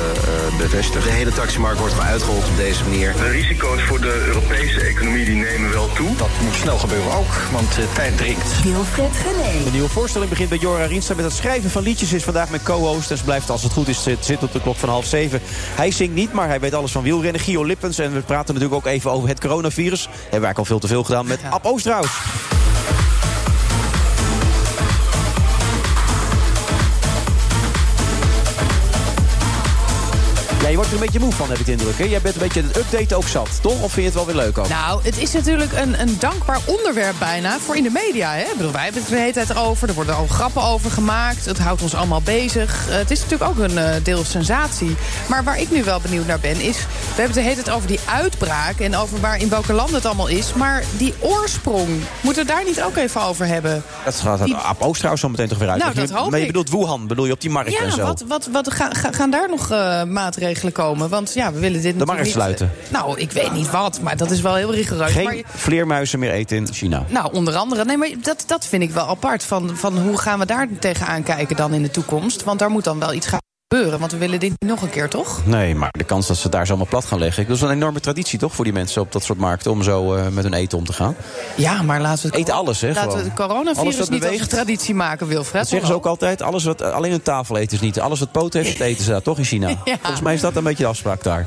S3: bevestigd. De hele taximarkt wordt uitgehold op deze manier.
S4: De risico's voor de Europese economie die nemen wel toe. Dat moet snel gebeuren ook, want de tijd dringt.
S2: Wilfred Genee.
S6: De nieuwe voorstelling begint bij Jora Rienstra met het schrijven van liedjes. Is vandaag mijn co-host en ze blijft als het goed is zit- zitten op de klok van half zeven. Hij zingt niet, maar hij weet alles van wielrennen. Gio Lippens en we praten natuurlijk ook even over het coronavirus. Hebben we eigenlijk al veel te veel gedaan met Ab Oosterhuis. Ja, je wordt er een beetje moe van, heb ik de indruk. Hè? Jij bent een beetje het update ook zat, toch? Of vind je het wel weer leuk ook?
S7: Nou, het is natuurlijk een, een dankbaar onderwerp bijna voor in de media. Hè? Ik bedoel, wij hebben het de hele tijd over. Er worden al grappen over gemaakt. Het houdt ons allemaal bezig. Eh, het is natuurlijk ook een eh, deel sensatie. Maar waar ik nu wel benieuwd naar ben, is... We hebben het de hele tijd over die uitbraak... en over waar in welke landen het allemaal is. Maar die oorsprong, moeten we daar niet ook even over hebben?
S6: Dat gaat
S7: Die-
S6: Ab Oosterhuis zo meteen toch weer uit.
S7: Nou, dat hoop
S6: maar je
S7: ik.
S6: bedoelt Wuhan, bedoel je op die markt en
S7: Ja,
S6: zo.
S7: wat, wat, wat ga- ga- gaan daar nog eh, maatregelen komen? Want ja, we willen dit
S6: De
S7: natuurlijk
S6: markt sluiten.
S7: niet... Nou, ik weet niet wat, maar dat is wel heel rigoureus. Maar
S6: Geen
S7: je-
S6: vleermuizen meer eten in China.
S7: Nou, onder andere. Nee, maar dat, dat vind ik wel apart. Van, van hoe gaan we daar tegenaan kijken dan in de toekomst? Want daar moet dan wel iets gaan gebeuren. Want we willen dit niet nog een keer, toch?
S6: Nee, maar de kans dat ze het daar zomaar plat gaan leggen. Dat is wel een enorme traditie toch voor die mensen op dat soort markten om zo eh, met hun eten om te gaan.
S7: Ja, maar laten we het.
S6: Eet alles, hè?
S7: Laten
S6: gewoon.
S7: we het
S6: Alles
S7: coronavirus
S6: wat
S7: niet als
S6: beweegt.
S7: een traditie maken, Wilfred.
S6: Dat zeggen ze
S7: Hallo.
S6: ook altijd. Alles wat, eh, alleen een tafel eten is niet. Alles wat poot heeft, dat eten ze daar toch in China.
S7: Ja.
S6: Volgens mij is dat een beetje de afspraak daar.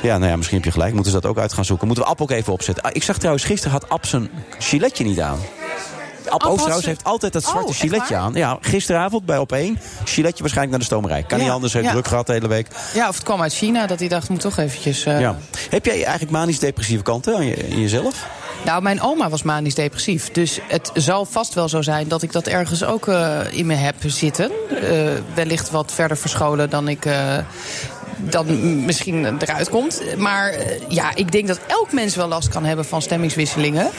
S6: Ja, nou ja, misschien heb je gelijk. Moeten ze dat ook uit gaan zoeken. Moeten we App ook even opzetten. Ah, ik zag trouwens, gisteren had App zijn giletje niet aan. App
S13: had
S6: Oosterhuis
S13: ze-
S6: heeft altijd dat
S13: Oh,
S6: zwarte
S13: echt
S6: giletje
S13: waar?
S6: aan. Ja, gisteravond bij Op1. Giletje waarschijnlijk naar de stomerij. Kan
S7: Ja,
S6: niet anders, heeft
S7: ja.
S6: druk gehad de hele week.
S7: Ja, of het kwam uit China dat hij dacht, moet toch eventjes. eh,
S6: Ja. Heb jij eigenlijk manisch-depressieve kanten aan je, in jezelf?
S7: Nou, mijn oma was manisch depressief. Dus het zal vast wel zo zijn dat ik dat ergens ook eh, in me heb zitten. Eh, wellicht wat verder verscholen dan ik. eh, dan m- misschien eruit komt. Maar eh, ja, ik denk dat elk mens wel last kan hebben van stemmingswisselingen.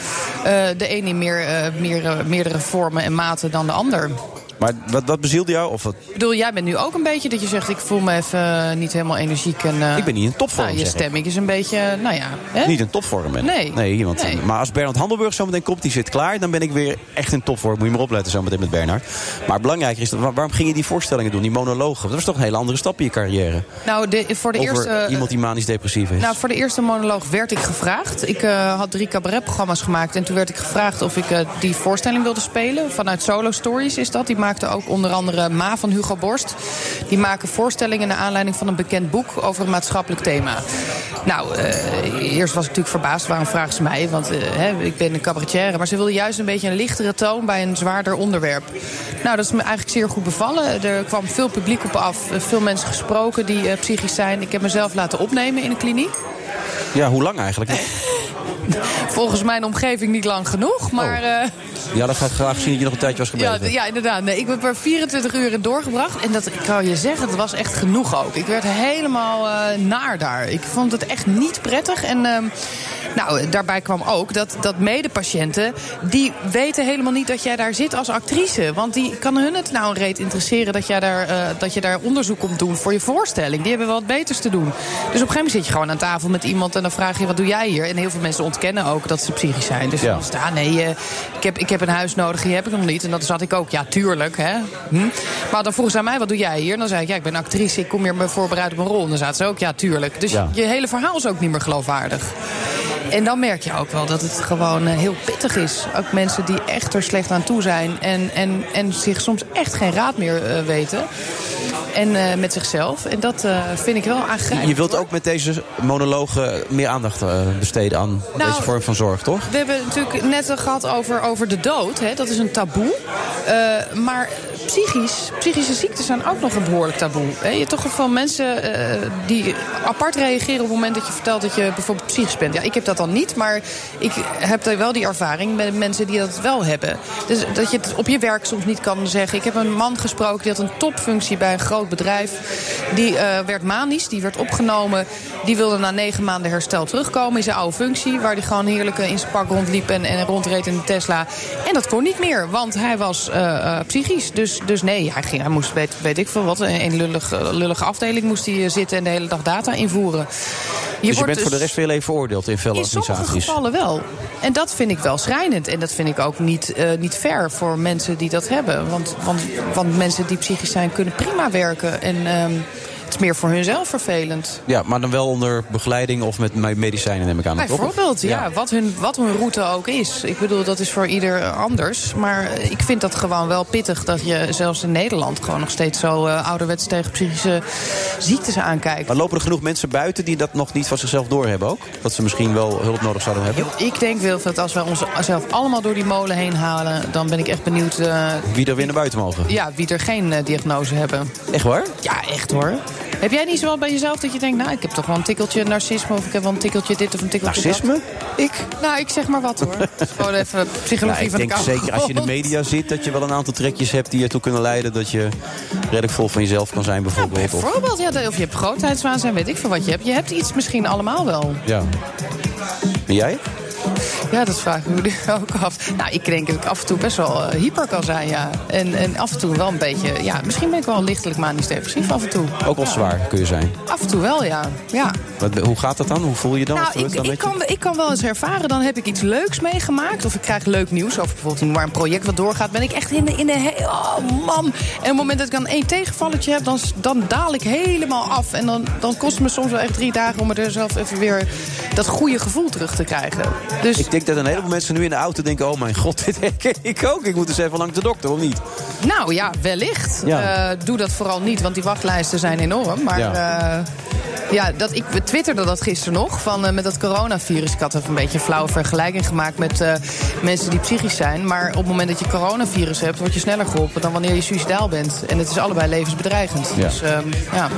S7: Eh, de een in meer, eh, meer, eh, meerdere vormen en maten dan de ander.
S6: Maar wat, wat bezielde jou? Of wat?
S7: Ik bedoel, jij bent nu ook een beetje dat je zegt... ik voel me even eh, niet helemaal energiek. En, eh,
S6: Ik ben niet in topvorm,
S7: Nou, je
S6: zeg ik.
S7: stemming is een beetje, eh, nou ja... Hè?
S6: Niet in topvorm ben.
S7: Nee.
S6: nee, want,
S7: Nee.
S6: Maar als Bernard Handelburg zo meteen komt, die zit klaar... dan ben ik weer echt in topvorm. Moet je maar opletten zo meteen met Bernard. Maar belangrijker is, dat, waar- waarom ging je die voorstellingen doen? Die monologen? Dat was toch een hele andere stap in je carrière?
S7: Nou, de, voor de
S6: Over
S7: eerste... eh,
S6: iemand die manisch-depressief is.
S7: Nou, voor de eerste monoloog werd ik gevraagd. Ik eh, had drie cabaretprogramma's gemaakt. En toen werd ik gevraagd of ik eh, die voorstelling wilde spelen. Vanuit Solo Stories is dat. Die maakte ook onder andere Ma van Hugo Borst. Die maken voorstellingen naar aanleiding van een bekend boek over een maatschappelijk thema. Nou, eh, eerst was ik natuurlijk verbaasd. Waarom vragen ze mij? Want eh, hè, ik ben een cabaretière. Maar ze wilde juist een beetje een lichtere toon bij een zwaarder onderwerp. Nou, dat is me eigenlijk zeer goed bevallen. Er kwam veel publiek op af. eh, Veel mensen gesproken die eh, psychisch zijn. Ik heb mezelf laten opnemen in een kliniek. Nou-
S6: Ja, hoe lang eigenlijk?
S7: Volgens mijn omgeving niet lang genoeg. Maar eh,
S6: ja, dat gaat graag zien dat je nog een tijdje was
S7: ja,
S6: gebleven.
S7: d- ja, inderdaad. Nee, ik heb er 24 uur in doorgebracht. En dat ik kan je zeggen, dat was echt genoeg ook. Ik werd helemaal eh, naar daar. Ik vond het echt niet prettig. En ehm, nou, daarbij kwam ook dat, dat medepatiënten... die weten helemaal niet dat jij daar zit als actrice. Want die kan hun het nou een reet interesseren... dat, jij daar, eh, dat je daar onderzoek komt doen voor je voorstelling. Die hebben wel wat beters te doen. Dus op een gegeven moment zit je gewoon aan tafel met iemand... en dan vraag je, wat doe jij hier? En heel veel mensen ontkennen ook dat ze psychisch zijn. Dus
S15: Ja.
S7: dan staan ja, nee, eh, ik, heb, ik heb een huis nodig, die heb ik nog niet. En dat zat ik ook, ja, tuurlijk. Hè. Hm? Maar dan vroegen ze aan mij, wat doe jij hier? En dan zei ik, ja, ik ben actrice, ik kom hier me voorbereid op een rol. En dan zaten ze ook, ja, tuurlijk. Dus
S16: Ja.
S7: je hele verhaal is ook niet meer geloofwaardig. En dan merk je ook wel dat het gewoon eh, heel pittig is. Ook mensen die echt er slecht aan toe zijn. En, en, en zich soms echt geen raad meer eh, weten. En eh, met zichzelf. En dat eh, vind ik wel aangrijpend.
S6: Je wilt ook met deze monologen meer aandacht eh, besteden aan
S7: Nou,
S6: deze vorm van zorg, toch?
S7: We hebben het natuurlijk net al gehad over, over de dood. Hè? Dat is een taboe. Eh, maar psychisch, psychische ziekten zijn ook nog een behoorlijk taboe. Hè, Je hebt toch wel mensen eh, die apart reageren op het moment dat je vertelt dat je bijvoorbeeld psychisch bent. Ja, ik heb dat dan niet, maar ik heb daar wel die ervaring met mensen die dat wel hebben. Dus dat je het op je werk soms niet kan zeggen. Ik heb een man gesproken die had een topfunctie bij een groot bedrijf. Die eh, werd manisch, die werd opgenomen. Die wilde na negen maanden herstel terugkomen in zijn oude functie. Waar hij gewoon heerlijk eh, in zijn pak rondliep en, en rondreed in de Tesla. En dat kon niet meer, want hij was eh, eh, psychisch. Dus, dus nee, hij, ging, hij moest, weet, weet ik veel wat, in een lullig, eh, lullige afdeling moest hij eh, zitten en de hele dag data invoeren.
S6: Je dus je
S7: wordt
S6: bent voor de
S7: dus-
S6: rest van je leven veroordeeld in veel
S7: in sommige
S6: organisaties.
S7: gevallen wel. En dat vind ik wel schrijnend. En dat vind ik ook niet, eh, niet fair voor mensen die dat hebben. Want, want, want mensen die psychisch zijn kunnen prima werken. En ehm, het is meer voor hunzelf vervelend.
S6: Ja, maar dan wel onder begeleiding of met me- medicijnen neem ik aan. toch?
S7: Bijvoorbeeld, ja, Wat, hun, wat hun route ook is. Ik bedoel, dat is voor ieder eh, anders. Maar eh, ik vind dat gewoon wel pittig dat je zelfs in Nederland... gewoon nog steeds zo eh, ouderwets tegen psychische ziektes aankijkt.
S6: Maar lopen er genoeg mensen buiten die dat nog niet van zichzelf doorhebben ook? Dat ze misschien wel hulp nodig zouden hebben?
S7: Ik denk, Wilfred, als wij onszelf allemaal door die molen heen halen... dan ben ik echt benieuwd eh,
S6: Wie er weer naar buiten mogen?
S7: Ja, wie er geen eh, diagnose hebben.
S6: Echt waar?
S7: Ja, echt hoor. Heb jij niet zo wel bij jezelf dat je denkt... nou, ik heb toch wel een tikkeltje narcisme... of ik heb wel een tikkeltje dit of een tikkeltje
S6: Narcisme?
S7: dat? Ik? Nou, ik zeg maar wat hoor. Het is Gewoon even psychologie
S6: Nou, ik
S7: van de
S6: denk
S7: koude
S6: zeker als je in de
S7: grond.
S6: media zit dat je wel een aantal trekjes hebt die ertoe kunnen leiden dat je redelijk vol van jezelf kan zijn bijvoorbeeld. Of-
S7: Bijvoorbeeld, ja, de- of je hebt grootheidswaanzin, weet ik veel wat je hebt. Je hebt iets misschien allemaal wel.
S6: ja. En jij?
S7: Ja, dat vraag ik me ook af. Nou, ik denk dat ik af en toe best wel eh, hyper kan zijn, ja. En, en af en toe wel een beetje... Ja, misschien ben ik wel lichtelijk manisch depressief af en toe.
S6: Ook wel
S7: Ja.
S6: zwaar kun je zijn.
S7: Af en toe wel, ja. ja.
S6: Wat, hoe gaat dat dan? Hoe voel je dan? Wat
S7: Nou,
S6: gebeurt
S7: ik,
S6: er dan
S7: ik,
S6: met je?
S7: kan, ik kan wel eens ervaren, dan heb ik iets leuks meegemaakt. Of ik krijg leuk nieuws over bijvoorbeeld een- maar een project wat doorgaat. Ben ik echt in de... In de he- oh, man. En op het moment dat ik dan één tegenvalletje heb, dan, s- dan daal ik helemaal af. En dan, dan kost het me soms wel echt drie dagen om er zelf even weer dat goede gevoel terug te krijgen. Dus...
S6: Ik denk dat een heleboel mensen nu in de auto denken... oh mijn god, dit herken ik ook. Ik moet eens even langs de dokter, of niet?
S7: Nou ja, wellicht.
S6: Ja.
S7: Eh, doe dat vooral niet, want die wachtlijsten zijn enorm. Maar
S6: Ja.
S7: ja, ja dat, ik twitterde dat gisteren nog. Van, eh, met dat coronavirus. Ik had even een beetje een flauwe vergelijking gemaakt met eh, mensen die psychisch zijn. Maar op het moment dat je coronavirus hebt, word je sneller geholpen dan wanneer je suicidaal bent. En het is allebei levensbedreigend.
S6: Ja.
S7: Dus ehm, ja,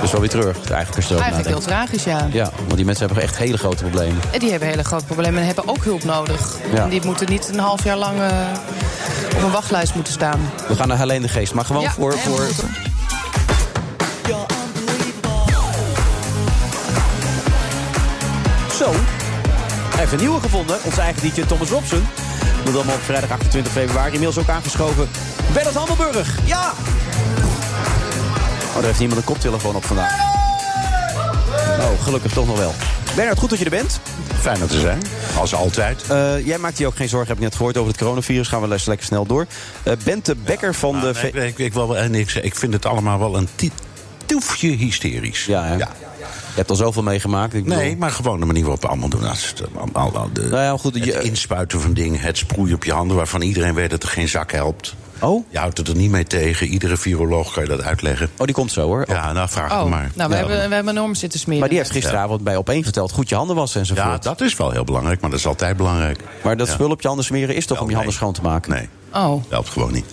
S6: Dus wel weer terug, eigenlijk als je erover
S7: eigenlijk heel
S6: nadenkt.
S7: tragisch, ja.
S6: Ja, want die mensen hebben echt hele grote problemen.
S7: En die hebben hele grote problemen en hebben ook hulp nodig.
S6: Ja.
S7: En die moeten niet een half jaar lang eh, op een wachtlijst moeten staan.
S6: We gaan naar Helene de Geest, maar gewoon
S7: Ja,
S6: voor...
S7: helemaal
S6: voor...
S7: goed, hoor.
S6: Zo, hij heeft een nieuwe gevonden. Ons eigen liedje Thomas Robson. Dat allemaal op vrijdag 28 februari. Inmiddels ook aangeschoven Bernard Handelburg. Ja! Oh, daar heeft niemand een koptelefoon op vandaag. Oh, gelukkig toch nog wel. Bernard, goed dat je er bent. Fijn dat te zijn, als altijd. Eh, jij maakt je ook geen zorgen, heb ik net gehoord, over het coronavirus. Gaan we les- lekker snel door. Eh Bente Bekker van de...
S13: Nou, nee, ik, ik, ik, wil, wel- en ik, ik vind het allemaal wel een ti- toefje hysterisch.
S6: Ja, ja. Je hebt al zoveel meegemaakt. Ik Nou
S13: nee, maar gewoon de manier waarop we allemaal doen. Dat is het, eh, al- al- de- het inspuiten van dingen, het sproeien op je handen... waarvan iedereen weet dat er geen zak helpt.
S6: Oh?
S13: Je houdt het er niet mee tegen. Iedere viroloog kan je dat uitleggen.
S6: Oh, die komt zo, hoor.
S13: Ja, nou, vraag
S7: Oh,
S13: het maar.
S7: nou, we, hebben, we hebben enorm zitten smeren.
S6: Maar die heeft gisteravond bij Opeen verteld... goed je handen wassen enzovoort.
S13: Ja, dat is wel heel belangrijk, maar dat is altijd belangrijk.
S6: Maar dat spul op je handen smeren is toch om je handen schoon te maken?
S13: Nee,
S7: Oh.
S13: helpt gewoon niet.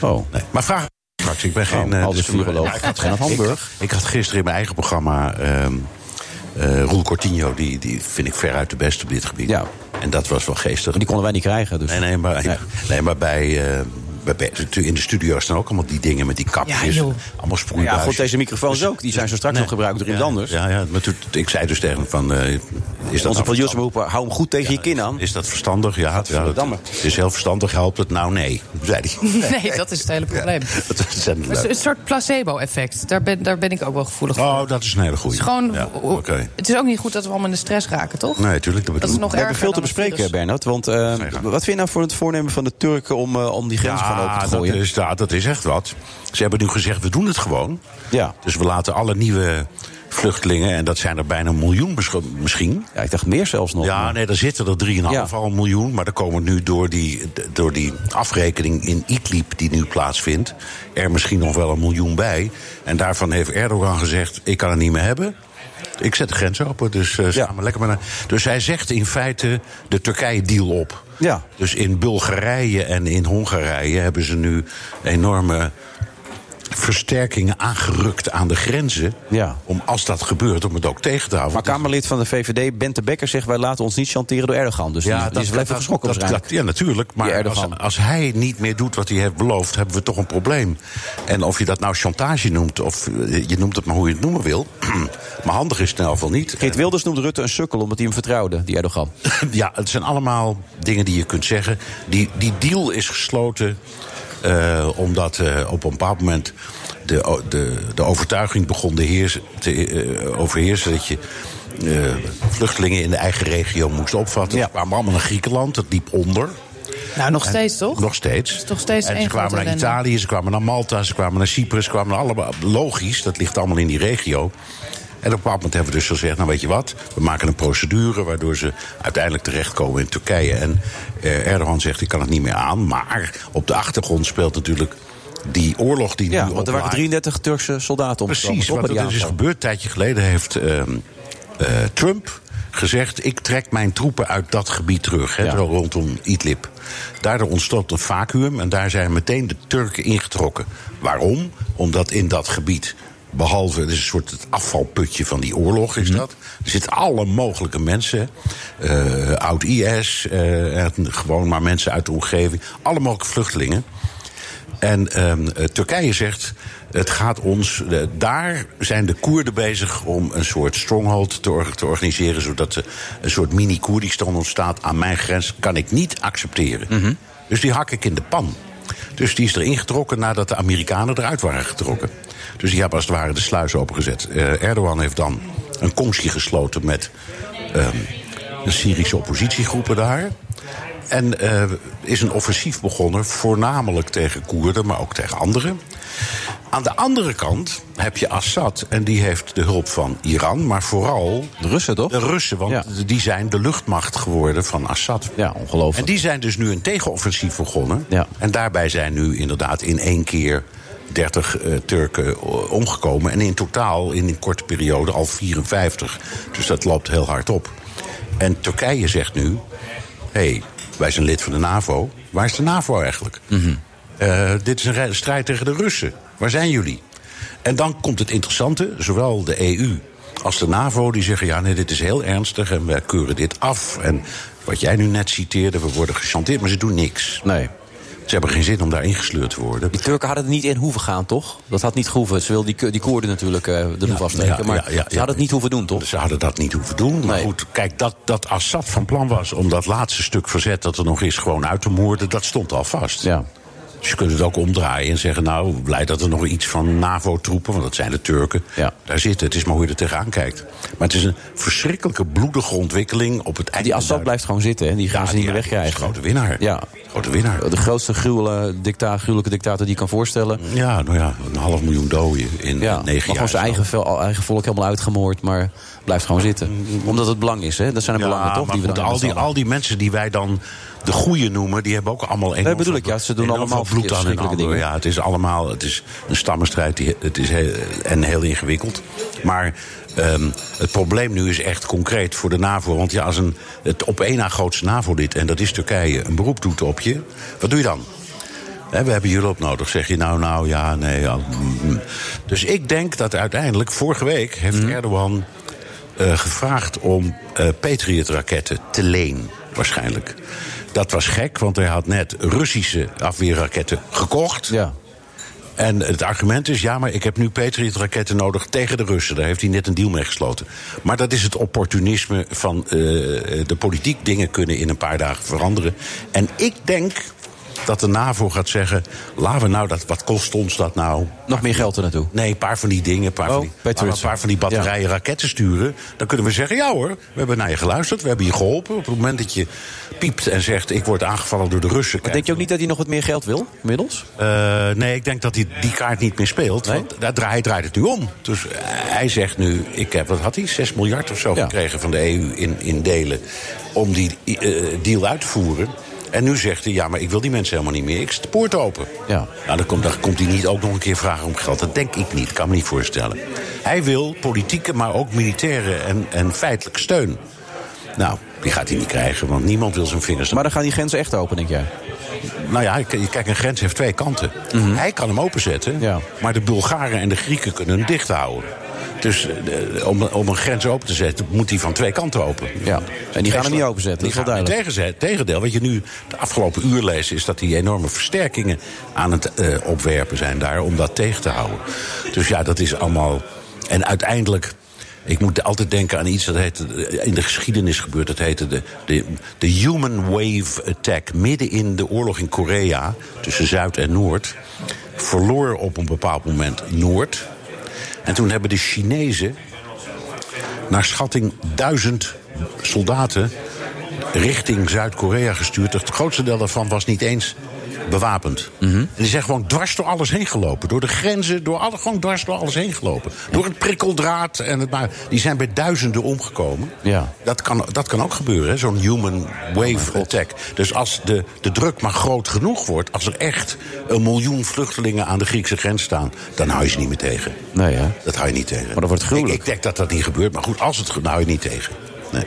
S6: Oh.
S13: Nee. Maar vraag straks. Ik ben geen...
S6: Oh,
S13: eh,
S6: al de
S13: dus-
S6: viroloog.
S13: Ja, ik had
S6: Geen Hamburg.
S13: Ik, ik had gisteren in mijn eigen programma... ehm, eh, Roel Cortinho, die, die vind ik veruit de beste op dit gebied. En dat was wel geestig. Maar
S6: die konden wij niet krijgen. Dus.
S13: Nee, nee, maar, nee. maar bij... eh bij bij- in de studio staan ook allemaal die dingen met die kapjes.
S6: Ja, joh.
S13: allemaal
S6: Ja,
S13: sproeibuizen.
S6: goed, deze microfoons ook. Die zijn zo straks nog gebruikt door
S13: ja,
S6: iemand anders.
S13: Ja, ja, maar toen, ik zei dus tegen hem van... eh, is dat
S6: Onze
S13: nou
S6: producer roepen, hou hem goed tegen je kin aan.
S13: Is dat verstandig? Ja, ja dat,
S6: Gadverdamme.
S13: het is heel verstandig. Helpt het? Nou, nee, zei hij.
S7: Nee, dat is het hele probleem.
S13: Dat is ontzettend
S7: Het is
S13: leuk.
S7: Een soort placebo-effect. Daar ben, daar ben ik ook wel gevoelig voor.
S13: Oh, dat is een hele goede.
S7: Het is gewoon-
S13: Oké.
S7: Het is ook niet goed dat we allemaal in de stress raken, toch?
S13: Nee, tuurlijk.
S7: Dat is nog
S6: we hebben
S7: erger
S6: veel te
S7: dan dus. het
S6: bespreken,
S7: virus.
S6: Bernard. Want eh, wat vind je nou voor het voornemen van de Turken om, eh, om die grens gaan open te
S13: Ah, dat
S6: gooien?
S13: is, dat, dat is echt wat. Ze hebben nu gezegd, we doen het gewoon.
S6: Ja.
S13: Dus we laten alle nieuwe vluchtelingen... en dat zijn er bijna een miljoen misch- misschien.
S6: Ja, ik dacht meer zelfs nog.
S13: Ja, nee, daar zitten er 3,5 al miljoen. Maar er komen nu door die, d- door die afrekening in Idlib die nu plaatsvindt... er misschien nog wel een miljoen bij. En daarvan heeft Erdogan gezegd, ik kan het niet meer hebben... Ik zet de grens open, dus eh, samen lekker maar naar. Dus hij zegt in feite de Turkije-deal op.
S6: Ja.
S13: Dus in Bulgarije en in Hongarije hebben ze nu enorme versterkingen aangerukt aan de grenzen. Om als dat gebeurt, om het ook tegen te houden.
S6: Maar Kamerlid van de VVD, Bente Bekker, zegt... wij laten ons niet chanteren door Erdogan. Dus die, die is wel even geschrokken
S13: dat-
S6: waarschijnlijk.
S13: dat- Ja, natuurlijk. Maar als, als hij niet meer doet wat hij heeft beloofd, hebben we toch een probleem. En of je dat nou chantage noemt, of eh, je noemt het maar hoe je het noemen wil. maar handig is het in elk geval niet.
S6: Geert Wilders noemt Rutte een sukkel omdat hij hem vertrouwde, die Erdogan.
S13: ja, het zijn allemaal dingen die je kunt zeggen. Die, die deal is gesloten eh, omdat eh, op een bepaald moment de, o- de, de overtuiging begon de heers, te eh, overheersen dat je. eh, vluchtelingen in de eigen regio moest opvatten. Ze kwamen allemaal naar Griekenland, dat liep onder.
S7: Nou, nog
S13: En-
S7: steeds toch?
S13: Nog steeds.
S7: toch steeds
S13: en ze
S7: één
S13: kwamen
S7: grote
S13: naar
S7: ellende.
S13: Italië, ze kwamen naar Malta, ze kwamen naar Cyprus, ze kwamen naar allemaal. Logisch, dat ligt allemaal in die regio. En op een bepaald moment hebben we dus gezegd: Nou, weet je wat, we maken een procedure waardoor ze uiteindelijk terechtkomen in Turkije. En eh, Erdogan zegt: Ik kan het niet meer aan. Maar op de achtergrond speelt natuurlijk die oorlog die nu.
S6: Ja, want er waren
S13: oplaait.
S6: 33 Turkse soldaten omgekomen.
S13: Precies,
S6: toch,
S13: wat
S6: bij die
S13: er dus is
S6: aanval?
S13: gebeurd. Een tijdje geleden heeft ehm, eh, Trump gezegd... ik trek mijn troepen uit dat gebied terug, hè, zo rondom Idlib. Daardoor ontstond een vacuüm en daar zijn meteen de Turken ingetrokken. Waarom? Omdat in dat gebied... Behalve, het is een soort het afvalputje van die oorlog, is dat. Er zitten alle mogelijke mensen. eh, oud IS, eh, en gewoon maar mensen uit de omgeving. Alle mogelijke vluchtelingen. En ehm, eh, Turkije zegt, het gaat ons... eh, daar zijn de Koerden bezig om een soort stronghold te, or- te organiseren... zodat er een soort mini-Koerdistan ontstaat aan mijn grens. Kan ik niet accepteren. Dus die hak ik in de pan. Dus die is erin getrokken nadat de Amerikanen eruit waren getrokken. Dus die hebben als het ware de sluis opengezet. Eh, Erdogan heeft dan een conctie gesloten met ehm, de Syrische oppositiegroepen daar... En eh, is een offensief begonnen, voornamelijk tegen Koerden, maar ook tegen anderen. Aan de andere kant heb je Assad, en die heeft de hulp van Iran, maar vooral. De Russen toch? De Russen, want die zijn de luchtmacht geworden van Assad. Ja, ongelooflijk. En die zijn dus nu een tegenoffensief begonnen. En daarbij zijn nu inderdaad in één keer 30 eh, Turken o- omgekomen. En in totaal in een korte periode al 54. Dus dat loopt heel hard op. En Turkije zegt nu: hé, hey, wij zijn lid van de NAVO. Waar is de NAVO eigenlijk?
S6: Mhm.
S13: Eh, dit is een rij- strijd tegen de Russen. Waar zijn jullie? En dan komt het interessante, zowel de EU als de NAVO... die zeggen, ja, nee, dit is heel ernstig en wij keuren dit af. En wat jij nu net citeerde, we worden gechanteerd, maar ze doen niks.
S6: Nee.
S13: Ze hebben geen zin om daar ingesleurd te worden.
S6: Die Turken hadden het niet in hoeven gaan, toch? Dat had niet gehoeven. Ze wilden die, Ko- die Koerden natuurlijk eh de loef afsteken. maar ze hadden
S13: het niet hoeven doen, toch? Ze hadden dat niet hoeven doen. Maar goed, kijk, dat, dat Assad van plan was om dat laatste stuk verzet dat er nog is gewoon uit te moorden, dat stond al vast. Ja. Dus je kunt het ook omdraaien en zeggen: Nou, blij dat er nog iets van NAVO-troepen, want dat zijn de Turken, daar zitten. Het is maar hoe je er tegenaan kijkt. Maar het is een verschrikkelijke bloedige ontwikkeling op het einde.
S6: Die Assad blijft gewoon zitten en die gaan ze niet meer wegkrijgen.
S13: grote winnaar.
S6: Ja.
S13: Grote winnaar.
S6: De grootste gruwele, dicta, gruwelijke dictator die je kan voorstellen.
S13: Ja, nou ja, een half miljoen doden in
S6: ja,
S13: negen
S6: maar
S13: jaar
S6: gewoon zijn eigen, vel- eigen volk helemaal uitgemoord, maar blijft gewoon zitten. Omdat het belang is, hè? Dat zijn de belangen, toch?
S13: maar
S6: we
S13: goed,
S6: dan
S13: al, die,
S6: instellen.
S13: al die mensen die wij dan de goeie noemen, die hebben ook allemaal enorm
S6: bedoel
S13: veel-
S6: ik, ja, ze doen
S13: enorm
S6: allemaal
S13: veel bloed aan hun
S6: verschrikkelijke
S13: handen.
S6: dingen.
S13: Ja, het is allemaal, het is een stammenstrijd die, het is heel, en heel ingewikkeld. Maar ehm, het probleem nu is echt concreet voor de NAVO. Want ja, als een, het op één na grootste NAVO-lid, en dat is Turkije, een beroep doet op je, wat doe je dan? Hè, we hebben jullie hulp nodig. Zeg je nou, nou, ja, nee. Ja, mm, mm. Dus ik denk dat uiteindelijk, vorige week, heeft
S6: Mhm.
S13: Erdogan eh, gevraagd om eh Patriot-raketten te leen, waarschijnlijk. Dat was gek, want hij had net Russische afweerraketten gekocht.
S6: Ja.
S13: En het argument is, ja, maar ik heb nu Patriot-raketten nodig tegen de Russen. Daar heeft hij net een deal mee gesloten. Maar dat is het opportunisme van eh, de politiek. Dingen kunnen in een paar dagen veranderen. En ik denk dat de NAVO gaat zeggen... laten we nou, dat, wat kost ons dat nou?
S6: Nog meer geld er naartoe? Oh,
S13: Nee, een paar van die dingen, een paar, van, die, laten we een paar van die batterijen raketten sturen. Dan kunnen we zeggen, ja hoor, we hebben naar je geluisterd. We hebben je geholpen. Op het moment dat je piept en zegt, ik word aangevallen door de Russen...
S6: Maar denk je ook niet dat hij nog wat meer geld wil, inmiddels?
S13: Eh, nee, ik denk dat hij die kaart niet meer speelt. Want daar draait, hij draait het nu om. Dus eh, hij zegt nu, ik heb, wat had hij, 6 miljard of zo gekregen van de EU in, in delen... om die eh, deal uit te voeren. En nu zegt hij, ja, maar ik wil die mensen helemaal niet meer. Ik zet de poort open.
S6: Ja.
S13: Nou, dan komt, dan komt hij niet ook nog een keer vragen om geld. Dat denk ik niet, kan me niet voorstellen. Hij wil politieke, maar ook militaire en, en feitelijke steun. Nou, Die gaat hij niet krijgen, want niemand wil zijn vingers.
S6: Maar dan gaan die grenzen echt open, denk jij?
S13: Nou ja, ik- kijk, een grens heeft twee kanten.
S6: Mhm.
S13: Hij kan hem openzetten, maar de Bulgaren en de Grieken kunnen hem dicht houden. Dus eh, om, om een grens open te zetten, moet die van twee kanten open. Ja,
S6: en die gaan hem niet openzetten, dat is wel duidelijk.
S13: Tegenzet, tegendeel, wat je nu de afgelopen uur leest... is dat die enorme versterkingen aan het eh, opwerpen zijn daar... om dat tegen te houden. Dus ja, dat is allemaal... En uiteindelijk... Ik moet altijd denken aan iets dat heette, in de geschiedenis gebeurt. Dat heette de, de, de Human Wave Attack. Midden in de oorlog in Korea, tussen Zuid en Noord... verloor op een bepaald moment Noord. En toen hebben de Chinezen naar schatting duizend soldaten richting Zuid-Korea gestuurd. Het grootste deel daarvan was niet eens bewapend. En die zijn gewoon dwars door alles heen gelopen. Door de grenzen, door alle, gewoon dwars door alles heen gelopen. Door het prikkeldraad. En het, maar die zijn bij duizenden omgekomen.
S6: Ja.
S13: Dat kan, dat kan ook gebeuren, hè, zo'n human wave attack. Dus als de, de druk maar groot genoeg wordt... als er echt een miljoen vluchtelingen aan de Griekse grens staan... dan hou je ze niet meer tegen.
S6: Nee, hè?
S13: Dat hou je niet tegen. Maar dat wordt gruwelijk. Ik, ik denk dat dat niet gebeurt, maar goed, als het gebeurt, dan hou je het niet tegen. Nee.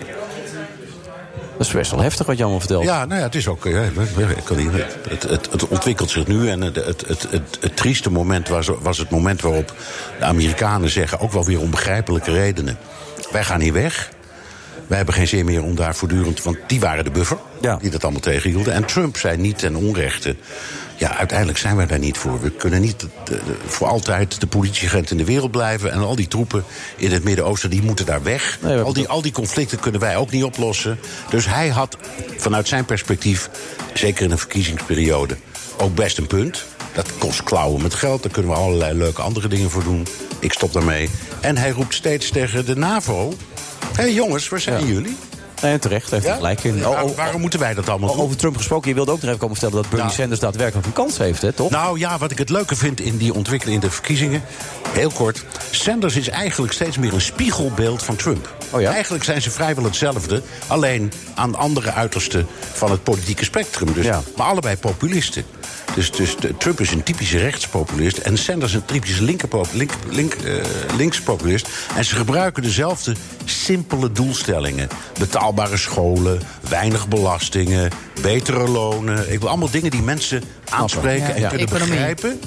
S6: Dat is best wel heftig wat je allemaal vertelt.
S13: Ja, nou ja, het is ook. eh, ik kan niet- Het, het, het ontwikkelt zich nu. En het, het, het, het, het trieste moment was, was het moment waarop de Amerikanen zeggen, ook wel weer onbegrijpelijke redenen. Wij gaan hier weg. Wij hebben geen zin meer om daar voortdurend. Want die waren de buffer die dat allemaal tegenhielden. En Trump zei niet ten onrechte. Ja, uiteindelijk zijn wij daar niet voor. We kunnen niet de- de- voor altijd de politieagent in de wereld blijven. En al die troepen in het Midden-Oosten, die moeten daar weg. al, die, al die conflicten kunnen wij ook niet oplossen. Dus hij had vanuit zijn perspectief, zeker in een verkiezingsperiode, ook best een punt. Dat kost klauwen met geld. Daar kunnen we allerlei leuke andere dingen voor doen. Ik stop daarmee. En hij roept steeds tegen de NAVO. Hé hey jongens, waar zijn jullie?
S6: Nee, terecht, heeft hij gelijk in. Oh,
S13: Waar- waarom moeten wij dat allemaal doen?
S6: Over Trump gesproken, je wilde ook nog even komen vertellen... dat Bernie Sanders daadwerkelijk een kans heeft, hè, toch?
S13: Nou ja, wat ik het leuke vind in die ontwikkeling in de verkiezingen. Heel kort. Sanders is eigenlijk steeds meer een spiegelbeeld van Trump.
S6: Oh
S13: Eigenlijk zijn ze vrijwel hetzelfde. Alleen aan andere uitersten van het politieke spectrum. Dus, Maar allebei populisten. Dus, dus de- Trump is een typische rechtspopulist. En Sanders een typische linkerpo- link, link, eh, linkspopulist. En ze gebruiken dezelfde simpele doelstellingen: betaalbare scholen, weinig belastingen, betere lonen. Ik wil allemaal dingen die mensen aanspreken en
S15: Ja.
S13: kunnen
S15: Economie.
S13: begrijpen.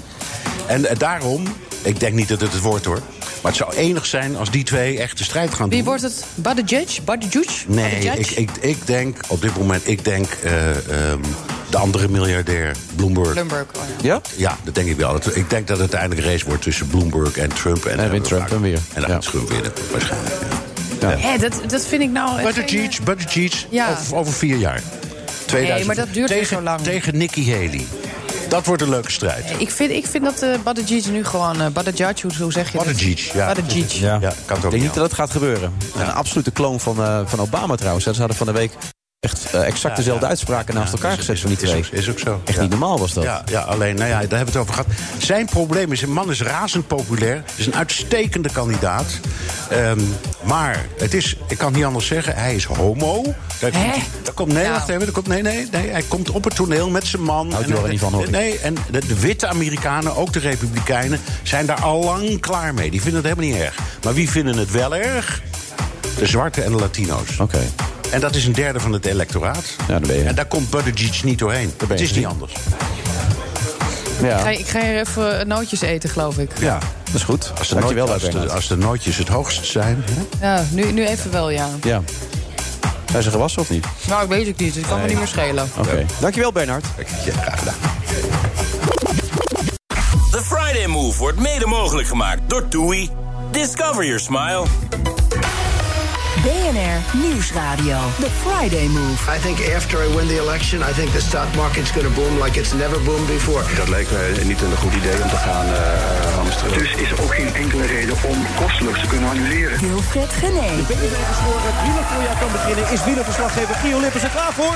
S13: En eh, daarom, ik denk niet dat het het wordt hoor. Maar het zou enig zijn als die twee echt de strijd gaan
S7: Wie
S13: doen.
S7: wordt het? Buddy Judge? Buddy Judge?
S13: Nee,
S7: Buddy Judge?
S13: ik, ik, ik denk op dit moment, ik denk eh, ehm, de andere miljardair, Bloomberg.
S7: Bloomberg, oh
S6: ja.
S13: Ja, dat denk ik wel. Het- Ik denk dat het uiteindelijk een race wordt tussen Bloomberg en Trump. En, dan wint Trump dan weer. En dan gaat Trump winnen, waarschijnlijk. Ja.
S7: Hé, dat, dat vind ik nou...
S13: Buddy
S7: geen-
S13: Cheech, Buddy Cheech,
S7: Ja.
S13: over, over vier jaar. 2000.
S7: maar dat duurt weer
S13: tegen,
S7: zo lang.
S13: Tegen Nikki Haley. Dat wordt een leuke strijd.
S7: Ik vind, ik vind dat eh Buddy Judge nu gewoon... eh Buddy Judge, hoe, hoe zeg je dat?
S13: Cheech, ja.
S7: Buddy Cheech.
S13: Ja, kan het ook
S6: Ik denk
S13: niet
S6: niet dat het gaat gebeuren. Een absolute kloon van, eh, van Obama trouwens. Ze hadden van de week echt eh, exact
S13: Ja,
S6: dezelfde
S13: ja.
S6: uitspraken naast
S13: Ja,
S6: elkaar
S13: is-
S6: gezet
S13: is-
S6: van die
S13: is
S6: twee.
S13: ook- is ook zo.
S6: Echt niet normaal was dat.
S13: Ja, ja, alleen, nou ja, daar hebben we het over gehad. Zijn probleem is, een man is razend populair. Is een uitstekende kandidaat. Ehm, maar het is, ik kan het niet anders zeggen, hij is homo. Daar komt, daar komt, nee, wacht even, daar komt, nee, nee, nee. Hij komt op het toneel met zijn man.
S6: Houdt u wel niet van, hoor ik.
S13: Nee, en de, de witte Amerikanen, ook de Republikeinen... zijn daar al lang klaar mee. Die vinden het helemaal niet erg. Maar wie vinden het wel erg? De zwarte en de Latino's. Oké. En dat is een derde van het electoraat. Ja, En daar komt Buttigieg niet doorheen. Het is niet anders.
S7: Ik, ga, ik ga hier even eh, nootjes eten, geloof ik.
S13: Ja,
S6: dat is goed.
S13: Als de,
S6: Dankjewel,
S13: noot- als,
S6: Bernard.
S13: de, als de nootjes het hoogst zijn. hè?
S7: Ja, nu, nu even wel, ja.
S6: Ja. Zijn ze gewassen of niet?
S7: Nou, ik weet het niet. Het kan me
S6: Nee.
S7: niet meer schelen.
S6: Oké. Dankjewel, Bernard.
S1: The Friday Move wordt mede mogelijk gemaakt door TUI. Discover your smile.
S2: BNR Nieuwsradio. The Friday Move.
S10: I think after I win the election, I think the stock market's going to boom like it's never boomed before.
S3: Dat leek me niet een goed idee om te gaan eh, hamsteren.
S4: Dus is er ook geen enkele reden om kostelijk te kunnen annuleren.
S2: Wilfred Genee.
S6: De BNR is voor het wielervoorjaar kan beginnen. Is wielerverslaggever Gio Lippers er klaar voor?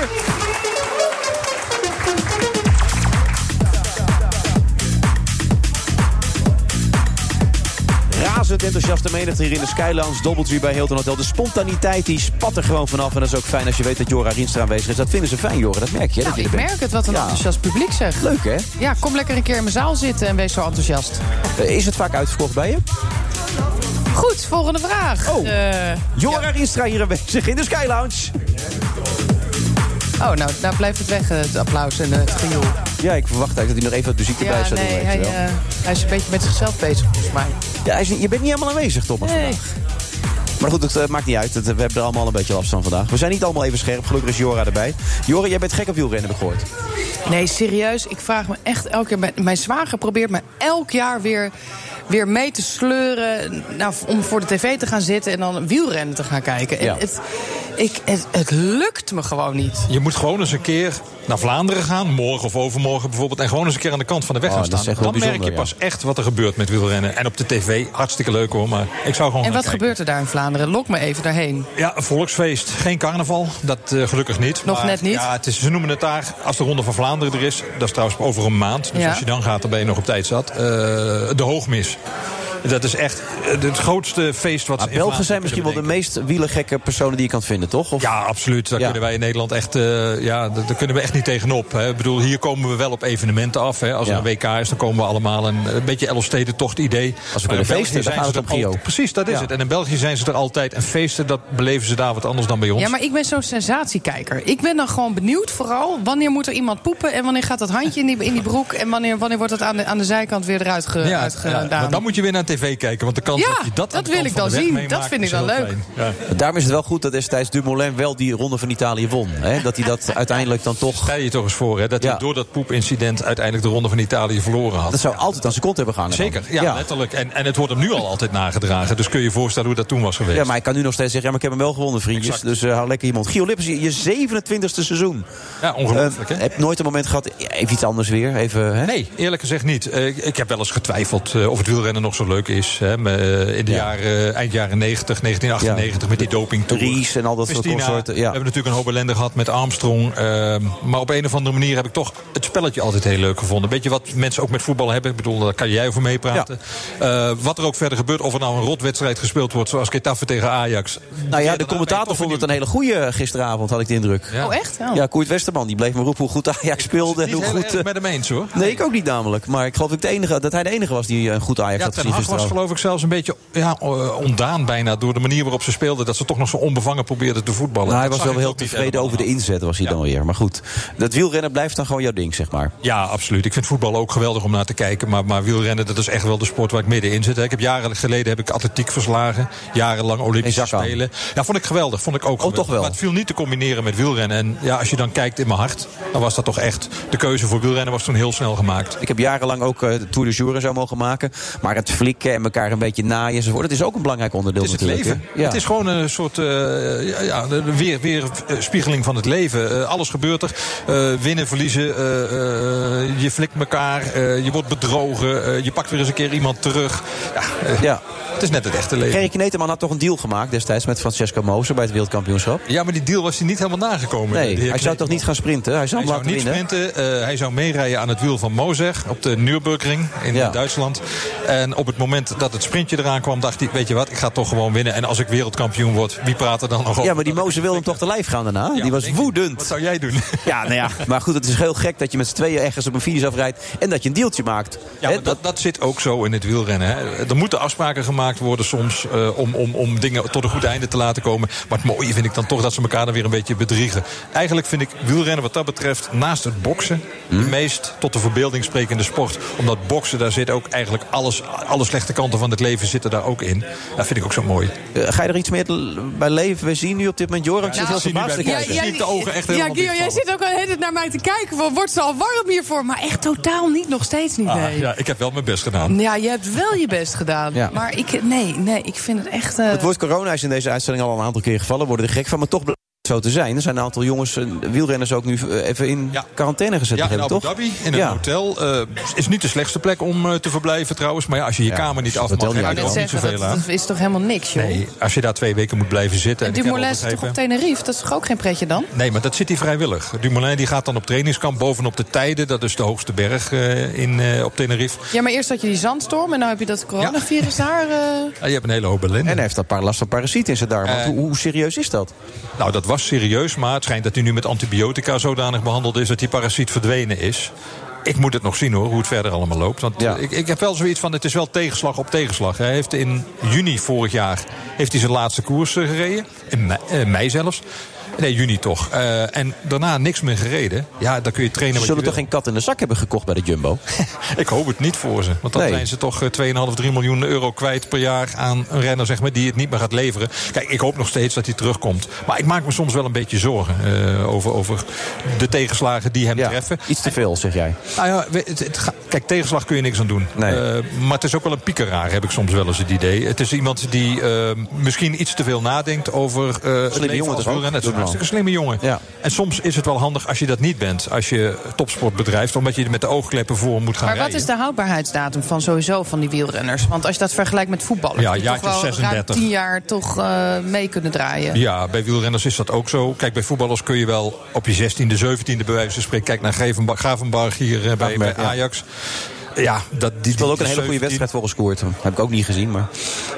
S6: Razend enthousiaste menigte hier in de Skylands. Doubletree bij Hilton Hotel. De spontaniteit die spat er gewoon vanaf. En dat is ook fijn als je weet dat Jora Rienstra aanwezig is. Dat vinden ze fijn, Jora. Dat merk je. hè, dat
S7: Nou,
S6: je
S7: ik
S6: er bent.
S7: merk het. Wat een
S6: Ja.
S7: enthousiast publiek, zeg.
S6: Leuk, hè?
S7: Ja, kom lekker een keer in mijn zaal zitten en wees zo enthousiast.
S6: Eh, Is het vaak uitverkocht bij je?
S7: Goed, volgende vraag. Oh.
S6: Jora Rienstra hier aanwezig in de Skylounge.
S7: Oh, nou, daar blijft het weg, eh, het applaus en eh, het gejoel.
S6: Ja, ik verwacht eigenlijk dat hij nog even wat muziek erbij zou doen.
S7: nee,
S6: weet je
S7: hij,
S6: wel.
S7: eh, hij is een beetje met zichzelf bezig, volgens mij.
S6: Ja, hij is niet- je bent niet helemaal aanwezig, Thomas.
S7: Nee.
S6: Maar goed, het eh, maakt niet uit. Het, eh, we hebben er allemaal een beetje last van vandaag. We zijn niet allemaal even scherp. Gelukkig is Jora erbij. Jora, jij bent gek op wielrennen, heb ik gehoord.
S7: Nee, serieus. Ik vraag me echt elke keer. Mijn, mijn zwager probeert me elk jaar weer, weer mee te sleuren. Nou, om voor de tv te gaan zitten en dan wielrennen te gaan kijken. En
S15: Ja.
S7: het, ik, het, het lukt me gewoon niet.
S15: Je moet gewoon eens een keer naar Vlaanderen gaan, morgen of overmorgen bijvoorbeeld, en gewoon eens een keer aan de kant van de weg
S6: Oh,
S15: gaan
S6: dat is
S15: staan.
S6: echt wel
S15: Dan merk je
S6: bijzonder,
S15: pas echt wat er gebeurt met wielrennen. En op de tv, hartstikke leuk hoor, maar ik zou gewoon. gaan
S7: En wat
S15: kijken.
S7: gebeurt er daar in Vlaanderen? Lok me even daarheen.
S15: Ja, een volksfeest. Geen carnaval. Dat eh, gelukkig niet.
S7: Nog
S15: Maar
S7: net niet.
S15: Ja, het is, ze noemen het daar, als de Ronde van Vlaanderen er is... dat is trouwens over een maand. Dus
S7: Ja.
S15: als je dan gaat, dan ben je nog op tijd zat. eh, de Hoogmis. Dat is echt eh, het grootste feest wat
S6: Maar
S15: ze in
S6: Belgen zijn
S15: Vlaanderen
S6: misschien wel
S15: kunnen
S6: de meest wielergekke personen die je kan vinden, toch? Of?
S15: Ja, absoluut. Daar kunnen wij in Nederland echt, eh, ja, daar daar kunnen we echt niet tegenop. Hè. Ik bedoel, hier komen we wel op evenementen af. Hè. Als er
S6: Ja.
S15: een WK is, dan komen we allemaal een, een beetje Elfstedentocht idee. Eh,
S6: Als we kunnen feesten, dan gaat het om Gio.
S15: Precies, dat is
S6: Ja.
S15: het. En in België zijn ze er altijd. En feesten, dat beleven ze daar wat anders dan bij ons.
S7: Ja, maar ik ben zo'n sensatiekijker. Ik ben dan gewoon benieuwd vooral wanneer moet er iemand poepen... en wanneer gaat dat handje in die, in die broek... en wanneer, wanneer wordt het aan de, aan de zijkant weer eruit ge,
S15: Ja,
S7: uitgedaan.
S15: ja, maar dan moet je weer naar tv kijken, want de kans
S7: Ja,
S15: dat je dat aan
S7: dat
S15: de
S7: wil
S15: kant van
S7: ik dan
S15: de weg
S7: zien.
S15: meemaakt
S7: Dat vind ik
S15: is
S7: wel
S15: heel
S7: leuk.
S15: klein. Ja.
S6: Daarom is het wel goed dat destijds Dumoulin wel die ronde van Italië won. Hè? Dat hij dat uiteindelijk dan toch...
S15: Stel je toch eens voor, hè, dat hij door dat poepincident uiteindelijk de Ronde van Italië verloren had.
S6: Dat zou altijd aan zijn kont hebben gehangen. dan.
S15: Zeker, ja, letterlijk. En, en het wordt hem nu al altijd nagedragen. Dus kun je je voorstellen hoe dat toen was geweest.
S6: Ja, maar ik kan nu nog steeds zeggen, ja, maar ik heb hem wel gewonnen, vriendjes. Dus eh, hou lekker iemand. Gio Lippens, je, je 27e seizoen.
S15: Ja, ongelooflijk,
S6: hè? Heb nooit een moment gehad, even iets anders weer. Even, hè?
S15: Nee, eerlijk gezegd niet. Eh, ik- ik heb wel eens getwijfeld eh, of het wielrennen nog zo leuk is. Hè. Me- eh, In de
S6: Ja.
S15: jaren, eind jaren 90, 1998 met die doping
S6: Ries en al dat soort
S15: Christina,
S6: consorten.
S15: We
S6: Ja.
S15: hebben natuurlijk een hoop ellende gehad met Armstrong. ehm, maar op een of andere manier heb ik toch het spelletje altijd heel leuk gevonden. Weet je wat mensen ook met voetbal hebben? Ik bedoel, daar kan jij over meepraten. Eh, wat er ook verder gebeurt, of er nou een rotwedstrijd gespeeld wordt... zoals Getafe tegen Ajax.
S6: Nou ja, de commentator vond het een hele goeie gisteravond, had ik de indruk.
S15: Ja. Oh,
S7: echt? Oh.
S6: Ja, Koert Westerman, die bleef me roepen hoe goed Ajax speelde. en
S15: Niet
S6: hoe
S15: heel
S6: goed,
S15: erg
S6: eh,
S15: met hem eens, hoor.
S6: Nee, ik ook niet namelijk. Maar ik geloof dat, ik de enige, dat hij de enige was die eh, een goed Ajax
S15: Ja,
S6: had
S15: Ten
S6: gezien
S15: Hag was
S6: gisteravond.
S15: geloof ik zelfs een beetje ja, eh, ontdaan bijna... door de manier waarop ze speelden. Dat ze toch nog zo onbevangen probeerden te voetballen.
S6: Nou, hij
S15: Dat
S6: was wel
S15: zag ik
S6: heel
S15: ook niet
S6: tevreden
S15: helemaal.
S6: over de inzet, was hij dan weer. Maar goed, dat wielrennen blijft dan gewoon jouw ding, zeg maar.
S15: Ja, absoluut. Ik vind voetbal ook geweldig om naar te kijken. Maar, maar wielrennen, dat is echt wel de sport waar ik middenin zit. hè. Ik heb jaren geleden heb ik atletiek verslagen. Jarenlang Olympische Spelen. Ja, vond ik geweldig. Vond ik ook geweldig.
S6: toch wel.
S15: Maar het viel niet te combineren met wielrennen. En ja, als je dan kijkt in mijn hart, dan was dat toch echt... De keuze voor wielrennen was toen heel snel gemaakt.
S6: Ik heb jarenlang ook eh, de Tour de Jour en zo mogen maken. Maar het flikken en elkaar een beetje naaien enzovoort... dat is ook een belangrijk onderdeel
S15: Het is het
S6: natuurlijk.
S15: leven.
S6: hè? Ja.
S15: Het is gewoon een soort eh, ja, ja, een weer, weer eh, spiegeling van het leven. Eh, alles gebeurt er. Eh, winnen, verliezen. eh, eh, je flikt elkaar. eh, je wordt bedrogen. eh, je pakt weer eens een keer iemand terug. Ja, eh, Het is net het echte leven.
S6: Gerrit Kneteman had toch een deal gemaakt destijds met Francesco Moser bij het wereldkampioenschap?
S15: Ja, maar die deal was hij niet helemaal nagekomen.
S6: Nee,
S15: de heer
S6: hij zou
S15: Kneteman.
S6: toch niet gaan sprinten? Hij zou
S15: Hij
S6: hem
S15: zou
S6: laten
S15: niet
S6: winnen.
S15: sprinten. eh, hij zou meerijden aan het wiel van Moser op de Nürburgring in Duitsland. En op het moment dat het sprintje eraan kwam, dacht hij: Weet je wat, ik ga toch gewoon winnen. En als ik wereldkampioen word, wie praat er dan nog over?
S6: Ja, maar die Mozer wilde hem toch te lijf gaan daarna? die was woedend. Wat
S15: zou jij doen?
S6: Ja, nou ja. Maar goed, het is heel gek dat je met z'n tweeën ergens op een finish afrijdt... en dat je een deeltje maakt.
S15: Ja, maar dat, dat zit ook zo in het wielrennen. Hè. Er moeten afspraken gemaakt worden soms eh, om, om, om dingen tot een goed einde te laten komen. Maar het mooie vind ik dan toch dat ze elkaar dan weer een beetje bedriegen. Eigenlijk vind ik wielrennen wat dat betreft naast het boksen...
S6: Hm?
S15: de meest tot de verbeelding sprekende sport. Omdat boksen, daar zit ook eigenlijk alles... alle slechte kanten van het leven zitten daar ook in. Dat vind ik ook zo mooi.
S6: Eh, ga je er iets meer te- bij leven? We zien nu op dit moment Joram. Ik zit
S15: Nou,
S6: heel
S15: zie nu
S6: verbaasd te
S15: bij-
S6: kijken.
S15: Ja, ja, Ik zie de ogen echt
S7: Ja,
S15: helemaal
S7: Guido, jij zit ook al de hele tijd naar mij te kijken. Van, wordt ze al warm hiervoor? Maar echt totaal niet, nog steeds niet.
S15: Ah,
S7: Nee.
S15: ja, ik heb wel mijn best gedaan.
S7: Ja, je hebt wel je best gedaan.
S6: Ja.
S7: Maar ik, nee, nee, ik vind het echt... eh,
S6: Het woord corona is in deze uitzending al een aantal keer gevallen. Worden er gek van, maar toch blijkt het zo te zijn. Er zijn een aantal jongens, eh, wielrenners ook nu eh, even in quarantaine gezet.
S15: Ja, in
S6: begreep ik,
S15: Abu
S6: toch?
S15: Dhabi, in een
S6: Ja.
S15: hotel. Eh, is niet de slechtste plek om eh, te verblijven trouwens. Maar ja, als je je kamer niet af
S6: hotel
S15: mag,
S6: niet
S15: heb je er
S7: ik net
S15: ook niet
S7: zeggen, dat,
S15: zoveel aan.
S7: dat is toch helemaal niks, joh.
S15: Nee, als je daar twee weken moet blijven zitten...
S7: en
S15: ik heb al
S7: Dumoulin is toch op
S15: begrepen-
S7: Tenerife? Dat is toch ook geen pretje dan?
S15: Nee, maar dat zit hij vrijwillig. Dumoulin die gaat dan op trainingskamp bovenop de Tijden. Dat is de hoogste berg eh, in, eh, op Tenerife.
S7: Ja, maar eerst had je die zandstorm en nu heb je dat coronavirus daar. eh.
S15: Ah, je hebt een hele hoop ellende. En hij
S6: heeft daar paar last van parasieten in zijn darm. Want hoe, hoe serieus is dat?
S15: Nou, dat was serieus, maar het schijnt dat hij nu met antibiotica zodanig behandeld is... dat die parasiet verdwenen is. Ik moet het nog zien hoor, hoe het verder allemaal loopt. Want eh, ik, ik heb wel zoiets van, het is wel tegenslag op tegenslag. Hij heeft in juni vorig jaar heeft hij zijn laatste koers eh, gereden. In mei, eh, mei zelfs. Nee, juni toch. Eh, en daarna niks meer gereden. Ja, dan kun je trainen.
S6: Ze
S15: wat
S6: zullen
S15: je
S6: toch
S15: wil.
S6: geen kat in de zak hebben gekocht bij de Jumbo?
S15: Ik hoop het niet voor ze. Want dan
S6: Nee.
S15: zijn ze toch eh, 2,5, 3 miljoen euro kwijt per jaar aan een renner zeg maar, die het niet meer gaat leveren. Kijk, ik hoop nog steeds dat hij terugkomt. Maar ik maak me soms wel een beetje zorgen eh, over, over de tegenslagen die hem treffen.
S6: Iets te veel, zeg jij.
S15: Nou ja, we- het, het ga- kijk, tegenslag kun je niks aan doen. Eh, maar het is ook wel een piekeraar, heb ik soms wel eens het idee. Het is iemand die eh, misschien iets te veel nadenkt over eh het leven
S6: jongen
S15: als
S6: toch ook,
S15: wielrenner. Het is een
S6: Doornal?
S15: hartstikke slimme jongen.
S6: Ja.
S15: En soms is het wel handig als je dat niet bent. Als je topsport bedrijft, omdat je er met de oogkleppen voor moet gaan
S7: Maar wat
S15: rijden.
S7: is de houdbaarheidsdatum van sowieso van die wielrenners? Want als je dat vergelijkt met voetballers...
S15: Ja,
S7: die
S15: jaartje
S7: toch wel
S15: 36.
S7: ruim tien jaar toch eh, mee kunnen draaien.
S15: Ja, bij wielrenners is dat ook zo. Kijk, bij voetballers kun je wel op je 16e, 17e bij wijze van spreken. Kijk naar Grevenba- Gravenbarg hier eh, bij, bij Ajax. Ja, dat, die
S6: speelde ook een hele goede
S15: 17e.
S6: wedstrijd volgens Koert. Heb ik ook niet gezien, maar...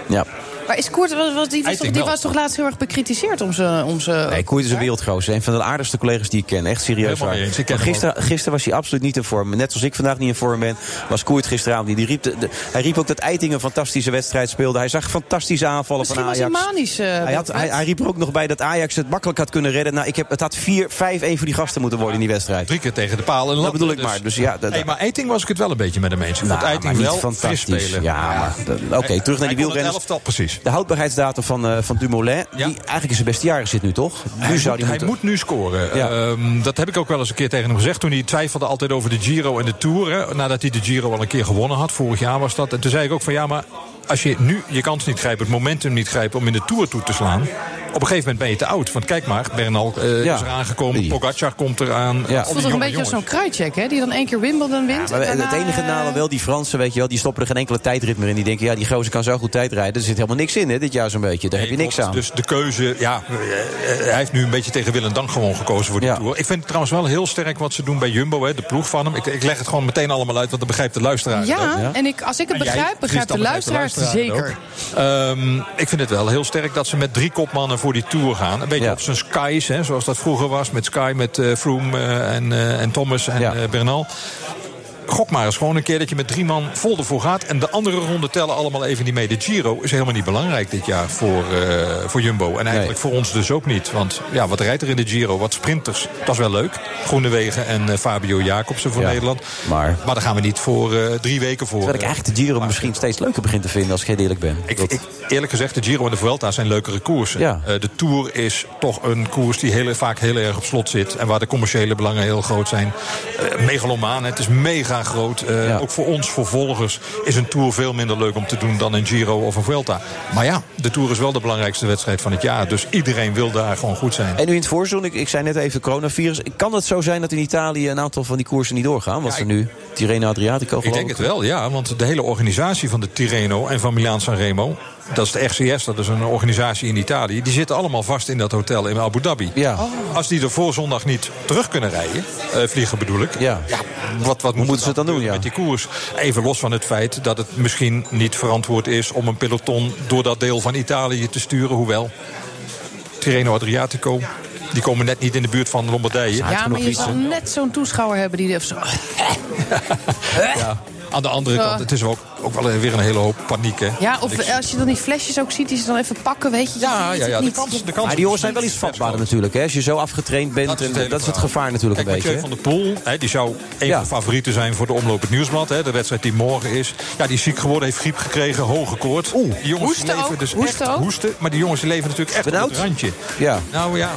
S6: Ja.
S7: Maar is Koert, was, was- die, was
S6: Eiting
S7: toch, die
S6: wel.
S7: was toch laatst heel erg bekritiseerd om zijn... Om zijn
S6: Nee, Koert is een wereldgroot. Een van de aardigste collega's die ik ken. Echt serieus
S15: Helemaal
S6: waar.
S15: mee eens. Ik ken
S6: Maar
S15: hem
S6: gisteren, gisteren was hij absoluut niet in vorm. Net zoals ik vandaag niet in vorm ben, was Koert gisteravond niet. Die riep de- de- hij riep ook dat Eiting een fantastische wedstrijd speelde. Hij zag fantastische aanvallen
S7: Misschien
S6: van
S7: was hij
S6: Ajax.
S7: manisch. eh,
S6: Hij, had, hij, hij riep er ook nog bij dat Ajax het makkelijk had kunnen redden. Nou, ik heb, het had 4-5-1 voor die gasten moeten worden in die wedstrijd.
S15: Drie keer tegen de paal en
S6: Dat
S15: lat.
S6: bedoel ik maar. Dus ja, dat-
S15: Hey, maar Eiting was ik het wel een beetje met hem eens. Ik
S6: Nou,
S15: vond Eiting
S6: maar niet
S15: wel
S6: fantastisch.
S15: fris spelen.
S6: Ja, maar dat- oké,
S15: Hij-
S6: terug naar die
S15: hij kon het
S6: wielrenners.
S15: elftal precies.
S6: De houdbaarheidsdatum van, eh, van Dumoulin, die eigenlijk in zijn beste jaren zit nu, toch? Nu
S15: Hij,
S6: zou
S15: moet, hij
S6: moeten-
S15: moet nu scoren.
S6: Ja.
S15: Ehm, dat heb ik ook wel eens een keer tegen hem gezegd. Toen hij twijfelde altijd over de Giro en de Tour. Hè, nadat hij de Giro al een keer gewonnen had. Vorig jaar was dat. En toen zei ik ook van ja, maar als je nu je kans niet grijpt, het momentum niet grijpt om in de Tour toe te slaan. Op een gegeven moment ben je te oud. Want kijk maar, Bernal eh,
S6: Ja.
S15: is eraan gekomen. Pogacar komt eraan.
S6: Ja.
S15: Ja.
S7: Het voelt toch een beetje als zo'n kruidcheck, hè? Die dan één keer Wimbledon wint.
S6: Maar
S7: en
S6: het
S7: daarna,
S6: enige nadeel wel, die Fransen, weet je wel, die stoppen er geen enkele tijdrit meer in. Die denken, ja, die gozer kan zo goed tijdrijden. Er zit helemaal niks in, hè, dit jaar zo'n beetje. Daar heb je niks aan.
S15: Dus de keuze, ja, eh, eh, hij heeft nu een beetje tegen Wil en Dank gewoon gekozen voor die Tour. Ik vind het trouwens wel heel sterk wat ze doen bij Jumbo, hè, de ploeg van hem. Ik, ik leg het gewoon meteen allemaal uit, want dan begrijpt de luisteraar het ook.
S7: Ja, en ik, als ik het
S15: En jij,
S7: begrijp,
S15: Chris,
S7: begrijpt de
S15: dan
S7: luisteraar het
S15: luisteraar
S7: zeker.
S15: het ook. Ehm, ik vind het wel heel sterk dat ze met drie kopmannen voor die Tour gaan. Een beetje op zijn Sky's, hè, zoals dat vroeger was. Met Sky, met eh, Froome eh, en, eh, en Thomas en eh, Bernal. Gok maar eens gewoon een keer dat je met drie man vol ervoor gaat. En de andere ronden tellen allemaal even niet mee. De Giro is helemaal niet belangrijk dit jaar voor, eh, voor Jumbo. En eigenlijk voor ons dus ook niet. Want ja, wat rijdt er in de Giro? Wat sprinters. Dat is wel leuk. Groenewegen en eh, Fabio Jacobsen voor
S6: Ja,
S15: Nederland.
S6: Maar...
S15: Maar daar gaan we niet voor eh, drie weken voor.
S6: Terwijl ik
S15: eh,
S6: eigenlijk de Giro misschien steeds leuker begin te vinden, als ik heel eerlijk ben.
S15: ik, ik, eerlijk gezegd, de Giro en de Vuelta zijn leukere koersen.
S6: Ja.
S15: Eh, de Tour is toch een koers die heel, vaak heel erg op slot zit. En waar de commerciële belangen heel groot zijn. Eh, megalomaan, het is mega groot. Eh, Ook voor ons, voor volgers, is een Tour veel minder leuk om te doen dan een Giro of een Vuelta. Maar ja, de Tour is wel de belangrijkste wedstrijd van het jaar. Dus iedereen wil daar gewoon goed zijn.
S6: En nu in het voorzon, ik, ik zei net even coronavirus. Kan het zo zijn dat in Italië een aantal van die koersen niet doorgaan? Want ze nu Tirreno Adriatico
S15: Ik
S6: geloof
S15: denk het wel, ja. Want de hele organisatie van de Tirreno en van Milaan Sanremo... dat is de RCS, dat is een organisatie in Italië... die zitten allemaal vast in dat hotel in Abu Dhabi. Oh. Als die er voor zondag niet terug kunnen rijden, eh, vliegen bedoel ik... Ja. wat, wat moeten ze dan doen met die koers? Even los van het feit dat het misschien niet verantwoord is... om een peloton door dat deel van Italië te sturen, hoewel... Tirreno Adriatico, die komen net niet in de buurt van Lombardije.
S7: Ja, maar je zal net zo'n toeschouwer hebben die... Of zo.
S15: Ja. Aan de andere
S7: Zo.
S15: kant, het is ook, ook wel weer een hele hoop paniek. Hè?
S7: Ja,
S15: Ik-
S7: of eh, als je dan die flesjes ook ziet, die ze dan even pakken, weet je.
S15: Ah, Ja, ja, ja, de
S7: niet.
S15: kans, de kans
S6: Maar die jongens zijn wel iets vatbaarder natuurlijk. Hè? Als je zo afgetraind bent, dat is het,
S15: hele
S6: dat is het
S15: verhaal.
S6: gevaar natuurlijk
S15: Kijk,
S6: een beetje.
S15: Mathieu van der Poel, hè, die zou een van de favorieten zijn voor de omloop het nieuwsblad. Hè, de wedstrijd die morgen is. Ja, die is ziek geworden, heeft griep gekregen, hoge koorts. Oeh, die jongens
S7: hoesten
S15: leven
S7: ook,
S15: dus
S7: hoesten
S15: echt
S7: ook.
S15: hoesten. Maar die jongens die leven natuurlijk echt op het randje.
S6: Ja.
S15: Nou ja,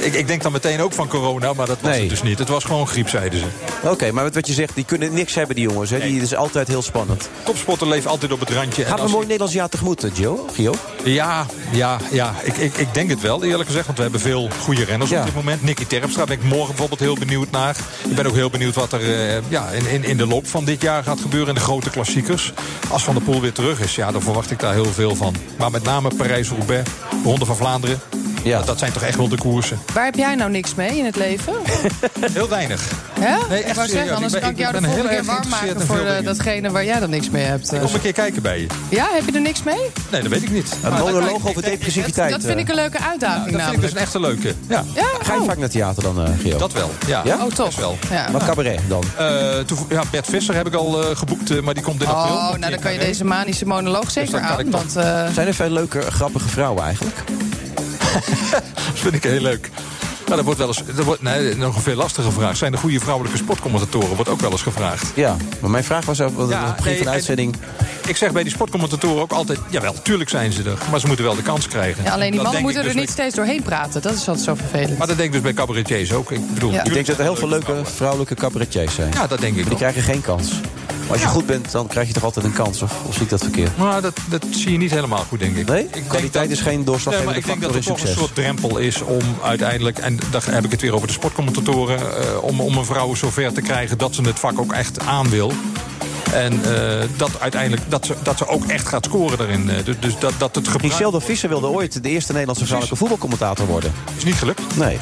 S15: ik, ik denk dan meteen ook van corona, maar dat was het dus niet. Het was gewoon griep, zeiden ze.
S6: Oké, maar wat- wat je zegt, die kunnen niks hebben, die jongens. Hè? Die is altijd heel spannend.
S15: Topsporter leeft altijd op het randje. En
S6: Gaat een
S15: als-
S6: mooi Nederlands jaar tegemoet, eh, Gio? Gio?
S15: Ja, ja, ja. Ik, ik, ik denk het wel, eerlijk gezegd. Want we hebben veel goede renners op dit moment. Nicky Terpstra ben ik morgen bijvoorbeeld heel benieuwd naar. Ik ben ook heel benieuwd wat er eh, ja, in, in, in de loop van dit jaar gaat gebeuren. In de grote klassiekers. Als Van der Poel weer terug is, ja, dan verwacht ik daar heel veel van. Maar met name Parijs-Roubaix, Ronde van Vlaanderen. Ja. Dat zijn toch echt wel de koersen.
S7: Waar heb jij nou niks mee in het leven?
S15: Heel weinig. Nee,
S7: Hè?
S15: echt
S7: ik wou
S15: serieus.
S7: zeggen,
S15: Ik
S7: anders
S15: ben-
S7: kan
S15: ik
S7: ik jou de
S15: ben heel
S7: volgende keer
S15: erg
S7: warm
S15: geïnteresseerd
S7: maken
S15: in
S7: voor
S15: veel
S7: eh,
S15: dingen.
S7: datgene waar jij dan niks mee hebt. eh.
S15: Kom een keer kijken bij je.
S7: Ja, heb je er niks mee?
S15: Nee, dat weet ik niet.
S6: Een monoloog over depressiviteit.
S7: Dat vind ik een leuke uitdaging
S15: Dat vind ik dus
S7: namelijk.
S15: een echte leuke. Ja.
S6: Ga je vaak naar theater dan, eh, Gio?
S15: Dat wel, ja.
S6: Ja?
S7: Oh, toch?
S15: Best wel.
S7: Ja.
S6: Maar cabaret dan?
S15: Eh, toevo- ja, Bert Visser heb ik al eh, geboekt, eh, maar die komt in april.
S7: Oh, nou dan kan je deze manische monoloog zeker
S15: Dus dan kan
S7: aan.
S15: ik dat-
S7: Want, eh,
S6: Zijn er veel leuke, grappige vrouwen eigenlijk?
S15: dat vind ik heel leuk. Maar dat wordt wel eens. Dat wordt, nee, nog een veel lastiger vraag. Zijn er goede vrouwelijke sportcommentatoren? Wordt ook wel eens gevraagd.
S6: Ja, maar mijn vraag was ook. Ja, het begin van de uitzending.
S15: Ik zeg bij die sportcommentatoren ook altijd. Jawel, tuurlijk zijn ze er. Maar ze moeten wel de kans krijgen.
S7: Ja, alleen die
S15: Dat
S7: mannen
S15: denk
S7: moeten
S15: ik
S7: er
S15: dus
S7: niet steeds doorheen praten. Dat is altijd zo vervelend.
S15: met- Maar dat denk ik dus bij cabaretiers ook. Ik bedoel,
S7: Ja.
S6: Ik denk
S15: tuurlijk
S6: dat er heel veel
S15: zijn
S6: leuke vrouwelijke cabaretiers zijn.
S15: Ja, dat denk ik
S6: Die
S15: wel.
S6: krijgen geen kans. Maar als je goed bent, dan krijg je toch altijd een kans? Of, of zie ik dat verkeerd?
S15: Maar Nou, dat, dat zie je niet helemaal goed, denk ik.
S6: Nee?
S15: Ik denk
S6: Kwaliteit
S15: dat-
S6: is geen doorslaggevende
S15: Nee, maar ik denk dat
S6: factor
S15: er
S6: in
S15: toch een
S6: succes.
S15: soort drempel is om uiteindelijk... en daar heb ik het weer over de sportcommentatoren... eh, om, om een vrouw zover te krijgen dat ze het vak ook echt aan wil... En eh, dat uiteindelijk dat ze, dat ze ook echt gaat scoren daarin. Eh, Dus, dus dat, dat het gebruik...
S6: Michel de Visser wilde ooit de eerste Nederlandse vrouwelijke voetbalcommentator worden.
S15: Is niet gelukt.
S6: Nee.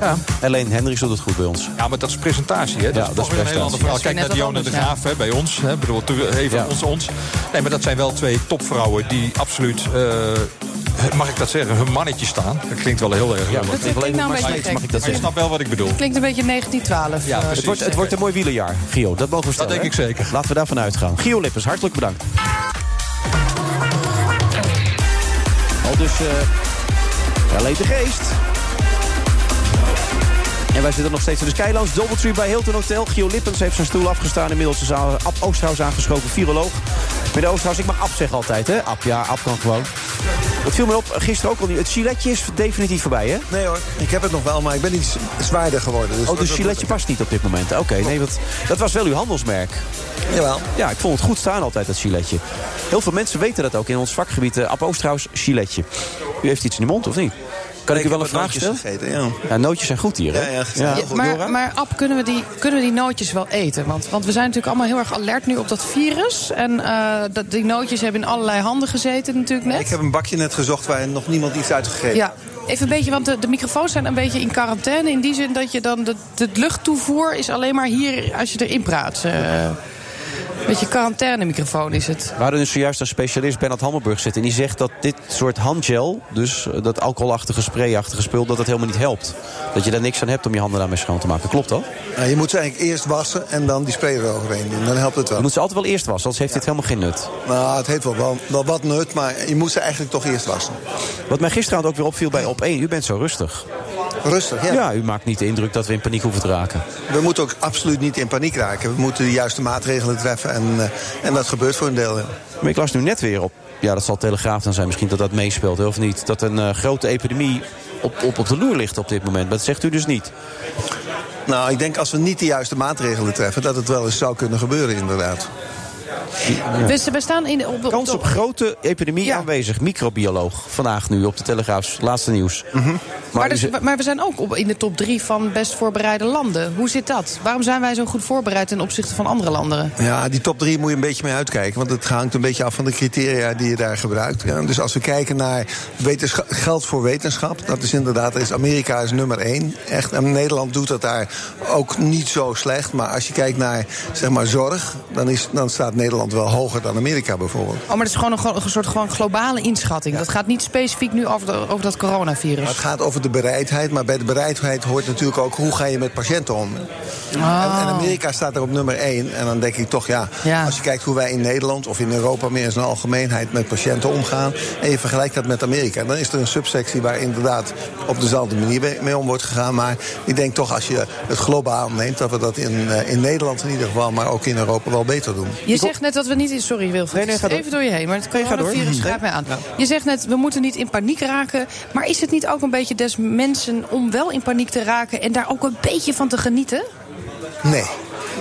S15: Ja.
S6: Alleen Hendricks doet het goed bij ons.
S15: Ja, maar dat is presentatie, hè? Dat
S6: Ja,
S15: is
S6: dat
S15: toch
S6: is
S15: weer een heel ander
S6: presentatie.
S15: verhaal.
S6: Dat is weer
S15: Kijk naar Dionne
S6: net
S15: de
S6: wat anders,
S15: Graaf hè, bij ons. Hè? Ik bedoel, te- eh, even
S6: Ja.
S15: ons, ons. Nee, maar dat zijn wel twee topvrouwen die absoluut... eh, mag ik dat zeggen? Hun mannetje staan. Dat klinkt wel heel erg. Ja,
S7: dat klinkt nou een beetje gek.
S15: Mag ik dat zeggen? Je snapt wel wat ik bedoel.
S7: Klinkt een beetje 1912.
S15: Ja,
S7: eh,
S15: precies.
S6: Het wordt, het wordt een mooi wielerjaar, Gio. Dat mogen we stellen.
S15: denk ik zeker.
S6: Laten we daarvan uitgaan. Gio Lippens, hartelijk bedankt. Al dus eh, ja, leed de geest. En wij zitten nog steeds in de Skylands. Doubletree bij Hilton Hotel. Gio Lippens heeft zijn stoel afgestaan. Inmiddels is aan- Ab Oosthuis aangeschoven, viroloog. Meneer Oosthuis, ik mag Ab zeggen altijd, hè? Ab, ja, Ab kan gewoon. Het viel me op, gisteren ook al niet. Het giletje is definitief voorbij, hè?
S16: Nee hoor, ik heb het nog wel, maar ik ben iets zwaarder geworden. Dus
S6: Oh, dus giletje past niet op dit moment. Oké, nee, want dat was wel uw handelsmerk.
S16: Jawel.
S6: Ja, ik vond het goed staan altijd, dat giletje. Heel veel mensen weten dat ook in ons vakgebied. eh Ab Oosthuis, giletje. U heeft iets in de mond, of niet? Kan ik u wel een vraag stellen?
S16: ja.
S6: nootjes zijn goed hier, hè?
S16: Ja, ja,
S7: Ja, maar, maar Ab, kunnen we, die, kunnen we die nootjes wel eten? Want, want we zijn natuurlijk allemaal heel erg alert nu op dat virus. En eh, dat, die nootjes hebben in allerlei handen gezeten natuurlijk net.
S16: Ik heb een bakje net gezocht waar nog niemand iets uitgegeven
S7: Ja, even een beetje, want de, de microfoons zijn een beetje in quarantaine. In die zin dat je dan de, de luchttoevoer is alleen maar hier als je erin praat. eh. een beetje quarantaine microfoon is het.
S6: We hadden dus zojuist een specialist, Bernard Hammelburg, zitten. En die zegt dat dit soort handgel, dus eh, dat alcoholachtige, sprayachtige spul... dat dat helemaal niet helpt. Dat je daar niks aan hebt om je handen daarmee schoon te maken. Klopt dat?
S16: Nou, je moet ze eigenlijk eerst wassen en dan die spray eroverheen doen. Dan helpt het wel.
S6: Je moet ze altijd wel eerst wassen, anders heeft dit helemaal geen nut.
S16: Nou, het heeft wel, wel, wel wat nut, maar je moet ze eigenlijk toch eerst wassen.
S6: Wat mij gisteravond ook weer opviel bij op 1, u bent zo rustig.
S16: Rustig, ja.
S6: Ja, u maakt niet de indruk dat we in paniek hoeven te raken.
S16: We moeten ook absoluut niet in paniek raken. We moeten de juiste maatregelen treffen en, eh, en dat gebeurt voor een deel. ja.
S6: Maar ik las nu net weer op, ja dat zal Telegraaf dan zijn misschien dat dat meespeelt, hè, of niet? Dat een eh, grote epidemie op, op, op de loer ligt op dit moment. Maar dat zegt u dus niet.
S16: Nou, ik denk als we niet de juiste maatregelen treffen... dat het wel eens zou kunnen gebeuren, inderdaad.
S7: Dus we staan in, op, op,
S6: Kans op grote epidemie aanwezig. Microbioloog vandaag nu op de Telegraaf's laatste nieuws.
S7: Maar,
S6: u
S7: dus-
S6: ze-
S7: maar we zijn ook op, in de top drie van best voorbereide landen. Hoe zit dat? Waarom zijn wij zo goed voorbereid ten opzichte van andere landen?
S16: Ja, die top 3 moet je een beetje mee uitkijken. Want het hangt een beetje af van de criteria die je daar gebruikt. Ja, dus als we kijken naar wetensch- geld voor wetenschap. Dat is inderdaad, is Amerika is nummer 1. Echt, en Nederland doet dat daar ook niet zo slecht. Maar als je kijkt naar zeg maar, zorg, dan, is, dan staat Nederland wel hoger dan Amerika bijvoorbeeld.
S7: Oh, maar dat is gewoon een, gro- een soort gewoon globale inschatting. Dat gaat niet specifiek nu over, de- over dat
S16: Maar
S7: coronavirus.
S16: het gaat over de bereidheid. Maar bij de bereidheid hoort natuurlijk ook hoe ga je met patiënten om. En,
S7: Oh.
S16: en Amerika staat er op nummer 1. En dan denk ik toch, ja, als je kijkt hoe wij in Nederland of in Europa meer in zijn algemeenheid met patiënten omgaan. En je vergelijkt dat met Amerika. Dan is er een subsectie waar inderdaad op dezelfde manier mee- mee om wordt gegaan. Maar ik denk toch, als je het globaal neemt, dat we dat in, eh, in Nederland in ieder geval, maar ook in Europa wel beter doen.
S7: Je zegt net dat we niet... in- Sorry Wilfried,
S16: Nee, nee,
S7: ik
S16: ga
S7: zit
S16: door.
S7: even door je heen. Maar het
S16: Nee, ga door.
S7: coronavirus
S16: Hm.
S7: grijpt mij aan. Je zegt net, we moeten niet in paniek raken. Maar is het niet ook een beetje des mensen om wel in paniek te raken... en daar ook een beetje van te genieten?
S16: Nee.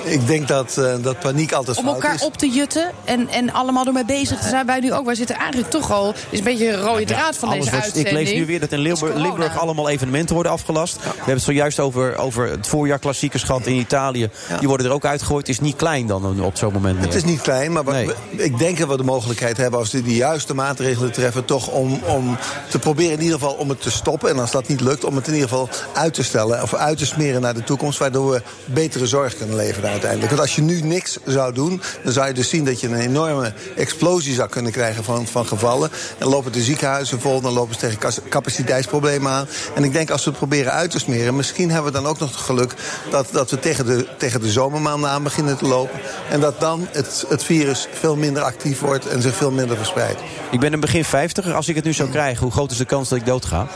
S16: Ik denk dat, eh, dat paniek altijd
S7: Om
S16: fout
S7: elkaar
S16: is.
S7: op te jutten en, en allemaal ermee bezig te zijn. Wij nu ook. Wij zitten eigenlijk toch al... Het is een beetje een rode draad van
S6: alles
S7: deze
S6: wordt-
S7: uitzending.
S6: Ik lees nu weer dat in Limburg, Limburg allemaal evenementen worden afgelast. We hebben het zojuist over, over het voorjaar klassiekers gehad in Italië. Die worden er ook uitgegooid. Is niet klein dan op zo'n moment meer.
S16: Het is niet klein, maar wat- ik denk dat we de mogelijkheid hebben... als we de juiste maatregelen treffen... toch om, om te proberen in ieder geval om het te stoppen. En als dat niet lukt, om het in ieder geval uit te stellen... of uit te smeren naar de toekomst... waardoor we betere zorg kunnen leveren aan uiteindelijk. Want als je nu niks zou doen, dan zou je dus zien dat je een enorme explosie zou kunnen krijgen van, van gevallen. En lopen de ziekenhuizen vol, dan lopen ze tegen kas- capaciteitsproblemen aan. En ik denk als we het proberen uit te smeren, misschien hebben we dan ook nog het geluk dat, dat we tegen de, tegen de zomermaanden aan beginnen te lopen. En dat dan het, het virus veel minder actief wordt en zich veel minder verspreidt.
S6: Ik ben een begin 50. Als ik het nu zou krijgen, hoe groot is de kans dat ik doodga?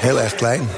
S16: Heel erg klein.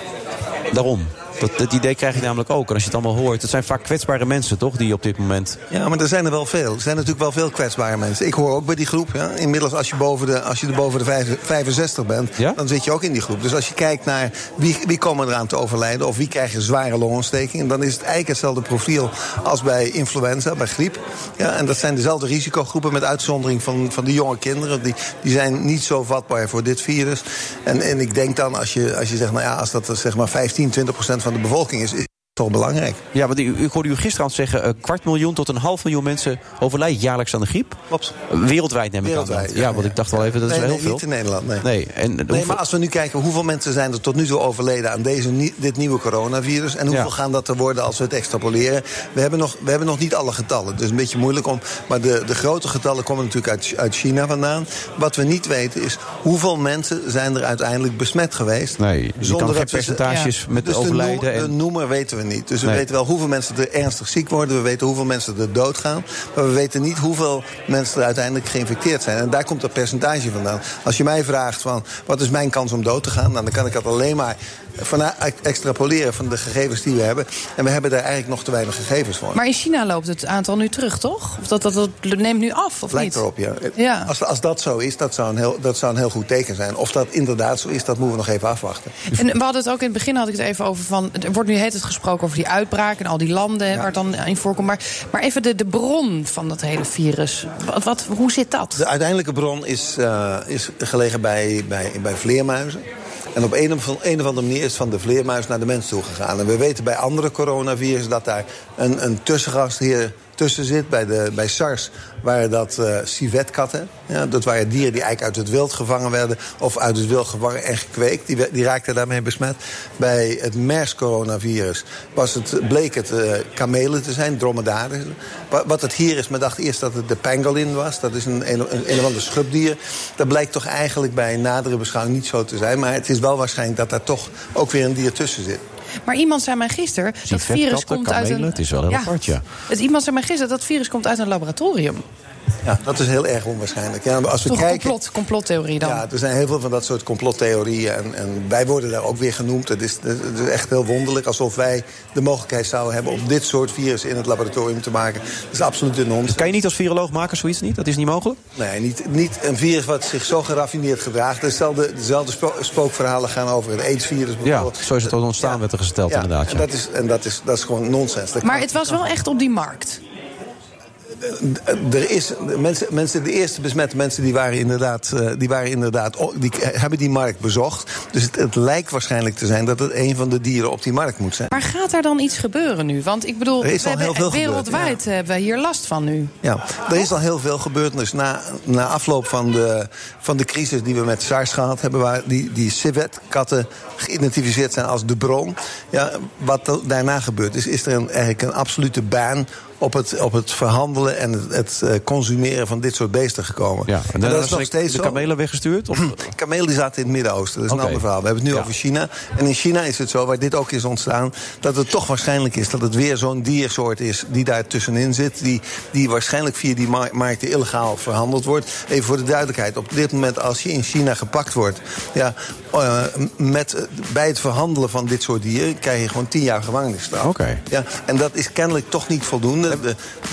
S6: Daarom. Dat, dat idee krijg ik namelijk ook. En als je het allemaal hoort, het zijn vaak kwetsbare mensen, toch? Die op dit moment.
S16: Ja, maar er zijn er wel veel. Er zijn natuurlijk wel veel kwetsbare mensen. Ik hoor ook bij die groep. Ja. Inmiddels, als je, boven de, als je er boven de vijf- 65 bent, dan zit je ook in die groep. Dus als je kijkt naar wie, wie komen eraan te overlijden... of wie krijgen zware longontsteking... dan is het eigenlijk hetzelfde profiel als bij influenza, bij griep. Ja, en dat zijn dezelfde risicogroepen met uitzondering van, van die jonge kinderen. Die, die zijn niet zo vatbaar voor dit virus. En, en ik denk dan, als je, als je zegt, nou ja, als dat zeg maar 15, 20 procent van de bevolking is... is het toch belangrijk.
S6: Ja, want u, ik hoorde u gisteren aan het zeggen... een kwart miljoen tot een half miljoen mensen overlijden jaarlijks aan de griep.
S16: Klopt.
S6: Wereldwijd neem ik aan.
S16: Wereldwijd,
S6: dat.
S16: ja,
S6: Ja, want ik dacht wel even, dat
S16: nee,
S6: is wel
S16: nee,
S6: heel
S16: niet
S6: veel.
S16: in Nederland, nee.
S6: Nee, en eh,
S16: Nee,
S6: hoeveel-
S16: maar als we nu kijken hoeveel mensen zijn er tot nu toe overleden aan deze, nie- dit nieuwe coronavirus. En hoeveel
S6: Ja.
S16: gaan dat er worden als we het extrapoleren. We hebben nog, we hebben nog niet alle getallen. Dus een beetje moeilijk om. Maar de, de grote getallen komen natuurlijk uit, uit China vandaan. Wat we niet weten is hoeveel mensen zijn er uiteindelijk besmet geweest.
S6: Nee, je kan
S16: dat
S6: geen
S16: we ze-
S6: percentages met
S16: dus de
S6: overlijden en-
S16: noem- de noemer weten we niet. Dus we
S6: Nee.
S16: weten wel hoeveel mensen er ernstig ziek worden. We weten hoeveel mensen er doodgaan. Maar we weten niet hoeveel mensen er uiteindelijk geïnfecteerd zijn. En daar komt dat percentage vandaan. Als je mij vraagt van wat is mijn kans om dood te gaan... Nou, dan kan ik dat alleen maar vanuit extrapoleren van de gegevens die we hebben. En we hebben daar eigenlijk nog te weinig gegevens voor.
S7: Maar in China loopt het aantal nu terug, toch? Of dat, dat, dat neemt nu af, of
S16: Lijkt
S7: niet?
S16: erop, ja.
S7: Ja.
S16: Als, als dat zo is, dat zou, een heel, dat zou een heel goed teken zijn. Of dat inderdaad zo is, dat moeten we nog even afwachten.
S7: En we hadden het ook in het begin had ik het even over van. Er wordt nu heet het gesproken over die uitbraak en al die landen hè, waar het dan in voorkomt. Maar, maar even de, de bron van dat hele virus. Wat, wat, hoe zit dat?
S16: De uiteindelijke bron is, eh, is gelegen bij, bij, bij vleermuizen. En op een of, een of andere manier is het van de vleermuis naar de mens toe gegaan. En we weten bij andere coronavirus dat daar een, een tussengas hier tussen zit. Bij, de, bij SARS waren dat eh civetkatten. Ja, dat waren dieren die eigenlijk uit het wild gevangen werden... of uit het wild gevangen en gekweekt. Die, we- die raakten daarmee besmet. Bij het MERS-coronavirus was het, bleek het eh, kamelen te zijn, dromedaren. Wa- Wat het hier is, men dacht eerst dat het de pangolin was. Dat is een, een, een of ander schubdier. Dat blijkt toch eigenlijk bij nadere beschouwing niet zo te zijn. Maar het is wel waarschijnlijk dat daar toch ook weer een dier tussen zit.
S7: Maar iemand zei mij gisteren dat virus
S16: vetkatten,
S7: komt uit een.
S16: kamelen, het is wel heel apart, ja.
S7: Het, iemand zei mij gisteren dat virus komt uit een laboratorium.
S16: Ja, dat is heel erg onwaarschijnlijk. Ja, maar als we
S7: Toch een
S16: kijken...
S7: complot, complottheorie dan.
S16: Ja, er zijn heel veel van dat soort complottheorieën. En, en wij worden daar ook weer genoemd. Het is, het is echt heel wonderlijk. Alsof wij de mogelijkheid zouden hebben om dit soort virus in het laboratorium te maken. Dat is absoluut een onzin.
S6: Kan je niet als viroloog maken, zoiets niet? Dat is niet mogelijk?
S16: Nee, niet, niet een virus wat zich zo geraffineerd gedraagt. Dezelfde, dezelfde spo- spookverhalen gaan over het AIDS-virus
S6: Ja,
S16: bijvoorbeeld.
S6: zo is het al ontstaan, werd er gesteld, inderdaad.
S16: en
S6: Ja.
S16: dat is, en dat is, dat is gewoon nonsens. Dat
S7: Maar
S16: kan-
S7: het was wel echt op die markt.
S16: Er is, de mensen, mensen, de eerste besmette mensen die waren inderdaad, eh, die waren inderdaad o- die k- hebben die markt bezocht. Dus het, het lijkt waarschijnlijk te zijn dat het een van de dieren op die markt moet zijn.
S7: Maar gaat daar dan iets gebeuren nu? Want ik bedoel,
S16: Er is
S7: we
S16: al heel
S7: hebben-
S16: veel gebeurd,
S7: wereldwijd hebben we hier last van nu.
S16: Ja, er is al heel veel gebeurd. Dus na, na afloop van de, van de crisis die we met SARS gehad hebben... waar die, die civetkatten geïdentificeerd zijn als de bron... Ja, wat da- daarna gebeurd is, is er een, eigenlijk een absolute baan... Op het, op het verhandelen en het, het, eh, consumeren van dit soort beesten gekomen. Ja,
S6: En daarna zijn de kamelen
S16: weggestuurd? Of? kamelen die zaten in het Midden-Oosten. Dat is
S6: Oké.
S16: een ander verhaal. We hebben het nu
S6: Ja.
S16: over China. En in China is het zo, waar dit ook is ontstaan... dat het toch waarschijnlijk is dat het weer zo'n diersoort is... die daar tussenin zit, die, die waarschijnlijk via die mar- markten illegaal verhandeld wordt. Even voor de duidelijkheid, op dit moment als je in China gepakt wordt... Ja, eh, met, eh, bij het verhandelen van dit soort dieren... krijg je gewoon tien jaar gevangenisstraf. Ja, en dat is kennelijk toch niet voldoende. De,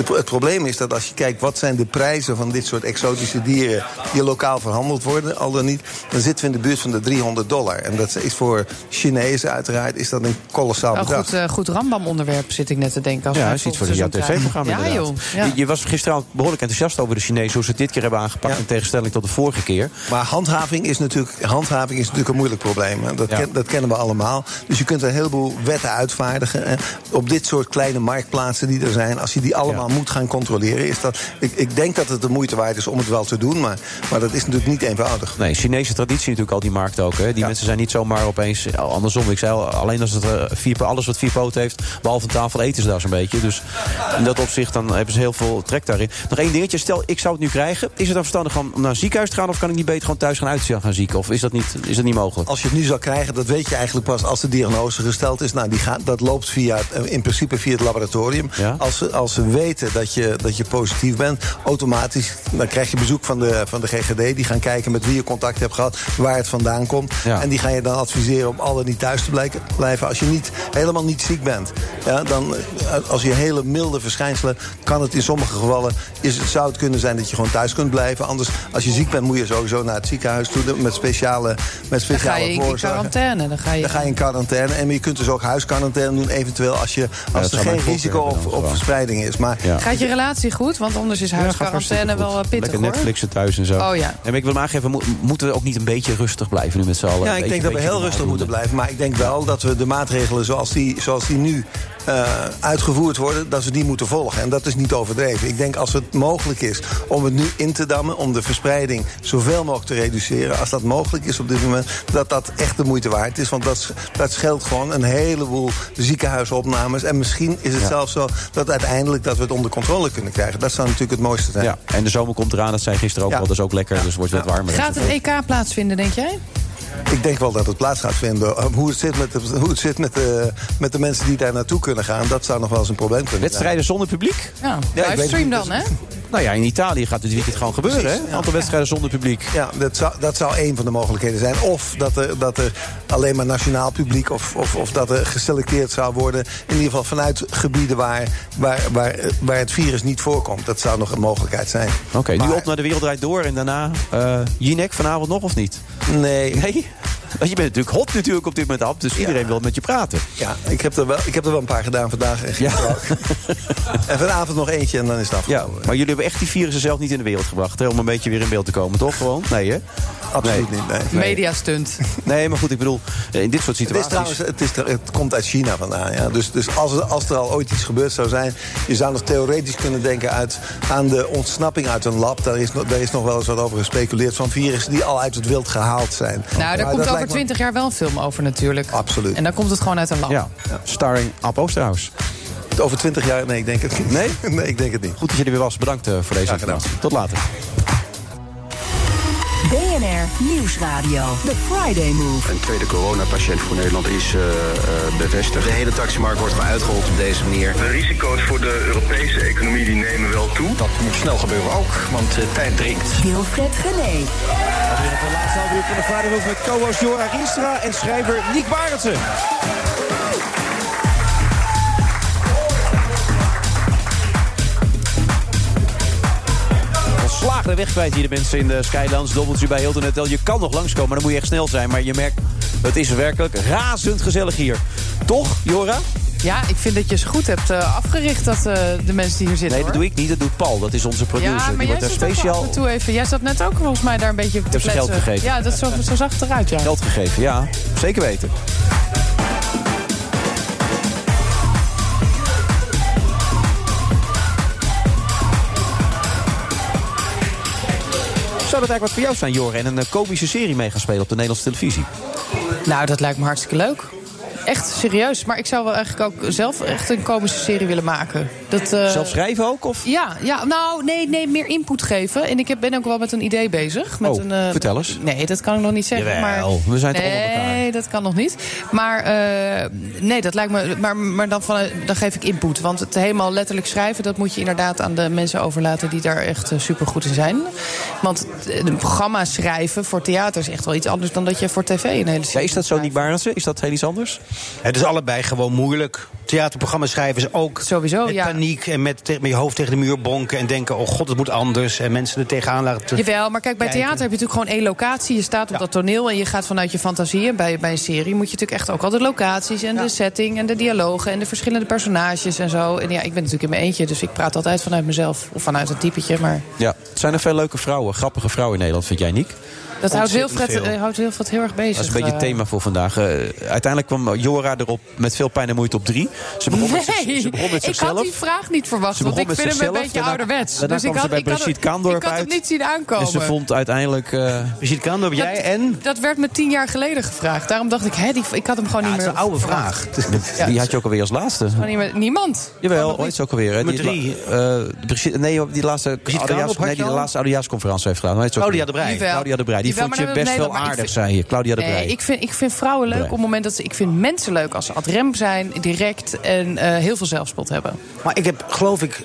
S16: de- het probleem is dat als je kijkt wat zijn de prijzen van dit soort exotische dieren die lokaal verhandeld worden, al dan niet, dan zitten we in de buurt van de 300 dollar. En dat is voor Chinezen uiteraard is dat een kolossaal
S7: Een
S16: bedrag.
S7: goed, eh, goed Rambam-onderwerp zit ik net te denken. Als
S6: Ja,
S7: we
S6: dat is iets voor
S7: volgend
S6: jouw
S7: seizoen
S6: tv-programma
S7: krijgen. Ja,
S6: inderdaad.
S7: joh. Ja.
S6: Je, je was gisteravond behoorlijk enthousiast over de Chinezen... hoe ze het dit keer hebben aangepakt in tegenstelling tot de vorige keer.
S16: Maar handhaving is natuurlijk, handhaving is natuurlijk een moeilijk probleem. hè. Dat, ken- dat kennen we allemaal. Dus je kunt een heleboel wetten uitvaardigen. hè. Op dit soort kleine marktplaatsen die er zijn. als je die allemaal moet gaan controleren, is dat. Ik, ik denk dat het de moeite waard is om het wel te doen, maar, maar dat is natuurlijk niet eenvoudig.
S6: Nee, Chinese traditie natuurlijk al die markt ook. Hè. Die mensen zijn niet zomaar opeens ja, andersom. Ik zei al, alleen als het eh, vier, po- alles wat vier poten heeft, behalve een tafel eten ze daar zo'n beetje. Dus in dat opzicht dan hebben ze heel veel trek daarin. Nog één dingetje, stel ik zou het nu krijgen. Is het dan verstandig om naar een ziekenhuis te gaan of kan ik niet beter gewoon thuis gaan uit gaan zieken? Of is dat niet, is dat niet mogelijk?
S7: Oh,
S16: Als je het nu zou krijgen, dat weet je eigenlijk pas als de diagnose gesteld is. Nou, die gaat, dat loopt via, eh, in principe via het laboratorium. Als, ze, als ze weten dat je, dat je positief bent, automatisch dan krijg je bezoek van de, van de GGD. Die gaan kijken met wie je contact hebt gehad, waar het vandaan komt.
S6: Ja.
S16: En die gaan je dan adviseren om al dan niet thuis te blijken- blijven. Als je niet, helemaal niet ziek bent, ja, dan, eh, als je hele milde verschijnselen, kan het in sommige gevallen, is het, zou het kunnen zijn dat je gewoon thuis kunt blijven. Anders, als je ziek bent, moet je sowieso naar het ziekenhuis toe met speciale, met
S7: Dan ga
S16: speciale
S7: je in
S16: voorzorgen.
S7: quarantaine. Dan ga je...
S16: Dan ga je in quarantaine. En je kunt dus ook huisquarantaine doen, eventueel als, je, als
S6: dat
S16: er
S6: zou mijn
S16: geen
S6: voorkeur
S16: risico
S6: hebben
S16: op,
S6: dan
S16: op
S6: gewoon.
S16: verspreiding is. Maar
S7: Gaat je relatie goed? Want anders is huisquarantaine wel eh, pittig
S6: Lekker
S7: hoor.
S6: Netflixen thuis en zo.
S7: Oh ja.
S6: Nee, maar ik wil hem aangeven, mo- moeten we ook niet een beetje rustig blijven nu met z'n allen?
S16: Ja,
S6: eh, Een
S16: ik denk
S6: beetje-
S16: dat we
S6: beetje
S16: heel
S6: normaal
S16: rustig
S6: doen.
S16: moeten blijven. Maar ik denk wel dat we de maatregelen zoals die, zoals die nu eh, uitgevoerd worden, dat we die moeten volgen. En dat is niet overdreven. Ik denk als het mogelijk is om het nu in te dammen, om de verspreiding zoveel mogelijk te reduceren, als dat mogelijk is op dit moment, dat dat echt de moeite waard is. Want dat, sch- dat scheelt gewoon een heleboel ziekenhuisopnames. En misschien is het
S6: Ja.
S16: zelfs zo dat uiteindelijk dat we het onder controle kunnen krijgen. Dat zou natuurlijk het mooiste zijn.
S6: Ja, en de zomer komt eraan, dat zei gisteren ook
S16: Ja.
S6: al. Dat is ook lekker, dus het wordt wat warmer.
S7: Gaat het EK plaatsvinden, denk jij?
S16: Ik denk wel dat het plaats gaat vinden. Uh, Hoe het zit met de, hoe het zit met de, met de mensen die daar naartoe kunnen gaan, dat zou nog wel eens een probleem kunnen zijn.
S6: Wedstrijden zonder publiek?
S7: Ja,
S16: weet het
S7: livestream
S16: niet,
S7: dan, hè?
S6: Nou ja, in Italië gaat dit weekend gewoon gebeuren, hè?
S16: Precies,
S6: Een
S16: ja.
S6: aantal wedstrijden zonder publiek.
S16: Ja, dat zou, dat zou één van de mogelijkheden zijn. Of dat er, dat er alleen maar nationaal publiek of, of, of dat er geselecteerd zou worden. In ieder geval vanuit gebieden waar, waar, waar, eh, waar het virus niet voorkomt. Dat zou nog een mogelijkheid zijn.
S6: Oké, nu op naar de wereld draait door en daarna eh Jinek vanavond nog of niet?
S16: Nee.
S6: Nee? Want je bent natuurlijk hot natuurlijk op dit moment, Ab, dus iedereen wil met je praten.
S16: Ja, ik heb, er wel, ik heb er wel een paar gedaan vandaag en gisteren ook. En vanavond nog eentje en eh. dan is het
S6: Ja, maar jullie hebben echt die virussen zelf niet in de wereld gebracht, hè? Om een beetje weer in beeld te komen, toch? Gewoon? Nee, hè?
S16: Absoluut niet, nee.
S7: Media stunt.
S6: Nee, maar goed, ik bedoel, eh, in dit soort
S16: Het, is
S6: situaties...
S16: trouwens, het, is, tra- het komt uit China vandaan. Ja. Dus, dus als, als er al ooit iets gebeurd zou zijn... je zou nog theoretisch kunnen denken uit, aan de ontsnapping uit een lab. Daar is, nog- daar is nog wel eens wat over gespeculeerd... van virussen die al uit het wild gehaald zijn.
S7: Nou, daar
S16: Maar
S7: komt
S16: dat
S7: over
S16: lijkt me-
S7: twintig jaar wel een film over natuurlijk.
S16: Absoluut.
S7: En dan komt het gewoon uit een lab.
S6: Ja, starring Ab Oosterhuis.
S16: Over twintig jaar? Nee, ik denk het niet.
S6: Nee?
S16: nee, ik denk het niet.
S6: Goed dat je er weer was. Bedankt eh, voor deze informatie. Tot later.
S2: BNR Nieuwsradio. The Friday Move.
S3: Een tweede coronapatiënt voor Nederland is eh, eh, bevestigd. De hele taximarkt wordt gewoon uitgehold op deze manier.
S4: De risico's voor de Europese economie die nemen wel toe. Dat moet snel gebeuren ook, want eh, tijd dringt.
S2: Wilfred Gené.
S6: De laatste half uur van de Friday Move met co-host Jora Riestra en schrijver Niek Barendse. Slaag de weg kwijt hier de mensen in de Skylands. Dobbeltje bij Hilton Hotel. Je kan nog langskomen, maar dan moet je echt snel zijn. Maar je merkt, het is werkelijk razend gezellig hier. Toch, Jora?
S7: Ja, ik vind dat je ze goed hebt eh, afgericht, dat, eh, de mensen die hier zitten.
S6: Nee, dat
S7: hoor.
S6: doe ik niet. Dat doet Paul. Dat is onze producer.
S7: Ja, maar
S6: Die
S7: jij
S6: wordt daar
S7: zit speciaal...
S6: speciaal
S7: af en toe even... Jij zat net ook volgens mij daar een beetje te
S6: heb ze geld
S7: kletsen.
S6: gegeven.
S7: Ja, dat zo, zo zag het eruit, ja.
S6: geld gegeven. Ja, zeker weten. Zou dat eigenlijk wat voor jou zijn, Joren? En een eh, komische serie mee gaan spelen op de Nederlandse televisie?
S7: Nou, dat lijkt me hartstikke leuk. Echt serieus. Maar ik zou wel eigenlijk ook zelf echt een komische serie willen maken. Dat, eh,
S6: Zelf schrijven ook? Of?
S7: Ja, ja, nou, nee, nee, meer input geven. En ik heb- ben ook wel met een idee bezig. Met
S6: Oh,
S7: een, eh,
S6: vertel eens.
S7: Nee, dat kan ik nog niet zeggen.
S6: Jawel,
S7: maar,
S6: we zijn toch
S7: nee,
S6: onder elkaar.
S7: Nee, dat kan nog niet. Maar eh, nee, dat lijkt me. Maar, maar dan, van, eh, dan geef ik input. Want het helemaal letterlijk schrijven, dat moet je inderdaad aan de mensen overlaten die daar echt super goed in zijn. Want eh, een programma schrijven voor theater is echt wel iets anders dan dat je voor tv een hele
S6: Ja, is dat zo niet, Barendse? Is dat heel iets anders?
S17: Het is allebei gewoon moeilijk. Theaterprogramma schrijven is ook
S7: Sowieso,
S17: met paniek en met, te- met je hoofd tegen de muur bonken en denken: oh god, het moet anders. En mensen er tegenaan laten.
S7: Jawel, maar kijk, bij
S17: kijken.
S7: theater heb je natuurlijk gewoon één locatie. Je staat op dat toneel en je gaat vanuit je fantasie. En bij, bij een serie moet je natuurlijk echt ook al de locaties en de setting en de dialogen en de verschillende personages en zo. En ja, ik ben natuurlijk in mijn eentje, dus ik praat altijd vanuit mezelf. Of vanuit een typetje, maar
S6: Ja.
S7: het
S6: zijn er veel leuke vrouwen, grappige vrouwen in Nederland, vind jij, Niek?
S7: Dat houdt
S6: Ontzettend
S7: Wilfred,
S6: veel.
S7: eh, houdt Wilfred heel erg bezig.
S6: Dat is een beetje het
S7: eh.
S6: thema voor vandaag. Eh, uiteindelijk kwam Jora erop met veel pijn en moeite op drie. Ze begon met, zich-
S7: Nee,
S6: ze begon met
S7: ik
S6: zichzelf.
S7: had die vraag niet verwacht.
S6: Ze
S7: Want
S6: begon
S7: ik
S6: met
S7: vind hem
S6: zichzelf,
S7: een beetje
S6: daarna-
S7: ouderwets. Dus
S6: daarna
S7: ik
S6: kwam ze bij
S7: ik had,
S6: Brigitte Kaandorp
S7: ik had hem
S6: uit.
S7: niet zien aankomen.
S6: En ze vond uiteindelijk... eh
S17: Brigitte Kaandorp,
S7: Dat- Dat werd me tien jaar geleden gevraagd. Daarom dacht ik, hè, die, ik had hem gewoon niet meer.
S17: een oude
S7: verwacht.
S17: vraag.
S6: Die had je ook alweer als laatste.
S7: Gewoon niet meer- Niemand.
S6: Jawel, ooit ook alweer. hè?
S17: Nummer
S6: Die-
S17: drie.
S6: eh, Brigitte- nee, die laatste,
S17: Brigitte
S6: oudejaars-
S17: Kaandorp had
S6: nee,
S17: je
S6: die de
S17: al?
S6: laatste oudejaarsconferentie heeft gedaan. Weet je ook
S17: Claudia
S6: weer.
S17: de Breij.
S7: Jawel.
S6: Claudia de Breij. Die
S7: Jawel,
S6: vond
S7: maar
S6: je
S7: dat-
S6: best
S7: nee,
S6: wel
S7: maar ik
S6: aardig,
S7: vind-
S6: zei je. Claudia de
S7: Nee,
S6: Breij.
S7: Eh, ik vind, ik vind vrouwen leuk
S6: Breij.
S7: op het moment dat ze... Ik vind mensen leuk als ze adrem zijn, direct en eh, heel veel zelfspot hebben.
S17: Maar ik heb, geloof ik...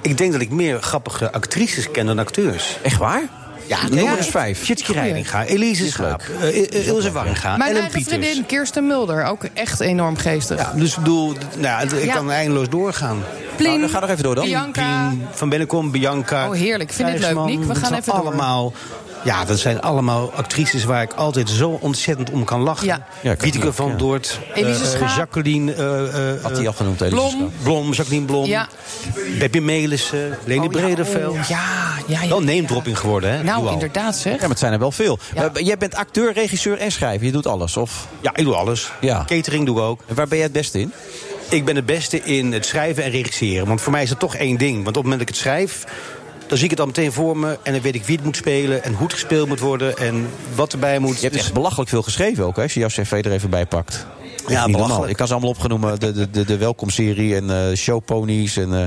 S17: Ik denk dat ik meer grappige actrices ken dan acteurs.
S6: Echt waar?
S17: Ja,
S6: Noem maar eens vijf.
S17: Chitske Reininga, Elise Schaap, eh, eh, Ilse Warringa,
S7: Mijn
S17: Ellen
S7: eigen
S17: Pieters.
S7: vriendin Kirsten Mulder, ook echt enorm geestig.
S17: Ja, dus ik bedoel, d- nou, ja, het- ik
S7: Ja.
S17: kan eindeloos doorgaan.
S7: Plien, Nou, dan ga nog even door dan. Bianca.
S17: Plien, van Bennekom, Bianca.
S7: Oh, heerlijk. Ik vind dit leuk,
S17: Krijgsman.
S7: Niek. We
S17: Dat
S7: gaan
S17: zijn
S7: even door.
S17: allemaal, Ja, dat zijn allemaal actrices waar ik altijd zo ontzettend om kan lachen.
S7: Ja.
S6: Ja, kan
S17: Wieteke
S6: ook,
S17: van
S6: ja.
S17: Doort, eh,
S7: Elise
S17: eh,
S7: Schaap.
S17: Jacqueline... eh, eh,
S6: Had hij al genoemd, Elise
S7: Blom.
S17: Blom.
S7: Schaap.
S17: Jacqueline Blom.
S7: Ja.
S17: Beppie Melissen, Leni
S7: Oh, ja.
S14: Nou,
S17: Brederveld.
S7: Oh, ja, ja, ja.
S17: Wel name-dropping geworden, hè?
S7: Nou,
S17: Nu al.
S7: inderdaad zeg.
S6: Ja, maar het zijn er wel veel. Maar jij bent acteur, regisseur en schrijver. Je doet alles, of?
S17: Ja, ik doe alles.
S6: Ja.
S17: Catering doe ik ook.
S6: En waar ben jij het beste in?
S17: Ik ben het beste in het schrijven en regisseren. Want voor mij is dat toch één ding. Want op het moment dat ik het schrijf, dan zie ik het al meteen voor me. En dan weet ik wie het moet spelen en hoe het gespeeld moet worden en wat erbij moet.
S6: Je hebt
S17: Dus-
S6: echt belachelijk veel geschreven ook, hè, als je jouw cv er even bij pakt. Echt niet
S17: belachelijk.
S6: normaal. Ik kan ze allemaal opgenoemen. De, de, de, de welkomserie en eh, showponies en eh,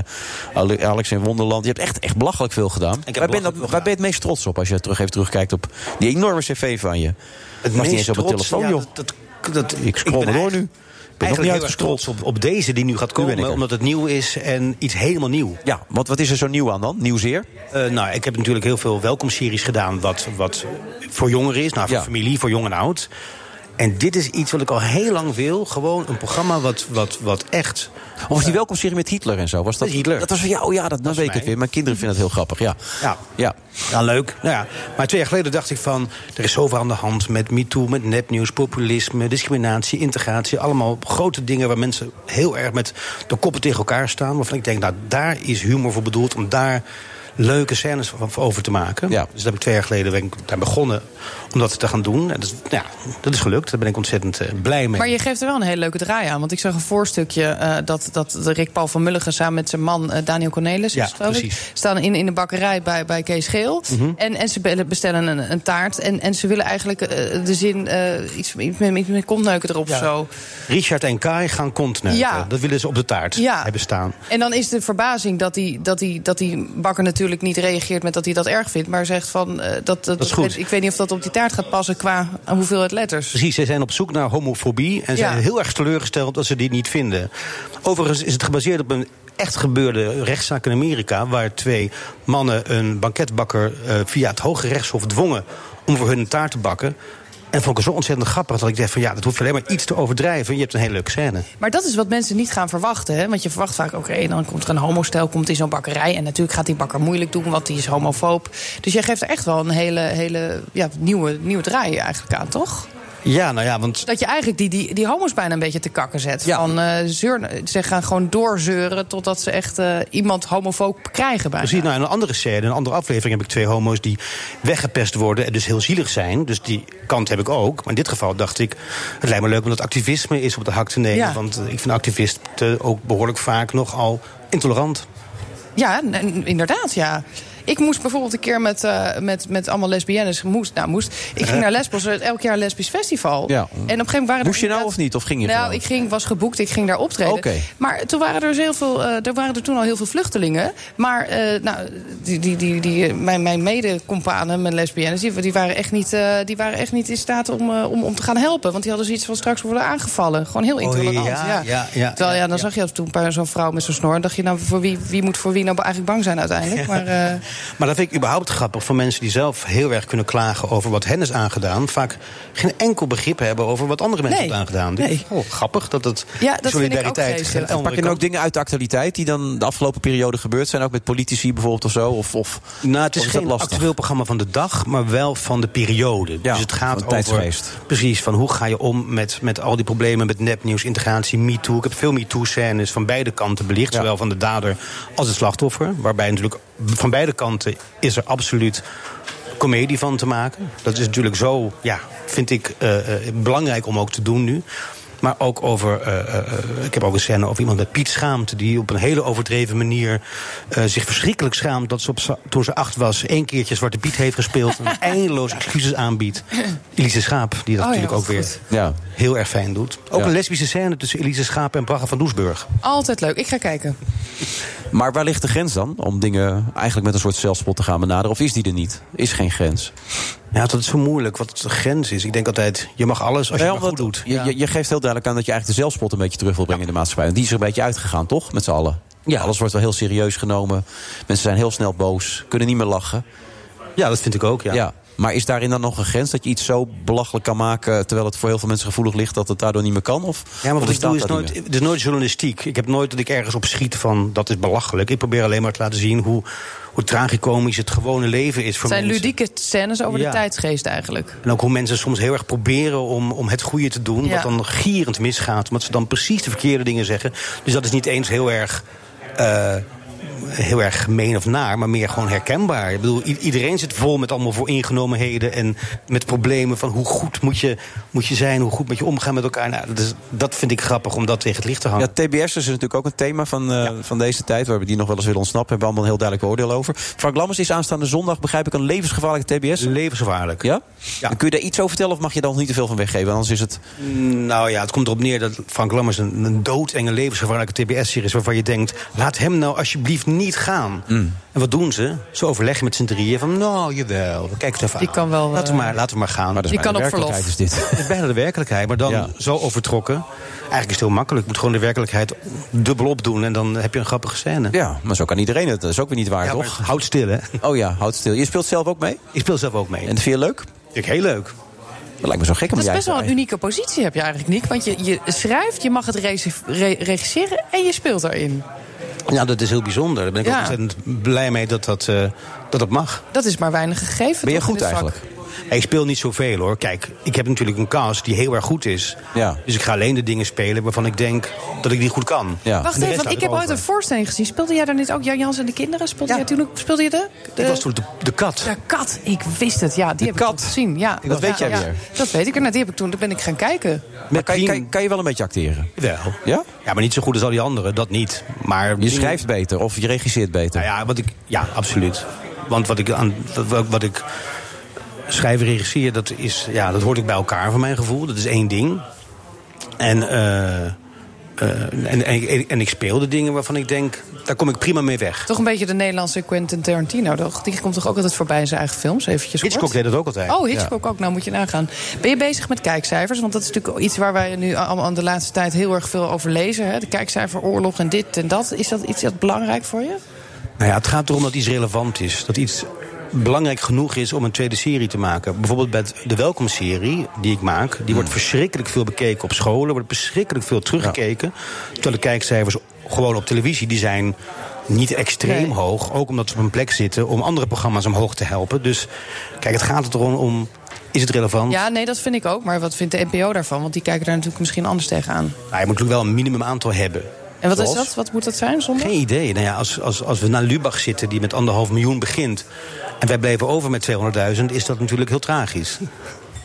S6: Ale- Alex in Wonderland. Je hebt echt, echt belachelijk veel gedaan. Waar ben, je dat, waar ben je het meest trots op als je terug even terugkijkt op die enorme cv van je? Het niet eens op mijn
S17: trots- ja,
S6: telefoon, joh.
S17: dat- dat- dat-
S6: Ik scroll
S17: ben
S6: maar door
S17: eigenlijk-
S6: nu. Ik ben nog niet
S17: eigenlijk heel erg
S6: uitgescrolld.
S17: trots op, op deze die nu gaat
S6: ben ik
S17: komen,
S6: er.
S17: omdat het nieuw is en iets helemaal nieuw.
S6: Ja, want wat is er zo nieuw aan dan? Nieuwzeer?
S17: Eh, nou, ik heb natuurlijk heel veel welkomseries gedaan... wat, wat voor jongeren is, nou, voor familie, voor jong en oud. En dit is iets wat ik al heel lang wil. Gewoon een programma wat, wat, wat echt...
S6: Of was die welkomserie met Hitler en zo? Was dat,
S17: Met Hitler.
S6: Dat was van, ja, oh ja, dat, dat weet ik het weer. Mijn kinderen vinden het heel grappig, ja.
S17: Ja.
S6: Ja.
S17: Ja, leuk. Nou ja, maar twee jaar geleden dacht ik van... er is zoveel aan de hand met MeToo, met nepnieuws, populisme... discriminatie, integratie. Allemaal grote dingen waar mensen heel erg met de koppen tegen elkaar staan. Waarvan ik denk, nou, daar is humor voor bedoeld... om daar leuke scènes van- van over te maken. Dus dat heb ik twee jaar geleden ben ik daar begonnen om dat te gaan doen. En dat, is- nou ja, dat is gelukt. Daar ben ik ontzettend eh, blij mee.
S7: Maar je geeft er wel een hele leuke draai aan. Want ik zag een voorstukje eh, dat, dat Rick Paul van Mulligen samen met zijn man eh, Daniel Cornelis...
S17: Ja,
S7: is het, geloof ik,
S17: precies.
S7: staan in, in de bakkerij bij, bij Kees Geel.
S17: Mhm.
S7: en, en ze bellen- bestellen een, een taart. En, en ze willen eigenlijk eh, de zin eh, iets, iets met, iets met kontneuken erop of zo.
S17: Richard en Kai gaan kontneuken.
S7: Ja.
S17: Dat willen ze op de taart
S7: Ja.
S17: hebben staan.
S7: En dan is de verbazing dat die, dat, die, dat die bakker natuurlijk niet reageert met dat hij dat erg vindt. Maar zegt van, eh, dat, dat,
S17: is goed.
S7: Ik, weet niet of dat op die taart gaat passen qua hoeveelheid letters.
S17: Precies, zij zijn op zoek naar homofobie en
S7: Ja.
S17: zijn heel erg teleurgesteld dat ze die niet vinden. Overigens is het gebaseerd op een echt gebeurde rechtszaak in Amerika, waar twee mannen een banketbakker eh, via het Hoge Rechtshof dwongen om voor hun een taart te bakken. En vond ik het zo ontzettend grappig dat ik dacht van ja, dat hoef je alleen maar iets te overdrijven. Je hebt een hele leuke scène.
S7: Maar dat is wat mensen niet gaan verwachten. Hè? Want je verwacht vaak, oké, dan komt er een homostel komt in zo'n bakkerij. En natuurlijk gaat die bakker moeilijk doen, want die is homofoob. Dus jij geeft er echt wel een hele, hele ja, nieuwe, nieuwe draai eigenlijk aan, toch?
S17: Ja, nou ja, want
S7: Dat je eigenlijk die, die, die homo's bijna een beetje te kakken zet. Van, eh, zeur, ze gaan gewoon doorzeuren totdat ze echt eh, iemand homofoob krijgen bijna.
S17: Precies, nou, in een andere scène, in een andere aflevering... heb ik twee homo's die weggepest worden en dus heel zielig zijn. Dus die kant heb ik ook. Maar in dit geval dacht ik, het lijkt me leuk om dat activisme is op de hak te nemen.
S7: Ja.
S17: Want eh, ik vind activisten ook behoorlijk vaak nogal intolerant.
S7: Ja, n- n- inderdaad, ja. Ik moest bijvoorbeeld een keer met, eh, met, met allemaal lesbiennes... Moest, nou, moest. Ik ging naar Lesbos, eh, elk jaar een lesbisch festival.
S6: Ja.
S7: En op een gegeven moment waren er
S6: Moest je nou of niet? Of ging je
S7: Nou,
S6: gewoon?
S7: ik ging, was geboekt, ik ging daar optreden.
S6: Oké.
S7: Maar toen waren er, dus heel veel, eh, er waren er toen al heel veel vluchtelingen. Maar eh, nou, die, die, die, die, eh, mijn, mijn mede-companen, mijn lesbiennes... Die, die, waren echt niet, eh, die waren echt niet in staat om, eh, om, om te gaan helpen. Want die hadden zoiets van straks worden we aangevallen. Gewoon heel intolerant.
S17: ja, ja, ja,
S7: Terwijl Oh, ja, dan zag je dat toen bij zo'n vrouw met zo'n snor... en dacht je nou, voor wie, wie moet voor wie nou eigenlijk bang zijn uiteindelijk? Maar, eh,
S17: Maar dat vind ik überhaupt grappig van mensen die zelf heel erg kunnen klagen... over wat hen is aangedaan. Vaak geen enkel begrip hebben over wat andere mensen
S7: Nee.
S17: hebben aangedaan. Oh,
S7: Nee.
S17: Dit is wel grappig dat het
S7: Ja, dat vind ik ook
S17: solidariteit...
S7: geestig.
S17: geen andere
S6: Pak je
S17: kant
S6: nou ook dingen uit de actualiteit die dan de afgelopen periode gebeurd zijn? Ook met politici bijvoorbeeld of zo? Of, of,
S17: Nou, het
S6: of
S17: is geen
S6: dat lastig?
S17: actueel programma van de dag, maar wel van de periode. dus het gaat
S6: van
S17: over.
S6: tijdsgeest.
S17: Precies, van hoe ga je om met, met al die problemen met nepnieuws, integratie, MeToo. Ik heb veel MeToo-scènes van beide kanten belicht, zowel van de dader als het slachtoffer. Waarbij natuurlijk van beide kanten is er absoluut comedie van te maken. Dat is natuurlijk zo, ja, vind ik eh, eh, belangrijk om ook te doen nu. Maar ook over, eh, eh, ik heb ook een scène over iemand met Piet Schaamte... die op een hele overdreven manier eh, zich verschrikkelijk schaamt... dat ze op za- toen ze acht was één keertje Zwarte Piet heeft gespeeld... en eindeloos excuses aanbiedt. Elise Schaap, die dat
S7: Oh ja,
S17: natuurlijk ook
S7: wat
S17: weer
S7: goed.
S6: ja.
S17: heel erg fijn doet. Ook
S6: Ja.
S17: een lesbische scène tussen Elise Schaap en Braga van Doesburg.
S7: Altijd leuk. Ik ga kijken.
S6: Maar waar ligt de grens dan? Om dingen eigenlijk met een soort zelfspot te gaan benaderen? Of is die er niet? Is geen grens?
S17: Ja, dat is zo moeilijk wat de grens is. Ik denk altijd, je mag alles als je
S6: Nee,
S17: het maar goed
S6: omdat-
S17: doet.
S6: Je, je, je geeft heel duidelijk aan dat je eigenlijk de zelfspot een beetje terug wil brengen in de maatschappij. En die is er een beetje uitgegaan, toch? Met z'n allen. Ja. Alles wordt wel heel serieus genomen. Mensen zijn heel snel boos, kunnen niet meer lachen.
S17: Ja, dat vind ik ook, ja.
S6: Maar is daarin dan nog een grens dat je iets zo belachelijk kan maken... terwijl het voor heel veel mensen gevoelig ligt dat het daardoor niet meer kan? Of,
S17: Ja, maar
S6: of
S17: wat ik
S6: bestaat
S17: doe is
S6: dat niet
S17: nooit,
S6: meer?
S17: het is nooit journalistiek. Ik heb nooit dat ik ergens op schiet van dat is belachelijk. Ik probeer alleen maar te laten zien hoe, hoe tragicomisch het gewone leven is voor
S7: Het zijn
S17: mensen.
S7: ludieke scènes over
S17: Ja.
S7: de tijdsgeest eigenlijk.
S17: En ook hoe mensen soms heel erg proberen om, om het goede te doen.
S7: Ja.
S17: Wat dan gierend misgaat. Omdat ze dan precies de verkeerde dingen zeggen. Dus dat is niet eens heel erg. eh, Heel erg gemeen of naar, maar meer gewoon herkenbaar. Ik bedoel, i- iedereen zit vol met allemaal vooringenomenheden en met problemen van hoe goed moet je, moet je zijn, hoe goed moet je omgaan met elkaar. Nou, dat, is, dat vind ik grappig om dat tegen het licht te hangen.
S6: Ja, TBS is natuurlijk ook een thema van, eh, van deze tijd. Waar we die nog wel eens willen ontsnappen. Hebben we allemaal een heel duidelijk oordeel over. Frank Lammers is aanstaande zondag, begrijp ik, een levensgevaarlijke TBS.
S17: Levensgevaarlijk.
S6: Ja? En Kun je daar iets over vertellen of mag je daar nog niet te veel van weggeven? Anders is het...
S17: Nou ja, het komt erop neer dat Frank Lammers een, een doodenge levensgevaarlijke TBS-serie is... waarvan je denkt, laat hem nou alsjeblieft niet gaan.
S6: Mm.
S17: En wat doen ze? Ze overleggen met z'n drieën van, nou jawel, we kijken het even
S7: Die
S17: aan.
S7: kan wel,
S17: Laten we
S7: eh,
S17: maar, laten we maar gaan.
S7: dat is Die bijna kan de op verlof. werkelijkheid
S6: dit.
S17: Dat is bijna de werkelijkheid, maar dan zo overtrokken. Eigenlijk is het heel makkelijk. Je moet gewoon de werkelijkheid dubbel opdoen en dan heb je een grappige scène.
S6: Ja, maar zo kan iedereen het. Dat is ook weer niet waar,
S17: Ja, maar
S6: toch?
S17: houd stil, hè?
S6: Oh ja, houd stil. Je speelt zelf ook mee?
S17: Ik speel zelf ook mee. En
S6: dat vind je leuk?
S17: Ik heel leuk.
S6: Dat lijkt me zo gek om
S7: Dat is
S6: jij
S7: best
S6: te
S7: wel een
S6: draaien.
S7: unieke positie heb je eigenlijk, Nick. Want je, je schrijft, je mag het regi- re- regisseren en je speelt daarin.
S17: Nou, dat is heel bijzonder. Daar ben ik
S7: Ja.
S17: ook ontzettend blij mee dat dat, eh, dat, dat mag.
S7: Dat is maar weinig gegeven. toch, in dit vak?
S17: Ja, ik speel niet zoveel hoor. Kijk, ik heb natuurlijk een cast die heel erg goed is. Dus ik ga alleen de dingen spelen waarvan ik denk dat ik die goed kan. En de
S7: Wacht
S17: rest
S7: even, want
S17: laat
S7: ik heb ooit
S17: over.
S7: een voorstelling gezien. Speelde jij daar niet ook? Jan Jans en de kinderen? Speelde jij toen ook? Speelde je de? de
S17: Ik was toen de, de kat.
S7: De kat, ik wist het. Ja, die heb ik toen gezien. Ja.
S17: Dat weet
S7: ja,
S17: jij
S7: ja.
S17: weer.
S7: Dat weet ik. En nou, die heb ik toen, dat ben ik gaan kijken.
S6: Maar kan, je- kan, je- kan je wel een beetje acteren?
S17: Wel.
S6: Ja?
S17: Ja, maar niet zo goed als al die anderen. Dat niet. Maar
S6: Je schrijft beter of je regisseert beter?
S17: Nou ja, wat ik, ja absoluut. Want wat ik, aan, wat, wat ik schrijf en regisseer, dat, is, ja, dat hoort ik bij elkaar van mijn gevoel. Dat is één ding. En, eh, eh, en, en, en ik speel de dingen waarvan ik denk, daar kom ik prima mee weg.
S7: Toch een beetje de Nederlandse Quentin Tarantino, toch? Die komt toch ook altijd voorbij in zijn eigen films, eventjes kort?
S17: Hitchcock deed dat ook altijd.
S7: Oh, Hitchcock ook. Nou, moet je nagaan. Ben je bezig met kijkcijfers? Want dat is natuurlijk iets waar wij nu allemaal aan de laatste tijd heel erg veel over lezen. Hè? De kijkcijferoorlog en dit en dat. Is dat iets dat belangrijk voor je?
S17: Nou ja, het gaat erom dat iets relevant is. Dat iets belangrijk genoeg is om een tweede serie te maken. Bijvoorbeeld bij het- de welkomserie die ik maak... die
S7: Hmm.
S17: wordt verschrikkelijk veel bekeken op scholen. Wordt verschrikkelijk veel teruggekeken. Terwijl de kijkcijfers gewoon op televisie... die zijn niet extreem hoog. Ook omdat ze op een plek zitten om andere programma's omhoog te helpen. Dus kijk, het gaat er gewoon om... is het relevant?
S7: Ja, nee, dat vind ik ook. Maar wat vindt de NPO daarvan? Want die kijken daar natuurlijk misschien anders tegenaan.
S17: Nou, je moet natuurlijk wel een minimum aantal hebben.
S7: En wat is
S17: Zoals-
S7: dat? Wat moet dat zijn zonder?
S17: Geen idee. Nou ja, als, als, als we naar Lubach zitten, die met anderhalf miljoen begint... en wij blijven over met 200.000, is dat natuurlijk heel tragisch.
S7: Nou,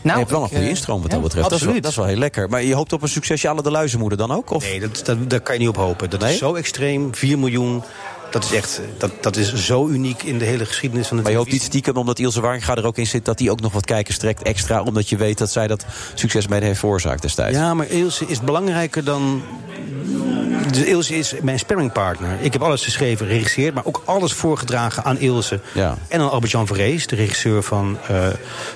S6: je hebt wel een goede instroom wat dat betreft. Dat is, wel,
S17: absoluut.
S6: dat is wel heel lekker. Maar je hoopt op een succesje alle de luizenmoeder dan ook? Of?
S17: Nee, dat, dat, daar kan je niet op hopen. Dat is zo extreem, 4 miljoen. Dat is echt, eh, dat, dat is zo uniek in de hele geschiedenis van de
S6: Maar je hoopt niet stiekem, omdat Ilse Waringa er ook in zit... dat die ook nog wat kijkers trekt extra... omdat je weet dat zij dat succes mede heeft veroorzaakt destijds.
S17: Ja, maar Ilse is belangrijker dan... Dus Ilse is mijn sparringpartner. Ik heb alles geschreven, geregisseerd, maar ook alles voorgedragen aan Ilse. En aan Albert-Jan Verrees, de regisseur van eh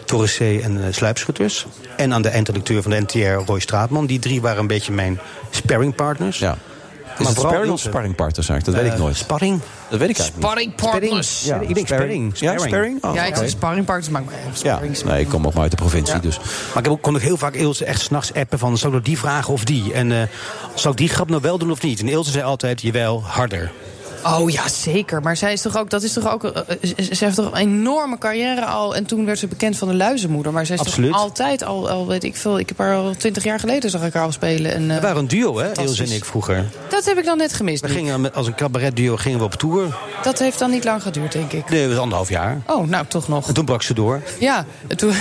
S17: Torres C. en eh, Sluipschutters. En aan de eindredacteur van de NTR, Roy Straatman. Die drie waren een beetje mijn sparringpartners. Ja.
S6: Is het sparring of sparringpartners eigenlijk? Dat weet ik nooit.
S17: Eh, Sparring?
S6: Dat weet ik eigenlijk
S7: Sparringpartners.
S6: Ja, ik denk sparring. Ja, sparring? Oh,
S7: ja, ik
S6: oké.
S7: zeg sparringpartners, maar
S6: niet. Ja, nee, ik kom ook maar uit de provincie. Dus.
S17: Maar ik heb ook, kon ook heel vaak Ilse echt s'nachts appen van... zou ik nou die vragen of die? En eh zou ik die grap nou wel doen of niet? En Ilse zei altijd, jawel, harder.
S7: Oh ja, zeker. Maar zij is toch ook, dat is toch ook. eh, Ze ze heeft toch een enorme carrière al. En toen werd ze bekend van de luizenmoeder. Maar zij is
S6: Absoluut.
S7: toch altijd al, al, weet ik veel. Ik heb haar al twintig jaar geleden zag ik haar al spelen. En, eh,
S17: We waren een duo, hè,
S7: fantastisch.
S17: Ilse en ik vroeger.
S7: Dat heb ik dan net gemist.
S17: We gingen met- als een cabaretduo gingen we op tour.
S7: Dat heeft dan niet lang geduurd, denk ik.
S17: Nee, dat was anderhalf jaar.
S7: Oh, nou toch nog.
S17: En toen brak ze door.
S7: Ja, en toen,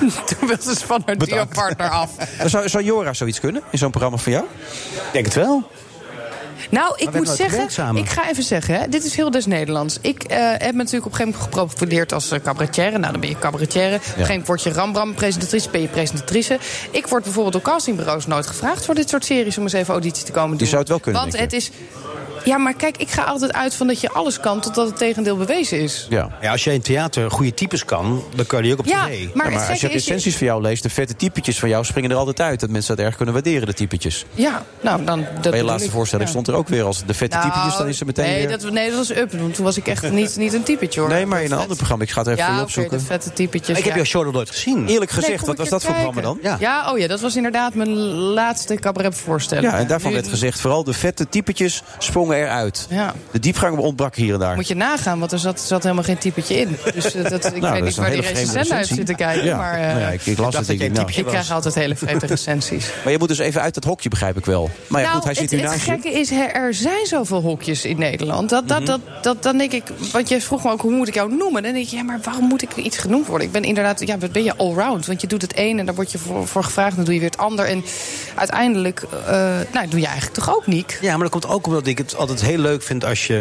S7: toen wilde ze van haar duo-partner af.
S6: Zou, zou Jora zoiets kunnen in zo'n programma van jou? Ik denk het wel.
S7: Nou, ik
S6: hebben
S7: moet
S6: nooit gewerkt
S7: zeggen,
S6: samen.
S7: ik ga even zeggen, hè, dit is heel des Nederlands. Ik eh, heb natuurlijk op een gegeven moment geprofileerd als eh, cabaretière. Nou, dan ben je cabaretière. Op een gegeven moment word je Rambram-presentatrice, ben je presentatrice. Ik word bijvoorbeeld door castingbureaus nooit gevraagd voor dit soort series om eens even auditie te komen doen.
S6: Je zou het wel kunnen,
S7: Want
S6: denk
S7: het is. Ja, maar kijk, ik ga altijd uit van dat je alles kan totdat het tegendeel bewezen is.
S6: Ja.
S17: als jij in theater goede types kan, dan kan je die ook op
S7: Ja,
S17: tv.
S7: maar
S6: als
S7: het
S6: je
S7: gekke is, je-
S6: recensies van jou leest, de vette typetjes van jou springen er altijd uit. Dat mensen dat erg kunnen waarderen, de typetjes.
S7: Ja, nou dan. Dat
S6: Bij je
S7: bedoel
S6: laatste
S7: ik.
S6: voorstelling
S7: Ja.
S6: stond er ook weer als de vette
S7: Nou,
S6: typetjes. Dan is ze meteen
S7: nee,
S6: weer...
S7: Dat, nee, dat was up. want Toen was ik echt niet, niet een typetje hoor.
S6: Nee, maar in een ander programma. Ik ga het even
S7: ja,
S6: voor je
S7: oké,
S6: opzoeken.
S7: de vette typetjes.
S6: Ik heb
S7: ja.
S6: jouw show nog nooit gezien. Eerlijk gezegd,
S7: Nee,
S6: wat
S7: kom
S6: was
S7: ik
S6: dat
S7: eens
S6: voor programma dan?
S7: kijken. Ja. oh ja, dat was inderdaad mijn laatste cabaretvoorstelling.
S6: Ja, en daarvan
S7: Nu-
S6: werd gezegd, vooral de vette typetjes sprongen eruit.
S7: Ja.
S6: De diepgang ontbrak hier en daar.
S7: Moet je nagaan, want er zat, zat helemaal geen typetje in. Dus eh, dat,
S6: Nou, dat is
S7: ik weet
S6: een
S7: niet waar
S6: hele
S7: die
S6: vreemde
S7: recensent heeft
S6: recensie.
S7: zitten kijken.
S6: Ja.
S7: Maar, eh,
S6: Nou ja, ik- ik las Ik dacht het, dat ik jij denk, een nou. typetje
S7: ik krijg
S6: was.
S7: altijd hele vreemde recensies.
S6: Maar je moet dus even uit dat hokje, begrijp ik wel. Maar ja,
S7: nou,
S6: goed, hij
S7: het,
S6: zit nu
S7: het
S6: naast je.
S7: gekke is, er, er zijn zoveel hokjes in Nederland. Dat, dat,
S6: Mhm.
S7: dat, dat, dan denk ik, want jij vroeg me ook, hoe moet ik jou noemen? Dan denk ik, ja, maar waarom moet ik iets genoemd worden? Ik ben inderdaad, ja, wat ben je allround? Want je doet het een en dan word je voor, voor gevraagd, dan doe je weer het ander. En uiteindelijk, eh, nou, doe je eigenlijk toch ook niet.
S17: Ja, maar dat komt ook omdat ik het altijd heel leuk vind als je...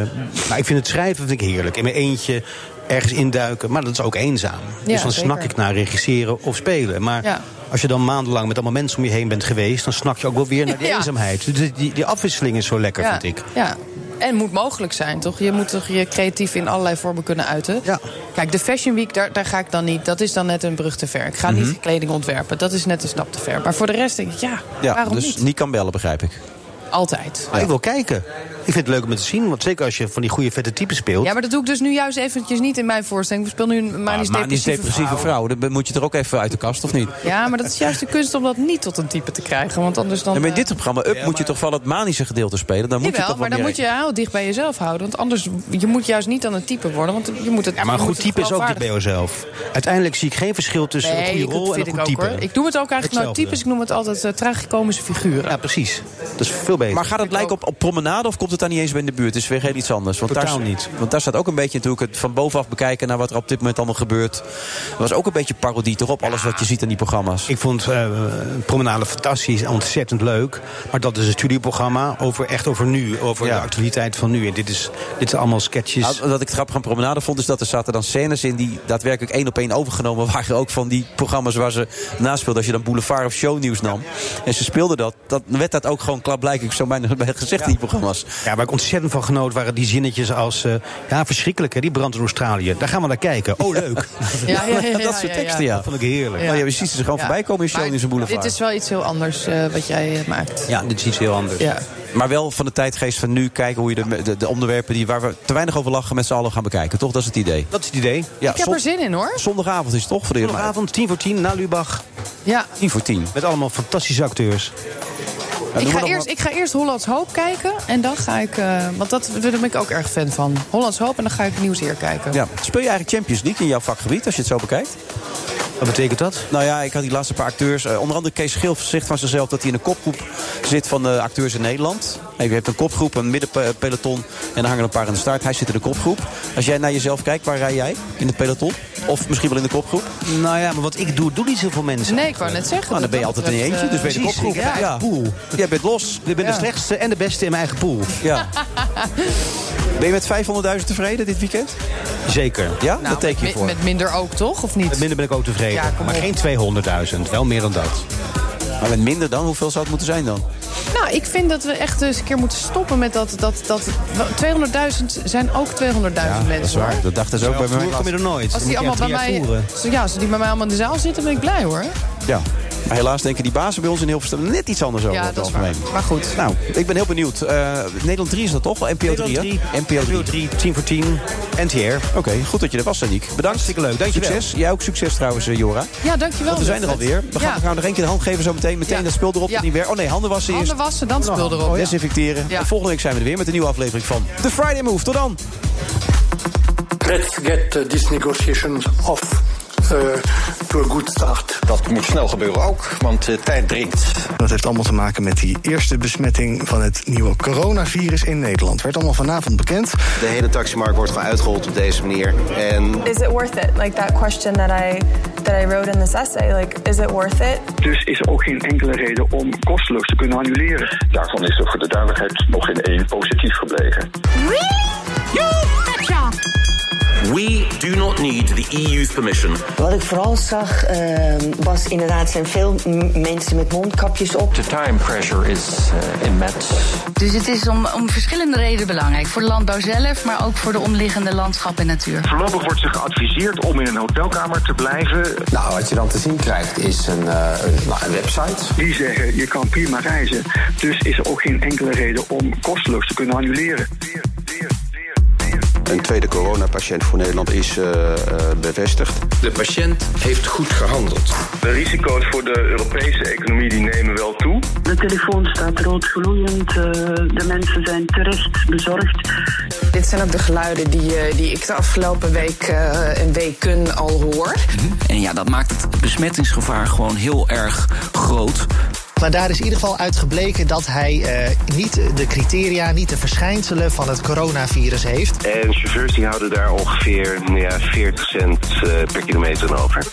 S17: Nou, ik vind het schrijven vind ik heerlijk. In mijn eentje ergens induiken. Maar dat is ook eenzaam.
S7: Ja,
S17: dus dan
S7: zeker.
S17: snak ik naar regisseren of spelen. Maar
S7: Ja.
S17: als je dan maandenlang met allemaal mensen om je heen bent geweest... dan snak je ook wel weer naar die
S7: Ja.
S17: eenzaamheid. Dus Die, die, die afwisseling is zo lekker,
S7: ja,
S17: vind ik.
S7: Ja. En moet mogelijk zijn, toch? Je moet toch je creatief in allerlei vormen kunnen uiten. Kijk, de Fashion Week, daar, daar ga ik dan niet. Dat is dan net een brug te ver. Ik ga
S6: Mhm.
S7: niet kleding ontwerpen. Dat is net een stap te ver. Maar voor de rest denk ik, ja,
S6: Ja,
S7: waarom
S6: dus
S7: niet?
S6: niet kan bellen, begrijp ik.
S7: Altijd.
S17: Maar ik wil kijken. Ik vind het leuk om het te zien. Want zeker als je van die goede vette typen speelt...
S7: Ja, maar dat doe ik dus nu juist eventjes niet in mijn voorstelling. We speel nu een
S6: Maar
S7: manisch
S6: maar die is
S7: depressieve,
S6: depressieve
S7: vrouw.
S6: vrouw, dan moet je er ook even uit de kast, of niet?
S7: Ja, maar dat is juist de kunst om dat niet tot een type te krijgen. Want anders dan...
S6: Ja, maar in
S7: eh,
S6: dit programma, Up, moet je toch wel het manische gedeelte spelen? Dan moet je
S7: jawel,
S6: toch wat
S7: maar
S6: meer-
S7: dan moet je heel dicht bij jezelf houden. Want anders, je moet juist niet aan een type worden. Want je moet het,
S17: Ja, maar een
S7: je
S17: goed
S7: moet het
S17: type is ook dicht bij
S7: geloofwaardig-
S17: jezelf. Uiteindelijk zie ik geen verschil tussen
S7: Nee,
S17: een
S7: dat
S17: goede rol en
S7: vind
S17: een
S7: ik
S17: goed
S7: ook,
S17: type.
S7: hoor. Ik noem het ook eigenlijk nooit
S17: Hetzelfde.
S7: types. Ik noem het altijd eh, tragicomische figuren.
S17: Ja, precies. Dat is veel beter.
S6: Maar gaat het lijken op, op promenade of komt het daar niet eens bij in de buurt? Het is weer heel iets anders. Want
S17: Totaal
S6: daar,
S17: niet.
S6: Want daar staat ook een beetje natuurlijk het van bovenaf bekijken naar wat er op dit moment allemaal gebeurt. Dat was ook een beetje parodie toch op alles wat je ziet in die programma's.
S17: Ik vond eh, Promenade fantastisch, ontzettend leuk. Maar dat is een studieprogramma over, echt over nu, over de actualiteit van nu. En dit is, dit zijn allemaal sketches.
S6: Nou, wat ik het grappig aan promenade vond, is dat er zaten dan scènes in die daadwerkelijk één op één overgenomen waren. Ook van die programma's waar ze naspeelden. Als je dan boulevard of shownieuws nam. En ze speelden dat, dat dan werd dat ook gewoon klaarblijkelijk zo bijna bij gezegd in die programma's.
S17: Ja, waar ik ontzettend van genoot waren die zinnetjes als... eh, ja, verschrikkelijk hè, die brand in Australië. Daar gaan we naar kijken. Oh, leuk.
S7: Ja, ja, ja, ja,
S6: dat soort
S7: ja,
S6: teksten, ja.
S17: Dat vond ik heerlijk.
S6: Nou ja, je ziet ze gewoon
S7: Ja.
S6: voorbij komen in
S7: Maar
S6: shownieuws en boulevard.
S7: Dit is wel iets heel anders eh, wat jij eh, maakt.
S6: Ja, dit is iets heel anders.
S7: Ja.
S6: Maar wel van de tijdgeest van nu kijken hoe je de, de, de onderwerpen die, waar we te weinig over lachen met z'n allen gaan bekijken. Toch? Dat is het idee.
S17: Dat is het idee.
S6: Ja,
S7: ik heb
S6: zon-
S7: er zin in hoor.
S6: Zondagavond is het toch voor de eerste maand.
S17: Zondagavond, tien voor tien, na Lubach.
S7: Ja.
S6: Tien voor tien.
S17: Met allemaal fantastische acteurs.
S7: ik, ga eerst, ik ga eerst Hollands Hoop kijken. En dan ga ik. eh, want dat, daar ben ik ook erg fan van. Hollands Hoop en dan ga ik nieuws hier kijken.
S6: Ja. Speel je eigenlijk Champions League in jouw vakgebied, als je het zo bekijkt?
S17: Wat betekent dat?
S6: Nou ja, ik had die laatste paar acteurs... eh, onder andere Kees Schilf zegt van zichzelf dat hij in de kopgroep zit van de acteurs in Nederland. Hey, je hebt een kopgroep, een middenpeloton en dan hangen er een paar in de start. Hij zit in de kopgroep. Als jij naar jezelf kijkt, waar rij jij? In het peloton? Of misschien wel in de kopgroep?
S17: Nou ja, maar wat ik doe, doe niet zoveel mensen.
S7: Nee, ik wou net zeggen.
S6: Nou, dan
S7: dat
S6: ben je
S7: dat
S6: altijd in je
S7: betreft,
S6: eentje, dus ben je de
S7: eh,
S6: kopgroep.
S7: precies, ja.
S17: pool.
S6: Jij bent los.
S17: Ik ben
S6: Ja.
S17: de slechtste en de beste in mijn eigen pool.
S6: Ja. Ben je met 500.000 tevreden dit weekend?
S17: Zeker.
S6: Ja, dat teken je
S7: Mi-
S6: voor.
S7: Nou, Met minder ook, toch?
S17: Met
S7: Of niet?
S17: minder ben ik ook tevreden.
S7: Ja, kom
S17: maar
S7: op.
S17: geen 200.000, wel meer dan dat.
S6: Maar met minder dan? Hoeveel zou het moeten zijn dan?
S7: Nou, ik vind dat we echt eens een keer moeten stoppen met dat. dat, dat 200.000 zijn ook 200.000
S6: Dat is
S7: mensen hoor.
S6: waar. Dat dachten ze ook bij mij.
S17: Toeren kom je er nooit.
S7: Als
S17: Dan
S7: die,
S17: moet je
S7: allemaal bij
S17: echt drie
S7: mij,
S17: jaar toeren.
S7: ja, als die bij mij allemaal in de zaal zitten, ben ik blij hoor.
S6: Ja. Maar helaas denken die bazen bij ons in Hilversum net iets anders over.
S18: Ja,
S6: over
S18: dat
S6: het
S18: is waar.
S6: algemeen.
S18: Maar goed.
S6: Nou, ik ben heel benieuwd. Eh, Nederland 3 is dat toch? NPO 3, hè? NPO 3. 10 voor 10, NTR. Oké, goed dat je er was, Saniek. Bedankt. Hartstikke leuk,
S19: dankjewel.
S6: Succes. Jij ook succes trouwens, eh, Jora.
S18: Ja, dankjewel.
S6: Want we zijn er
S18: Wilfred.
S6: alweer. We gaan,
S18: Ja.
S6: we gaan nog één keer de hand geven zo meteen. Meteen dat spul erop,
S18: Ja.
S6: dat niet weer. Oh nee, handen wassen eerst. Oh,
S18: Handen wassen, dan spul erop.
S6: Desinfecteren.
S18: Ja.
S6: En Volgende week zijn we er weer met een nieuwe aflevering van The Friday Move. Tot dan.
S20: Let's get uh, these negotiations off uh, to a good start.
S16: Dat moet snel gebeuren ook, want
S4: eh,
S16: de tijd dringt.
S9: Dat heeft allemaal te maken met die eerste besmetting van het nieuwe coronavirus in Nederland. Werd allemaal vanavond bekend.
S3: De hele taximarkt wordt gewoon uitgehold op deze manier. En
S21: Is it worth it? Like that question that I that I wrote in this essay, like is it worth it?
S4: Dus is er ook geen enkele reden om kosteloos te kunnen annuleren. Daarvan is er voor de duidelijkheid nog geen één positief gebleken.
S1: We do not need the EU's permission.
S22: Wat ik vooral zag eh, was inderdaad zijn veel m- mensen met mondkapjes op.
S23: The time pressure is uh, immense.
S7: Dus het is om, om verschillende redenen belangrijk. Voor de landbouw zelf, maar ook voor de omliggende landschap en natuur.
S4: Voorlopig wordt ze geadviseerd om in een hotelkamer te blijven. Nou, wat je dan te zien krijgt is een, website. Die zeggen je kan prima reizen. Dus is er ook geen enkele reden om kosteloos te kunnen annuleren.
S3: een tweede coronapatiënt voor Nederland is eh, eh, bevestigd.
S16: De patiënt heeft goed gehandeld. De risico's voor de Europese economie die nemen wel toe.
S24: De telefoon staat rood gloeiend. eh, de mensen zijn terecht bezorgd.
S25: Dit zijn ook de geluiden die, eh, die ik de afgelopen week eh, en weken al hoor.
S26: En ja, dat maakt het besmettingsgevaar gewoon heel erg groot.
S27: Maar daar is in ieder geval uit gebleken dat hij eh, niet de criteria, niet de verschijnselen van het coronavirus heeft.
S17: En chauffeurs die houden daar ongeveer nou ja, 40 cent eh, per kilometer aan over.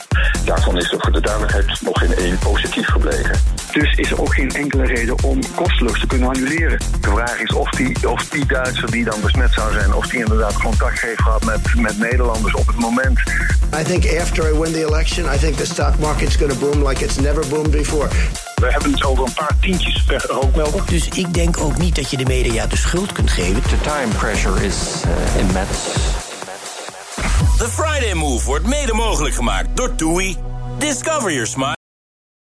S4: Daarvan is er voor de duidelijkheid nog geen één positief gebleken. Dus is er ook geen enkele reden om kosteloos te kunnen annuleren.
S16: De vraag is of die, of die Duitser die dan besmet zou zijn, of die inderdaad contact heeft gehad met, met Nederlanders op het moment.
S10: I think after I win the election, I think the stock market's going to boom like it's never boomed before.
S16: We hebben het over een paar tientjes per rookmelder.
S26: Dus ik denk ook niet dat je de media de schuld kunt geven. The time pressure is uh, immense.
S1: The Friday Move wordt mede mogelijk gemaakt door TUI. Discover your smile.